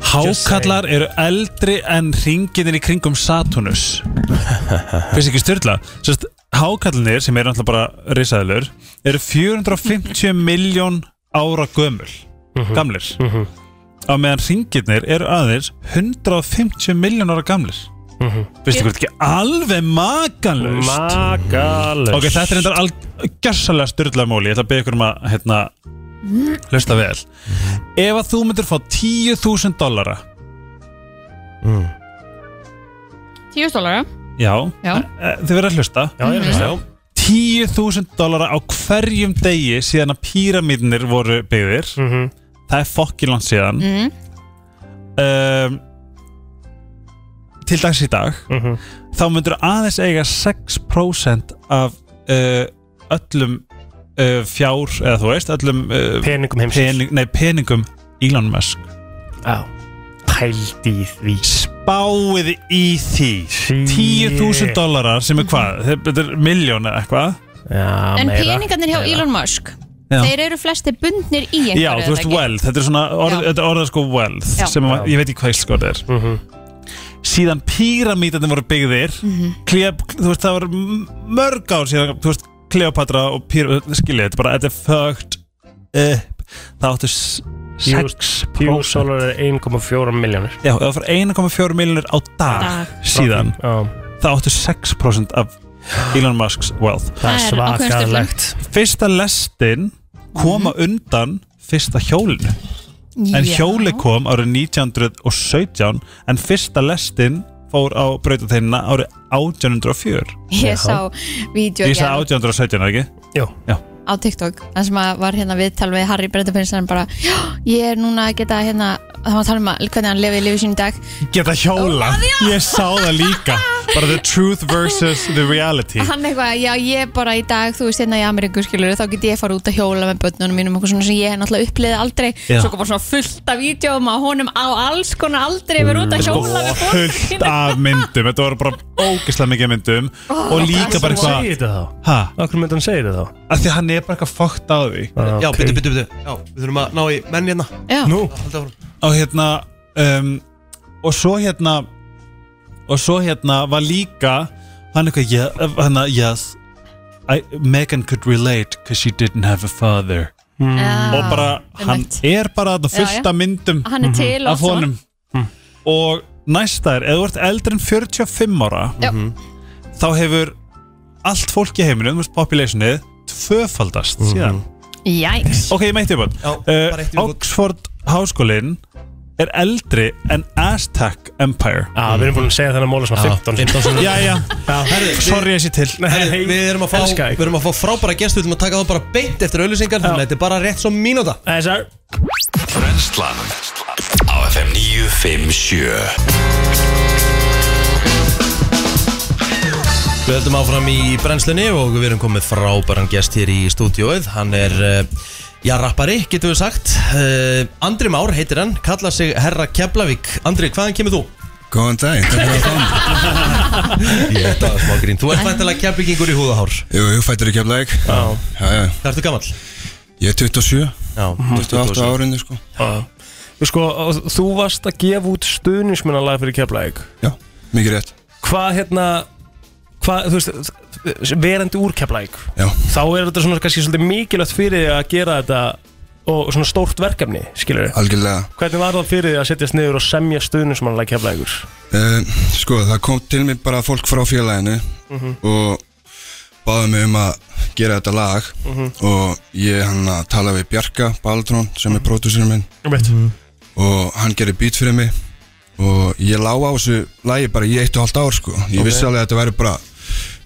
Speaker 5: Hákallar eru eldri en ringinir í kringum Saturnus Finnst ekki styrla Sest, Hákallinir sem eru náttúrulega bara risaðilur eru 450 miljón ára gömul gamlir á meðan ringirnir eru aðeins 150 miljón ára gamlir Finnst ekki ekki alveg makanlaust
Speaker 3: Makalust
Speaker 5: Ok, þetta er endar algjörsalega styrlaði móli Ég ætla að beða ykkur um að hérna, hlusta vel Ef að þú myndir fá 10.000 dollara
Speaker 3: Mm.
Speaker 2: Tíu stólara
Speaker 5: Já,
Speaker 2: Já.
Speaker 5: e, Þið verða að hlusta
Speaker 3: Já, ég er að
Speaker 5: Mm-hmm.
Speaker 3: sjá
Speaker 5: 10.000 dollara á hverjum degi síðan að píramídnir voru byggðir
Speaker 3: Mm-hmm,
Speaker 5: Það er fokkiland síðan
Speaker 2: mm.
Speaker 5: um, Til dags í dag
Speaker 3: mm-hmm.
Speaker 5: Þá myndir aðeins eiga 6% af uh, öllum uh, fjár eða þú veist, öllum uh,
Speaker 3: Peningum heimsins
Speaker 5: pening, nei, peningum Elon Musk
Speaker 3: Já Pældi í því
Speaker 5: Báið í því 10.000 dólarar sem er hvað Þetta er miljón eða eitthvað
Speaker 3: Já,
Speaker 2: En peningarnir hjá Elon Musk
Speaker 5: Já.
Speaker 2: Þeir eru flesti bundnir í einhverju
Speaker 5: Já, þú veist wealth, þetta er svona orð,
Speaker 2: Já.
Speaker 5: þetta er orðað sko wealth
Speaker 2: Já.
Speaker 5: sem að,
Speaker 3: Já.
Speaker 5: ég veit ekki hvað ég sko þetta er
Speaker 3: Mm-hmm.
Speaker 5: síðan píramítarnir voru byggðir mm
Speaker 2: Mhm.
Speaker 5: þú veist, það var m- mörg ár síðan, þú veist, Kleopatra og píramítarnir, skiljið, þetta er bara, þetta er fucked up, það áttu s-
Speaker 3: Jú-
Speaker 5: 6%
Speaker 3: Jú, sólar er 1,4 miljónir
Speaker 5: Já, það var 1,4 miljonir á dag,
Speaker 2: Dag.
Speaker 5: síðan
Speaker 3: Já
Speaker 5: það áttu 6% af Elon Musks wealth
Speaker 2: Það
Speaker 3: Það er
Speaker 2: er á hverjum
Speaker 3: svakalegt
Speaker 5: fyrsta lestin koma
Speaker 2: Mhm.
Speaker 5: undan fyrsta hjólinu en hjóli kom árið 1917 en fyrsta lestin fór á brautategnina árið 1804
Speaker 2: Ég sá vídeo
Speaker 5: ég sagði 1817 er það ekki?
Speaker 3: Jú
Speaker 2: á TikTok þar sem að var hérna viðtal við Harry Brettapins hann bara, já, ég er núna að geta hérna, það var að tala um að hvernig hann lifi lífi sín í dag
Speaker 5: geta hjóla, ég sá það líka bara the truth versus the reality
Speaker 2: hann eitthvað, já, ég bara í dag þú veist hérna í Ameríku skilur, þá get ég fara út að hjóla með börnunum mínum, eitthvað svona sem ég hef náttúrulega uppliðið aldrei,
Speaker 5: Já.
Speaker 2: svo kom bara svona fullt af vídjóum að honum á alls konar aldrei verið út að hjóla með
Speaker 5: Mm. Sko, fullt af myndum, þetta voru bara ógislega mikið af myndum og líka bara eitthvað
Speaker 3: Segir þetta þá?
Speaker 5: ha,
Speaker 3: Akkur myndi hann segja þetta þá?
Speaker 5: af því að hann er bara eitthvað fokkt á því
Speaker 3: Ah,
Speaker 1: Já,
Speaker 3: ok.
Speaker 1: byttu, byttu, byttu Já, við þurfum að ná í menn hérna
Speaker 2: börnum
Speaker 3: Nú
Speaker 1: Halda áfram.
Speaker 5: og hérna um, og svo hérna og svo hérna var líka hann eitthvað yeah, hann að yes I, Megan could relate because she didn't have a father og bara hann
Speaker 2: Ah, einmitt.
Speaker 5: er bara þarna
Speaker 2: Já,
Speaker 5: fullt
Speaker 2: já.
Speaker 5: af myndum
Speaker 2: hann er til og
Speaker 5: Mhm. af honum og næsta er ef þú ert eldri en 45 ára
Speaker 2: Já.
Speaker 5: þá hefur allt fólk í heiminum, þú veist, populationið tvöfaldast síðan
Speaker 2: svona. jæks,
Speaker 5: Ok, ég meitt ég búinn
Speaker 1: Já, bara eitt í
Speaker 5: uh,
Speaker 1: viðbót.
Speaker 5: Oxford háskólin er eldri en Aztec Empire
Speaker 3: Já, við erum búin að segja þennan móla svona 15
Speaker 1: 15
Speaker 5: Já, já, sorry ég sé til
Speaker 1: Herri,
Speaker 3: Nei,
Speaker 1: Við erum að fá,
Speaker 3: elska þig.
Speaker 1: við erum að fá frábæra gestu Við erum að taka þá bara beint eftir auðlýsingar Þannig að þetta er bara rétt svo mínúta
Speaker 3: Nei, sir
Speaker 4: Brenslan Á FM 957
Speaker 1: Við höldum áfram í brennslunni og við erum komið frábæran gest hér í stúdióið Hann er, eh, já, rappari, getum við sagt Eh, Andri Már heitir hann, kallar sig Herra Keflavík Andri, hvaðan kemur þú?
Speaker 12: Góðan dag, takk fyrir að fá mig
Speaker 1: Ég er bara smá grín Þú ert væntalega keflíkingur í húðahár
Speaker 12: Jú, jú, fættur í Keflæk
Speaker 3: Já.
Speaker 12: Já, já,
Speaker 1: Það ertu gamall?
Speaker 12: ég er 27
Speaker 1: Já,
Speaker 12: 28 árinu, sko
Speaker 3: Þú sko, þú varst að gefa út stuðnismennalag fyrir Keflæk
Speaker 12: Já, mikið rétt
Speaker 3: Hvað hérna Hvað, þú veist, verandi úr Keflæk
Speaker 12: Já,
Speaker 3: Þá er þetta svona kannski svolítið mikilvægt fyrir þig að gera þetta og svona stórt verkefni, skilur við
Speaker 12: Algjörlega
Speaker 3: Hvernig var það fyrir því að setjast niður og semja stuðnum sem hann lækja blægur?
Speaker 12: Eh, Sko, það kom til mig bara fólk frá félaginu
Speaker 3: Mhm.
Speaker 12: og báði mig um að gera þetta lag
Speaker 3: Mhm.
Speaker 12: og ég hann að tala við Bjarka Baldrón sem er pródúsirinn minn
Speaker 3: Einmitt. Mhm.
Speaker 12: og hann gerir beat fyrir mig og ég lá á þessu lagi bara í eitt og halvt ár sko ég
Speaker 3: Ok.
Speaker 12: vissi alveg að þetta væri bara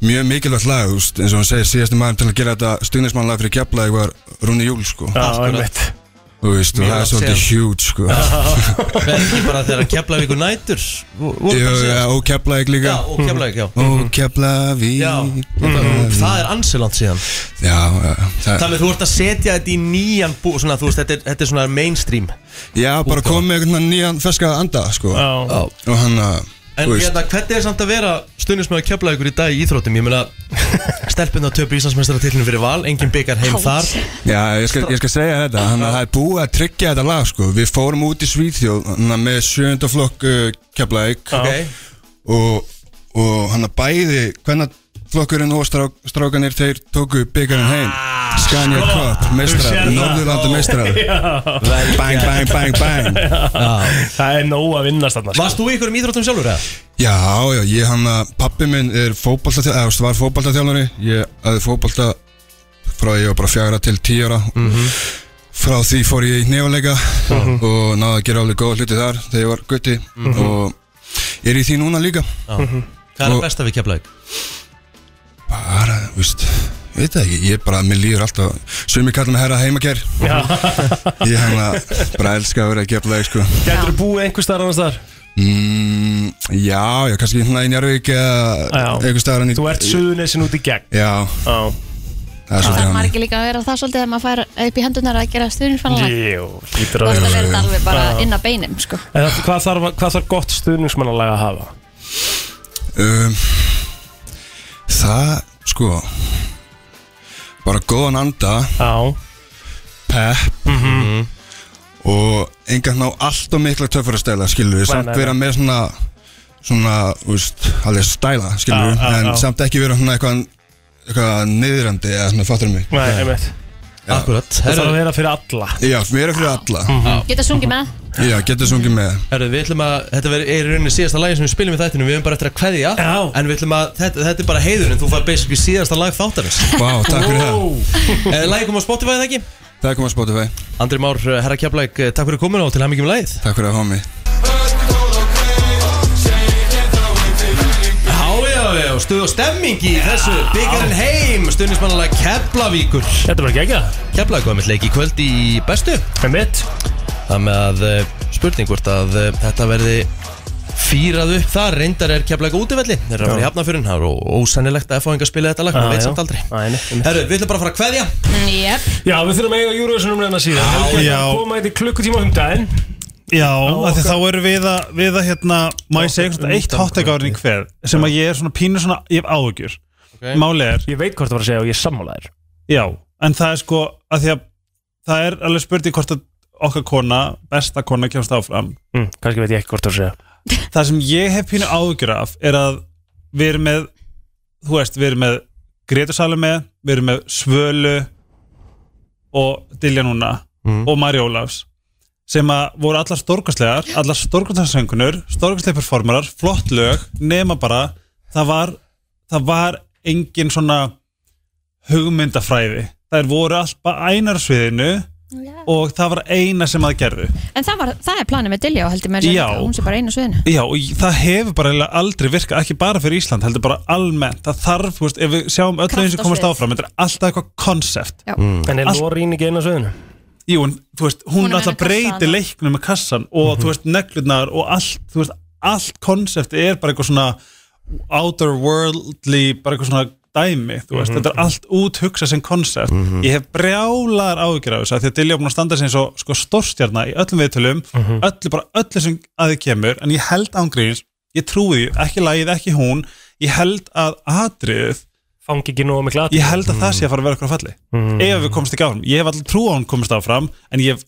Speaker 12: mjög mikilvægt lag þú veist, eins og hann segir síðastu maður til að gera þetta stuðnismannlag fyrir Keflavík var Rúni Júl sko
Speaker 3: Já, um Akkurat. einmitt.
Speaker 12: Þú veist, og
Speaker 1: Mjög
Speaker 12: það er
Speaker 1: langt
Speaker 12: svolítið
Speaker 1: síðan.
Speaker 12: huge sko
Speaker 1: Það er ekki bara þegar Keflavík og nætur
Speaker 12: Jú, já, og Keflavík líka Já,
Speaker 1: og Keflavík, já.
Speaker 12: Og Keflavík Já,
Speaker 1: Það er ansiland síðan
Speaker 12: Já, já, það
Speaker 1: Þannig að þú ert að setja þetta í nýjan bú svona, þú veist, þetta, er, þetta er svona mainstream
Speaker 12: Já, bara komið með einhvern veginn nýjan ferska anda, sko
Speaker 3: Já
Speaker 12: Og hann að,
Speaker 1: En
Speaker 12: þú veist
Speaker 1: hérna, hvernig er samt að vera stundismöðu Keflavíkur í dag í íþróttum? Ég meina, stelpunna töpu Íslandsmeistaratitlunum fyrir val, engin byggar heim þar
Speaker 12: Já, ég skal, ég skal segja þetta, hann að það er búið að tryggja þetta lag, sko Við fórum út í Svíþjóð, hann að með sjönda flokk uh, Keflavík
Speaker 1: Ok.
Speaker 12: Og, og hann að bæði, hvernig flokkurinn og strák, strákanir þeir tóku byggarinn heim Skania Cup, mestrar, Norðurlanda mestrar Bang, bang, bang, bang, bang
Speaker 3: Það er nóg að vinnast þarna sko.
Speaker 1: Varst þú í ykkur um íþróttum sjálfur eða?
Speaker 12: Já, já, ég hann að pappi minn er fótballtatjálari, eða þú veist, var fótballtatjálari Ég aði fótballta frá því ég var bara fjagra til tíara
Speaker 3: Mhm.
Speaker 12: Frá því fór ég í nefnleika og náði að gera alveg góða hluti þar þegar ég var gutti
Speaker 1: Mhm.
Speaker 12: Og er í því núna líka
Speaker 1: Já. Hvað er
Speaker 12: Mhm. Og-
Speaker 1: það besta við Keflavík?
Speaker 12: Bara, þú veist, ég veit það ekki, ég bara, mér líður alltaf Sumi kallar mig herra heimager
Speaker 3: Já.
Speaker 12: Ég hann að bara elska að vera að gefa leik, sko
Speaker 3: Gætur þú búið einhver starf annars þar?
Speaker 12: mm, Já, já, kannski hérna í Njárvík eða einhver staðar hann í
Speaker 3: Þú ert suðunesin út í gegn
Speaker 12: Já
Speaker 3: Já
Speaker 12: Það er svolítið
Speaker 2: Það
Speaker 12: hann
Speaker 2: maður ekki líka að vera það svolítið þegar maður fær upp í hendunar að gera stuðningsfannlag
Speaker 3: Jú,
Speaker 2: Þú
Speaker 3: hlýtur
Speaker 2: ert að vera þetta alveg bara
Speaker 3: Já.
Speaker 2: inn að beinum sko.
Speaker 3: En það- Hvað þarf, hvað þarf gott stuðningsmannalega að hafa?
Speaker 12: um, Það, sko Bara góðan anda
Speaker 3: Já
Speaker 12: Pepp
Speaker 3: Mhm.
Speaker 12: Og engan ná allt og mikla töffara stæla Skilur við,
Speaker 3: Nei, nei,
Speaker 12: samt
Speaker 3: nei.
Speaker 12: vera með svona Svona, úst, alveg stæla Skilur við,
Speaker 3: Já, já,
Speaker 12: en
Speaker 3: já.
Speaker 12: samt ekki vera svona eitthvað Eitthvað niðrandi Eða svona, fattur mig
Speaker 3: Nei, einmitt
Speaker 12: Já.
Speaker 1: Akkurat
Speaker 3: Það þarf að vera fyrir alla
Speaker 12: Já, vera fyrir alla
Speaker 3: Mm.
Speaker 2: Geta sungið með
Speaker 12: Já, getur sungið með
Speaker 1: Herru, við ætlum að, þetta verður- er í rauninni síðasta lagi sem við spilum í þættinu Við höfum bara eftir að kveðja Já. En við ætlum að, þetta, þetta er bara heiðurinn Þú fær basically síðasta lag þáttarins
Speaker 12: Vá, takk fyrir það.
Speaker 1: það Er lagi kom á Spotify eða ekki?
Speaker 12: Það kom á Spotify
Speaker 1: Andri Már, eh, herra Keflæk, eh, takk fyrir komin og til hann mikið um lagið
Speaker 12: Takk fyrir að hafa mig
Speaker 1: Já, já, já, stuð og stemming í þessu Byggarinn heim, stuðnismannalega Keflavíkur
Speaker 3: Þetta var gegja
Speaker 1: Keflavík var mitt leik í kvöld í bestu
Speaker 3: Með mitt
Speaker 1: Það með að eh, spurning hvort að eh, þetta verði fýrað upp þar Reyndar er Keflavík á útivelli Þeir eru að fara í
Speaker 3: Já.
Speaker 1: hafnafyrin Það er ó- ósennilegt að F-fáingar spila þetta lag
Speaker 3: Já,
Speaker 1: Það
Speaker 3: já.
Speaker 1: veit samt aldrei Herru, við ætlum bara að fara að kveðja
Speaker 2: Jep
Speaker 3: Já, við þurfum að eiga Eurovision um reyna síðan Helgi
Speaker 5: já.
Speaker 3: ætlar að koma eitthvað klukkutíma um daginn
Speaker 5: Já, af því
Speaker 3: okkar.
Speaker 5: þá erum við að, við að hérna, má ég segja eitthvað eitt háttegárin í hver sem að ég er svona pínu svona, ég hef áhugjur
Speaker 1: okay.
Speaker 5: Máli er
Speaker 3: Ég veit hvort það var að segja og ég sammála þér
Speaker 5: Já, en það er sko að því að það er alveg spurning hvort að okkar kona, besta kona kemst áfram
Speaker 3: mm, Kannski veit ég ekki hvort það var að segja
Speaker 5: Það sem ég hef pínu áhugjur af er að við erum með þú veist, við erum með Gretur Salome við erum með Svölu og Dilja núna og Mari Ólafs sem að voru allar stórkastlegar, allar stórkastlegar söngunur, stórkastlegar performarar flott lög, nema bara það var, það var engin svona hugmyndafræði þær voru allt bara ænar á sviðinu og það var eina sem að gerðu
Speaker 2: En það, var, það er planið með Dilljá heldur með
Speaker 5: Já.
Speaker 2: Hún sé bara einu sviðinu
Speaker 5: Já, og ég- það hefur bara eiginlega aldrei virkað, ekki bara fyrir Ísland, heldur bara almennt. Það þarf, þú veist, ef við sjáum öll þeim sem
Speaker 3: á
Speaker 5: komast
Speaker 3: svið.
Speaker 5: áfram, þetta er alltaf eitthvað konsept.
Speaker 2: Já.
Speaker 3: Mm. En er Lorín ekki einu sviðinu?
Speaker 5: Jú, en þú veist, hún,
Speaker 3: Hún er
Speaker 5: hún alltaf
Speaker 3: með
Speaker 5: breyti
Speaker 3: kassana.
Speaker 5: leiknum með kassan og
Speaker 3: Mhm.
Speaker 5: þú veist, neglurnar og allt, þú veist, allt konsept er bara eitthvað svona outer worldly, bara eitthvað svona dæmi, þú veist,
Speaker 3: Mhm.
Speaker 5: þetta er allt út hugsað sem konsept. Ég hef brjálar áhyggjur af þessu af því að Dilja er búin að standa sem svo sko, stórstjarna í öllum viðtölum,
Speaker 3: Mhm.
Speaker 5: öllu bara öllu sem að þið kemur, en ég held ángríns, ég trúi því, ekki lagið, ekki hún, ég held að atrið
Speaker 3: Fangi ekki nóg mikla
Speaker 5: Ég held að það sé að fara að vera eitthvað falli
Speaker 3: Mhm.
Speaker 5: Ef við komumst ekki áfram Ég hef alltaf trú á hún komist áfram En ég hef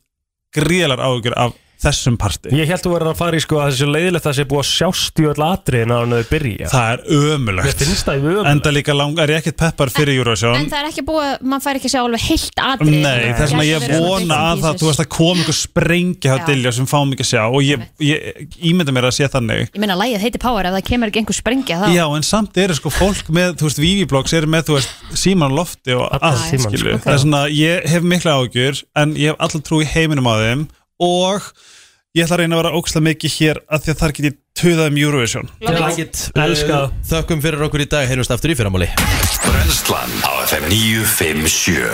Speaker 5: gríðlar áhugur af þessum parti
Speaker 3: Ég held að þú verður að fara í sko að þessu leiðilegt að það sé búið að sjást í öll atriðin á hann að þau byrja
Speaker 5: Það er
Speaker 3: Mér
Speaker 5: ömulegt
Speaker 3: finnst það í ömulegt
Speaker 5: Enda líka langar ég ekkert peppar fyrir Eurovision
Speaker 2: En það er ekki búið, maður fær ekki að sjá alveg heilt atrið
Speaker 5: Nei, þess vegna ég vona að það, þú veist að koma ykkur sprengja hjá Dilja sem fáum ekki að sjá og ég, ég ímynda mér að sé þannig
Speaker 2: Ég meina, lægið heitir Power, ef það kemur ekki einhver sprengja þá
Speaker 5: Já, en samt eru sko fólk með, þú veist, Viviblogs eru með, þú veist, síman á lofti og allt,
Speaker 3: síman,
Speaker 5: skilju.
Speaker 3: sko.
Speaker 5: Það er svona, ég hef mikla ágjur, en ég hef alltaf trú í heiminum á þeim og ég ætla að reyna að vera ógslag mikið hér að því að þar get ég töðað um Eurovision.
Speaker 1: Elskað Þökkum fyrir okkur í dag, heyrjumst aftur í fyrramáli
Speaker 4: Brennslan á FM 957